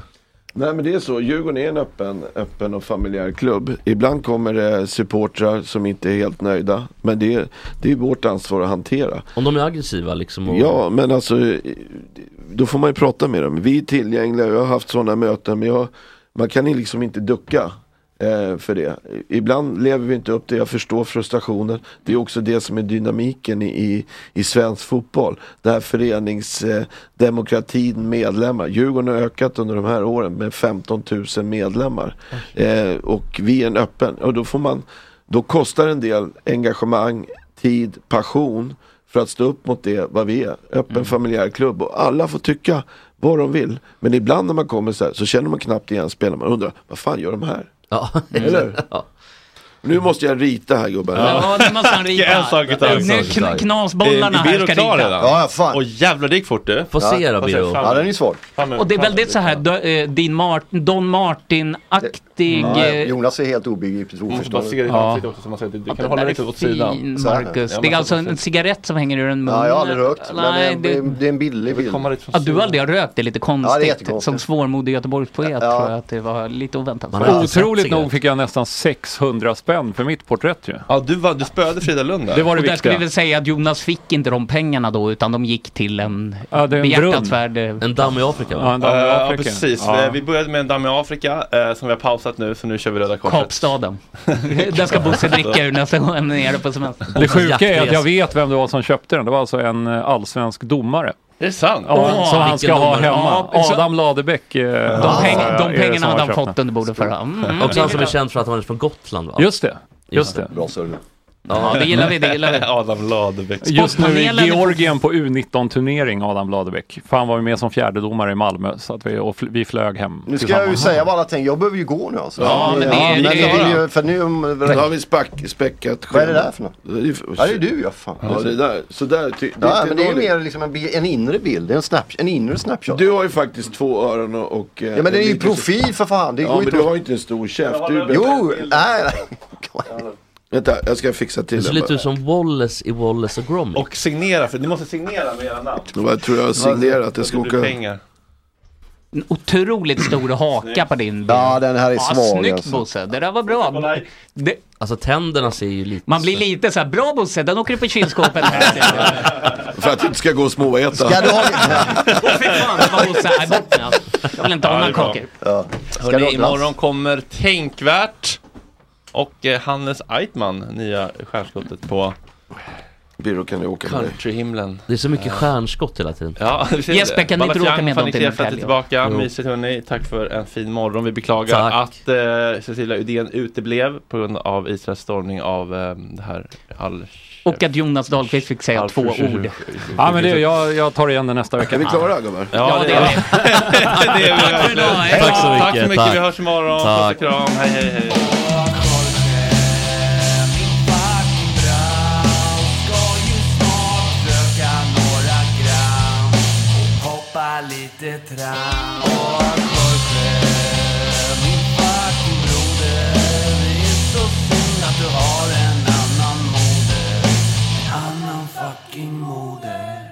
Nej men det är så, Djurgården är en öppen, öppen och familjär klubb. Ibland kommer det supportrar som inte är helt nöjda. Men det är, det är vårt ansvar att hantera. Om de är aggressiva liksom? Och... Ja men alltså, eh, då får man ju prata med dem. Vi är tillgängliga, jag har haft sådana möten. Men jag, man kan ju liksom inte ducka eh, för det. Ibland lever vi inte upp till, jag förstår frustrationen. Det är också det som är dynamiken i, i, i svensk fotboll. Det här föreningsdemokratin, medlemmar. Djurgården har ökat under de här åren med 15 000 medlemmar. Eh, och vi är en öppen, och då får man, då kostar en del engagemang, tid, passion för att stå upp mot det vad vi är. Öppen familjär klubb och alla får tycka vad de vill. Men ibland när man kommer så här så känner man knappt igen spelarna. Man undrar, vad fan gör de här? Ja. Eller? Nu måste jag rita här gubben. Ja, det måste han rita. En sak Eh, i taget. Nu kn knasbollarna här ska rita. fan. Och jävlar, det gick fort du. Få se då, Biro. Ja, den är svår. Och det är väldigt så här då, eh, din Mart Don Martin-aktig... eh, Jonas är helt obegripligt Mm. oförstående. Ja. Ja, den där är fin, Så här. Marcus. Ja, det men är alltså en cigarett som hänger ur en mun. Ja, jag har aldrig rökt. Men det är Nej, en, det... det är en billig bild. Ja, du aldrig har rökt, det är lite Ja, det är konstigt. jättekonstigt. som svårmodig Göteborgspoet tror jag att det var lite oväntat. Otroligt nog fick jag nästan 600 spänn för mitt porträtt ju. Ja, du, var, du spöade Frida Lund Det var det och där ska vi viktiga. väl säga att Jonas fick inte de pengarna då utan de gick till en Ja, det är en behjärtansvärd... eh, En damm i Afrika Ja, en damm i Eh, Afrika. Ja, precis. Ja. Eh, Vi började med en damm i Afrika eh, som vi har pausat nu, så nu kör vi Röda Korset. Kapstaden. Där ska Bosse dricka ur nästa gång han är nere på semester. Det sjuka är att jag vet vem det var som köpte den. Det var alltså en eh, allsvensk domare. Är det sant? Ja, Åh, som han vilken ska ha domare. hemma. Ja, så- Adam Ladebäck. eh, De, peng är det som de pengarna hade han köpt den. fått under bordet förra. Mm. Också han som är känd för att han är från Gotland va? Just det. Just det. Bra server. Ja, det gillar vi, det gillar vi. Adam Ladebäck. Just nu i Sportpanelen- Georgien på U19-turnering, Adam Ladebäck. För han var ju med som fjärdedomare i Malmö, så att vi, och fl- vi flög hem Nu ska jag ju säga vad alla tänker. Jag behöver ju gå nu alltså. Ja, men det- men det- jag vill ju- för nu... Nu har vi spack, späckat Vad är det där för något? något? Ja, det är du ja. Fan. Ja, det där. Så där ty, det Ja, inte men det är ju dåligt. mer liksom en, bi- en inre bild. Det är en, snap, en inre snapshot. Du har ju faktiskt två öron och... och eh, Ja, men det är ju en liten- profil för fan. Det ja, går men inte du att- har ju inte en stor käft. Du Jo, nej, nej. Vänta, jag ska fixa till Du ser den lite bara. ut som Wallace i Wallace och Gromit. Och signera, för ni måste signera med era namn. Jag tror jag har signerat att jag ska åka... pengar. En otroligt stor haka på din bild. Ja, den här är svag, Snyggt alltså. Bosse, det där var bra. Det, Alltså tänderna ser ju lite... man blir lite så här, bra Bosse, den åker du på kylskåpet. För att du inte ska gå och småäta. Ska du ha- Fan, vad Bosse är bort med. Jag vill inte ha Ja, några det är bra. kakor. Hörrni, imorgon kommer Tänkvärt och eh, Hannes Eitman, nya stjärnskottet på Biro kan du åka med dig. Countryhimlen. Det är så mycket Eh, stjärnskott hela tiden. Ja, vi ser det. Jesper, kan ni inte Balafian, åka med dem Fanny till Krefeld är Norrtälje? tillbaka. Jo. Mysigt hörni. Tack för en fin morgon. Vi beklagar Tack. att eh, Cecilia Uddén uteblev på grund av Israels stormning av eh, det här all... Och att Jonas Dahlqvist fick säga två ord. Ja, men det, jag, jag tar igen det nästa vecka. Är vi klara, gubbar? Ja, det är vi. det är vi. Tack för idag. Hej då. Tack så Tack så mycket. mycket. Tack. Vi hörs imorgon. Puss Tack. och kram. Hej, hej, hej. Hoppa lite tram Och Jorge, min fucking broder Det är så synd att du har en annan moder En annan fucking moder